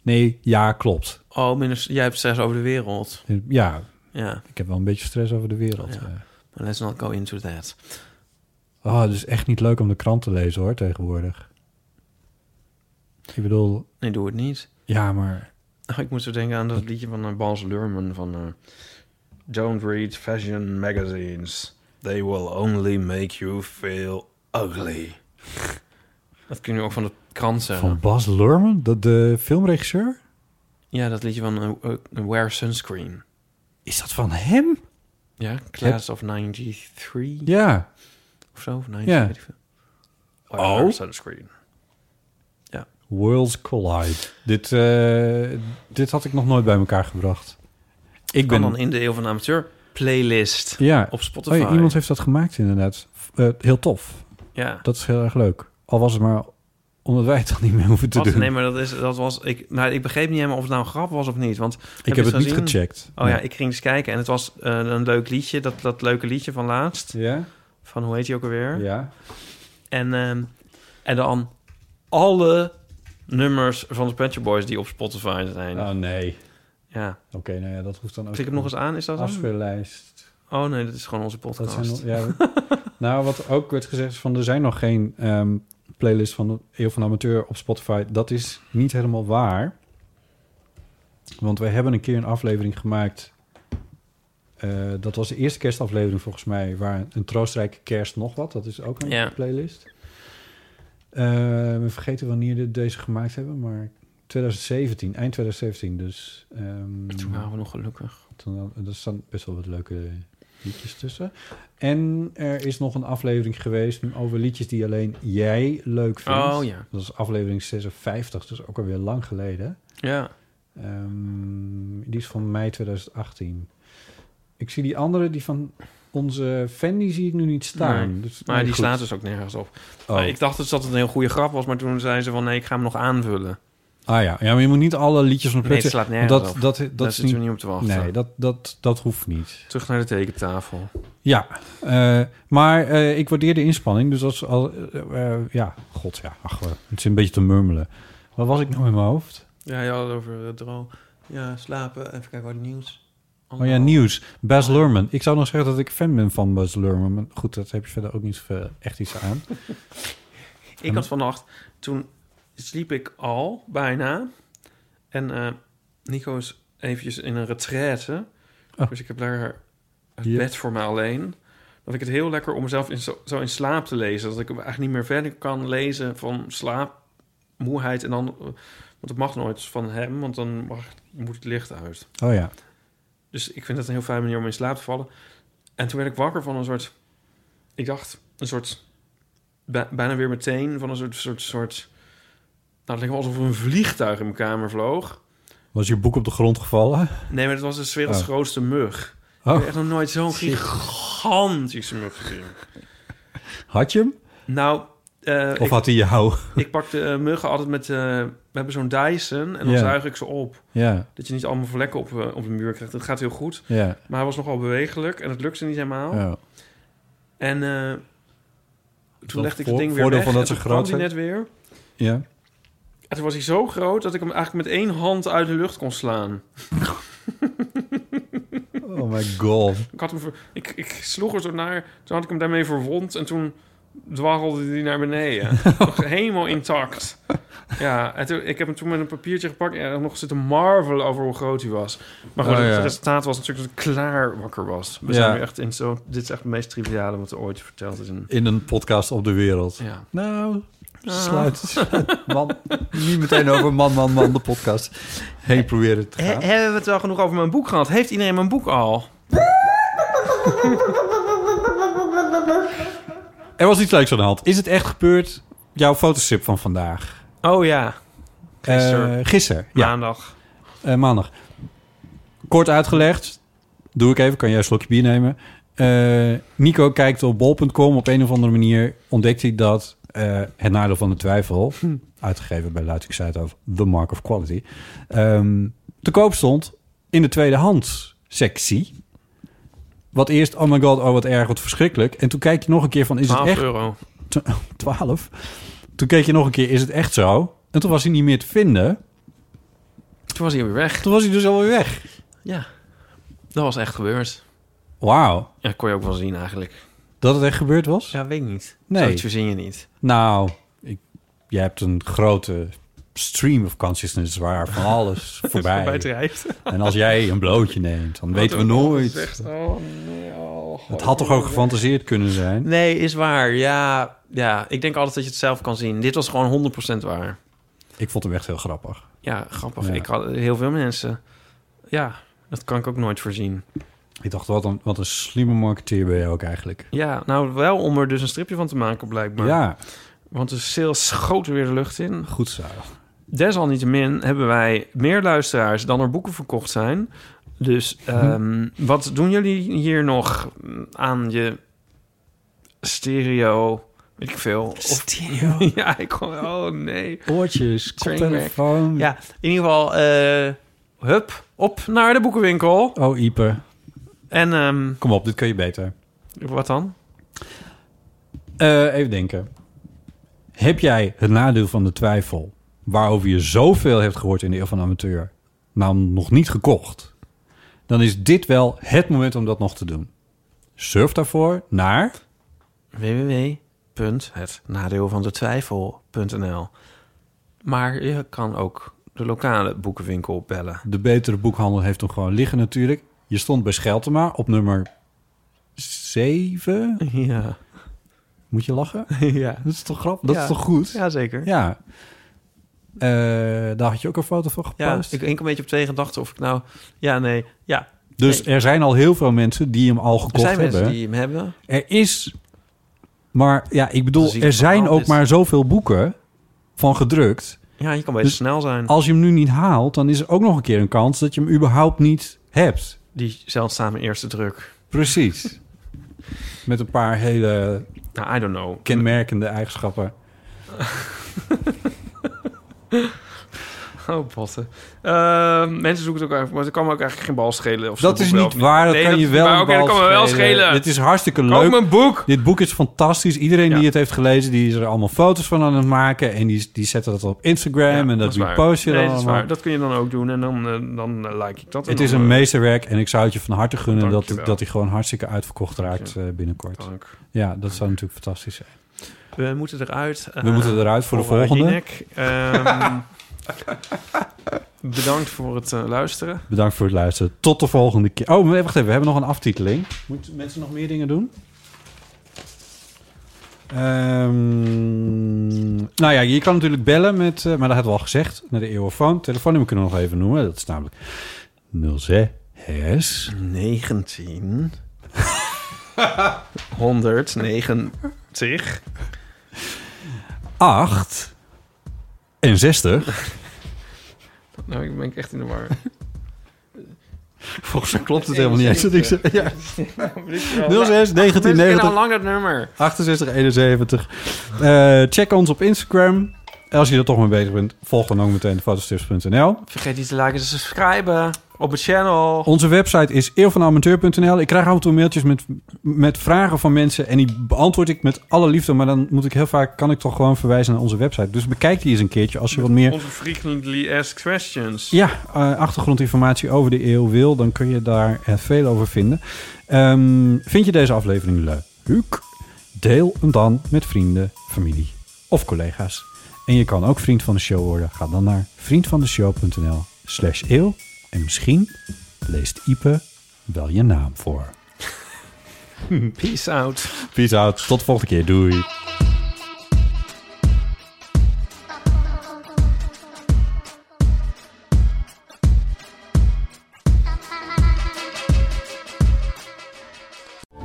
S1: Nee, ja, klopt.
S2: wel... Oh, minder, jij hebt stress over de wereld.
S1: Ja,
S2: Ja.
S1: ik heb wel een beetje stress over de wereld.
S2: Ja.
S1: ja.
S2: Maar let's not go into that.
S1: Oh, het is echt niet leuk om de krant te lezen, hoor, tegenwoordig. Ik bedoel,
S2: Nee, doe het niet.
S1: ja, maar...
S2: Oh, ik moest zo denken aan dat liedje van eh, Bas Luhrmann van... eh, Don't read fashion magazines. They will only make you feel ugly. dat kun je ook van de krant zeggen.
S1: Van Bas Luhrmann, de, de filmregisseur?
S2: Ja, dat liedje van eh, eh, Wear Sunscreen.
S1: Is dat van hem?
S2: Ja, Class of 93
S1: Ja.
S2: of zo. Of 90,
S1: Ja.
S2: weet ik veel. Wear
S1: Oh.
S2: Sunscreen.
S1: Worlds Collide. Dit, eh, dit had ik nog nooit bij elkaar gebracht. Ik
S2: Kan
S1: ben...
S2: dan in de Eeuw van de Amateur playlist
S1: ja.
S2: op
S1: Oh
S2: Spotify.
S1: ja, iemand heeft dat gemaakt inderdaad. Eh, heel tof.
S2: Ja.
S1: Dat is heel erg leuk. Al was het maar omdat wij het dan niet meer hoeven te
S2: Wat?
S1: doen.
S2: Nee, maar dat, is, dat was... Ik, nou, ik begreep niet helemaal of het nou een grap was of niet. Want
S1: ik
S2: je
S1: heb het
S2: het
S1: niet
S2: gezien?
S1: gecheckt.
S2: Oh ja, ik ging eens kijken en het was eh, een leuk liedje. Dat, dat leuke liedje van laatst.
S1: Ja?
S2: Van hoe heet hij ook alweer?
S1: Ja.
S2: En, ehm, en dan alle nummers van de Pet Shop Boys die op Spotify zijn.
S1: Oh nee.
S2: Ja.
S1: Oké, nou ja, dat hoeft dan ook.
S2: Klik hem nog eens aan, is dat hem?
S1: Afspeellijst.
S2: Oh nee, dat is gewoon onze
S1: Dat
S2: podcast.
S1: zijn, nog- ja, nou, wat ook werd gezegd is van... er zijn nog geen ehm, playlist van de Eeuw van de Amateur op Spotify. Dat is niet helemaal waar. Want wij hebben een keer een aflevering gemaakt... eh, dat was de eerste kerstaflevering volgens mij... waar een troostrijk kerst nog wat. Dat is ook een
S2: Ja.
S1: playlist. Eh, we vergeten wanneer we deze gemaakt hebben, maar... 2017, eind 2017 dus. ehm,
S2: Toen waren we nog gelukkig.
S1: toen, er staan best wel wat leuke liedjes tussen. En er is nog een aflevering geweest over liedjes die alleen jij leuk vindt.
S2: Oh ja.
S1: Dat is aflevering 56, dus ook alweer lang geleden.
S2: Ja.
S1: Ehm, die is van mei 2018. Ik zie die andere, die van onze fan, die zie ik nu niet staan.
S2: Nee,
S1: Dus,
S2: Maar
S1: nee,
S2: die
S1: goed.
S2: slaat dus ook nergens op.
S1: Oh.
S2: Maar ik dacht dus dat het een heel goede grap was, maar toen zeiden ze van nee, ik ga hem nog aanvullen.
S1: Ah ja. ja, maar je moet niet alle liedjes van
S2: Nee, het
S1: Pet-
S2: slaat
S1: want
S2: nergens
S1: dat,
S2: op.
S1: dat, dat,
S2: Daar
S1: is
S2: zitten we
S1: niet...
S2: niet op te wachten.
S1: Nee, dat, dat, dat hoeft niet.
S2: Terug naar de tekentafel.
S1: Ja, eh, maar eh, ik waardeer de inspanning. Dus als al, eh, eh, ja, god ja, ach, eh, het is een beetje te murmelen. Waar was ik nou in mijn hoofd?
S2: Ja, je had het over eh, droom. Ja, slapen. Even kijken wat nieuws.
S1: Oh ja, nieuws. Bas Lerman. Ik zou nog zeggen dat ik fan ben van Bas Lerman. Maar goed, dat heb je verder ook niet eh, echt iets aan.
S2: Ik had vannacht, toen sliep ik al bijna. En eh, Nico is eventjes in een retraite.
S1: Oh.
S2: Dus ik heb daar het
S1: Ja.
S2: bed voor me alleen. Dat ik het heel lekker om mezelf in, zo, zo in slaap te lezen. Dat ik eigenlijk niet meer verder kan lezen van slaap, moeheid. En dan, eh, want dat mag nooit van hem, want dan mag, moet het licht uit.
S1: Oh ja.
S2: Dus ik vind dat een heel fijne manier om in slaap te vallen. En toen werd ik wakker van een soort... Ik dacht, een soort... bij- bijna weer meteen van een soort... soort, soort nou, het leek wel alsof er een vliegtuig in mijn kamer vloog.
S1: Was je boek op de grond gevallen?
S2: Nee, maar het was de werelds
S1: Oh.
S2: grootste mug. Ik
S1: Oh,
S2: heb echt nog nooit zo'n gigantische mug gezien.
S1: had je hem?
S2: Nou, eh,
S1: Of
S2: ik,
S1: had hij jou?
S2: ik pak de eh, muggen altijd met... eh, we hebben zo'n Dyson en dan
S1: Ja.
S2: zuig ik ze op.
S1: Ja,
S2: Dat je niet allemaal vlekken op, eh, op de muur krijgt. Dat gaat heel goed.
S1: ja.
S2: Maar hij was nogal bewegelijk en het lukte niet helemaal.
S1: ja.
S2: En eh, toen
S1: Dat
S2: legde ik
S1: voor-
S2: het ding weer
S1: voordeel
S2: weg.
S1: van dat
S2: en
S1: ze
S2: toen
S1: groot
S2: kwam die net weer.
S1: Ja.
S2: En toen was hij zo groot dat ik hem eigenlijk met één hand uit de lucht kon slaan.
S1: Oh my god.
S2: Ik, had hem ver- ik, ik sloeg er zo naar, toen had ik hem daarmee verwond en toen dwarrelde hij naar beneden. Nog helemaal intact. Ja, en toen, ik heb hem toen met een papiertje gepakt en nog zitten marvelen over hoe groot hij was. Maar goed,
S1: Oh, ja.
S2: het resultaat was natuurlijk dat ik klaar wakker was. We
S1: Ja.
S2: zijn nu echt in zo... Dit is echt het meest triviale wat er ooit verteld is. in-
S1: In een podcast op de wereld.
S2: Ja.
S1: Nou, sluit. sluit. Man, niet meteen over man, man, man, de podcast. Heen proberen te
S2: He-
S1: gaan.
S2: hebben we het wel genoeg over mijn boek gehad? Heeft iedereen mijn boek al?
S1: Er was iets leuks aan de hand. Is het echt gebeurd? Jouw fotosip van vandaag.
S2: Oh ja, Gisteren.
S1: Eh, gisteren, ja.
S2: maandag.
S1: Eh, maandag. Kort uitgelegd. Doe ik even. Kan jij een slokje bier nemen? Eh, Nico kijkt op bol.com. Op een of andere manier ontdekt hij dat... eh, het nadeel van de twijfel... uitgegeven bij Luiting Zuidhoofd... The Mark of Quality... ehm, te koop stond in de tweedehands sectie. Wat eerst... Oh my god, oh wat erg, wat verschrikkelijk. En toen kijk je nog een keer van... Is het
S2: 12
S1: echt...
S2: euro.
S1: Tw- 12. Toen keek je nog een keer, is het echt zo? En toen was hij niet meer te vinden.
S2: Toen was hij weer weg.
S1: Toen was hij dus alweer weg.
S2: Ja, dat was echt gebeurd.
S1: Wauw,
S2: Ja, kon je ook wel zien eigenlijk.
S1: dat het echt gebeurd was?
S2: Ja, weet ik niet.
S1: Nee.
S2: Zoiets verzin je niet.
S1: Nou, ik, jij hebt een grote stream of consciousness waar van alles voorbij.
S2: drijft.
S1: en als jij een blootje neemt, dan weten we nooit.
S2: Oh nee, oh.
S1: Het had toch ook gefantaseerd kunnen zijn?
S2: Nee, is waar. Ja, ja, ik denk altijd dat je het zelf kan zien. Dit was gewoon 100% waar.
S1: Ik vond hem echt heel grappig.
S2: Ja, grappig.
S1: Ja.
S2: Ik had heel veel mensen. Ja, dat kan ik ook nooit voorzien.
S1: Ik dacht, wat een, wat een slimme marketeer ben je ook eigenlijk.
S2: Ja, nou wel om er dus een stripje van te maken blijkbaar.
S1: Ja,
S2: Want de sales schoten weer de lucht in.
S1: goed zo.
S2: Desalniettemin hebben wij meer luisteraars dan er boeken verkocht zijn. Dus ehm, wat doen jullie hier nog aan je stereo? Weet ik veel. Of,
S1: Stereo.
S2: ja, ik kon. Oh nee.
S1: Oortjes,
S2: Trainwreck.
S1: koptelefoon.
S2: Ja, in ieder geval. eh, hup, op naar de boekenwinkel.
S1: Oh, Ipe.
S2: En ehm,
S1: Kom op, dit kun je beter.
S2: wat dan?
S1: Eh, even denken. Heb jij het nadeel van de twijfel, waarover je zoveel hebt gehoord in de eeuw van de amateur, nou nog niet gekocht? Dan is dit wel het moment om dat nog te doen. Surf daarvoor naar
S2: www.hetnadeelvandetwijfel.nl Maar je kan ook de lokale boekenwinkel bellen.
S1: de betere boekhandel heeft hem gewoon liggen natuurlijk. Je stond bij Scheltema op nummer 7.
S2: Ja,
S1: Moet je lachen?
S2: ja.
S1: Dat is toch grappig? Dat
S2: Ja.
S1: is toch goed? Ja.
S2: zeker.
S1: Eh, daar had je ook een foto van
S2: Ja,
S1: gepost.
S2: ik denk een beetje op twee gedachten of ik nou... Ja, nee, ja.
S1: dus
S2: nee.
S1: er zijn al heel veel mensen die hem al
S2: Er
S1: gekocht
S2: zijn
S1: hebben.
S2: mensen die hem hebben.
S1: Er is, maar ja, ik bedoel,
S2: Gezien
S1: er
S2: het
S1: zijn
S2: verhaal
S1: ook
S2: is-
S1: maar zoveel boeken van gedrukt.
S2: Ja, je kan beter
S1: Dus
S2: snel zijn.
S1: Als je hem nu niet haalt, dan is er ook nog een keer een kans dat je hem überhaupt niet hebt.
S2: Die zeldzame eerste druk.
S1: Precies. Met een paar hele
S2: Nou, I don't know.
S1: kenmerkende eigenschappen.
S2: Oh, botten. Eh, mensen zoeken het ook even, maar ze kan me ook eigenlijk geen bal schelen. Of ze
S1: Dat
S2: het
S1: is
S2: boek wel
S1: niet
S2: of
S1: waar, dat
S2: Nee,
S1: kan je wel.
S2: maar
S1: een
S2: Oké, dat
S1: bal
S2: kan me wel schelen.
S1: Dit is hartstikke
S2: Koop
S1: leuk.
S2: mijn boek.
S1: Dit boek is fantastisch. Iedereen
S2: Ja.
S1: die het heeft gelezen, die is er allemaal foto's van aan het maken. En die, die zetten dat op Instagram
S2: Ja,
S1: en dat,
S2: is waar.
S1: repost je
S2: nee,
S1: dan
S2: dat is
S1: allemaal.
S2: waar. Dat kun je dan ook doen en dan, eh, dan eh, like ik dat. en
S1: Het
S2: dan,
S1: is een
S2: eh,
S1: meesterwerk en ik zou het je van harte gunnen dat,
S2: Dankjewel.
S1: dat hij gewoon hartstikke uitverkocht raakt eh, binnenkort.
S2: dank.
S1: Ja, dat zou natuurlijk fantastisch zijn.
S2: We moeten eruit. Eh,
S1: We moeten eruit voor de volgende.
S2: Ehm, bedankt voor het eh, luisteren.
S1: Bedankt voor het luisteren. Tot de volgende keer. Oh, maar wacht even. We hebben nog een aftiteling. Moeten mensen nog meer dingen doen? Ehm, nou ja, je kan natuurlijk bellen met... eh, maar dat hadden we al gezegd. Naar de eeuwofoon. Telefoonnummer kunnen we nog even noemen. Dat is namelijk 06...
S2: 19. 190.
S1: 8... En 60.
S2: Nou, ik ben echt in de war.
S1: Volgens mij klopt het helemaal niet eens. wat ik zeg. Ja.
S2: Nou, Mensen
S1: 06 1990
S2: kennen al lang het nummer.
S1: 6871. Eh, check ons op Instagram. als je er toch mee bezig bent, volg dan ook meteen fotostips.nl.
S2: Vergeet niet te liken en te subscriben op het channel.
S1: Onze website is eeuwvanamateur.nl. Ik krijg af en toe mailtjes met, met vragen van mensen en die beantwoord ik met alle liefde. Maar dan moet ik heel vaak, kan ik toch gewoon verwijzen naar onze website. Dus bekijk die eens een keertje als je wat meer
S3: Onze frequently asked questions.
S1: ja, eh, achtergrondinformatie over de eeuw wil. Dan kun je daar eh, veel over vinden. Ehm, vind je deze aflevering leuk? Deel hem dan met vrienden, familie of collega's. En je kan ook vriend van de show worden. Ga dan naar vriendvandeshow.nl slash eeuw. En misschien leest Ipe wel je naam voor.
S2: Peace out.
S1: Peace out. Tot de volgende keer. Doei.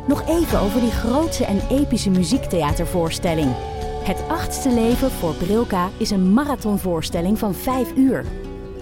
S8: Nog even over die grootse en epische muziektheatervoorstelling. Het achtste leven voor Brilka is een marathonvoorstelling van 5 uur.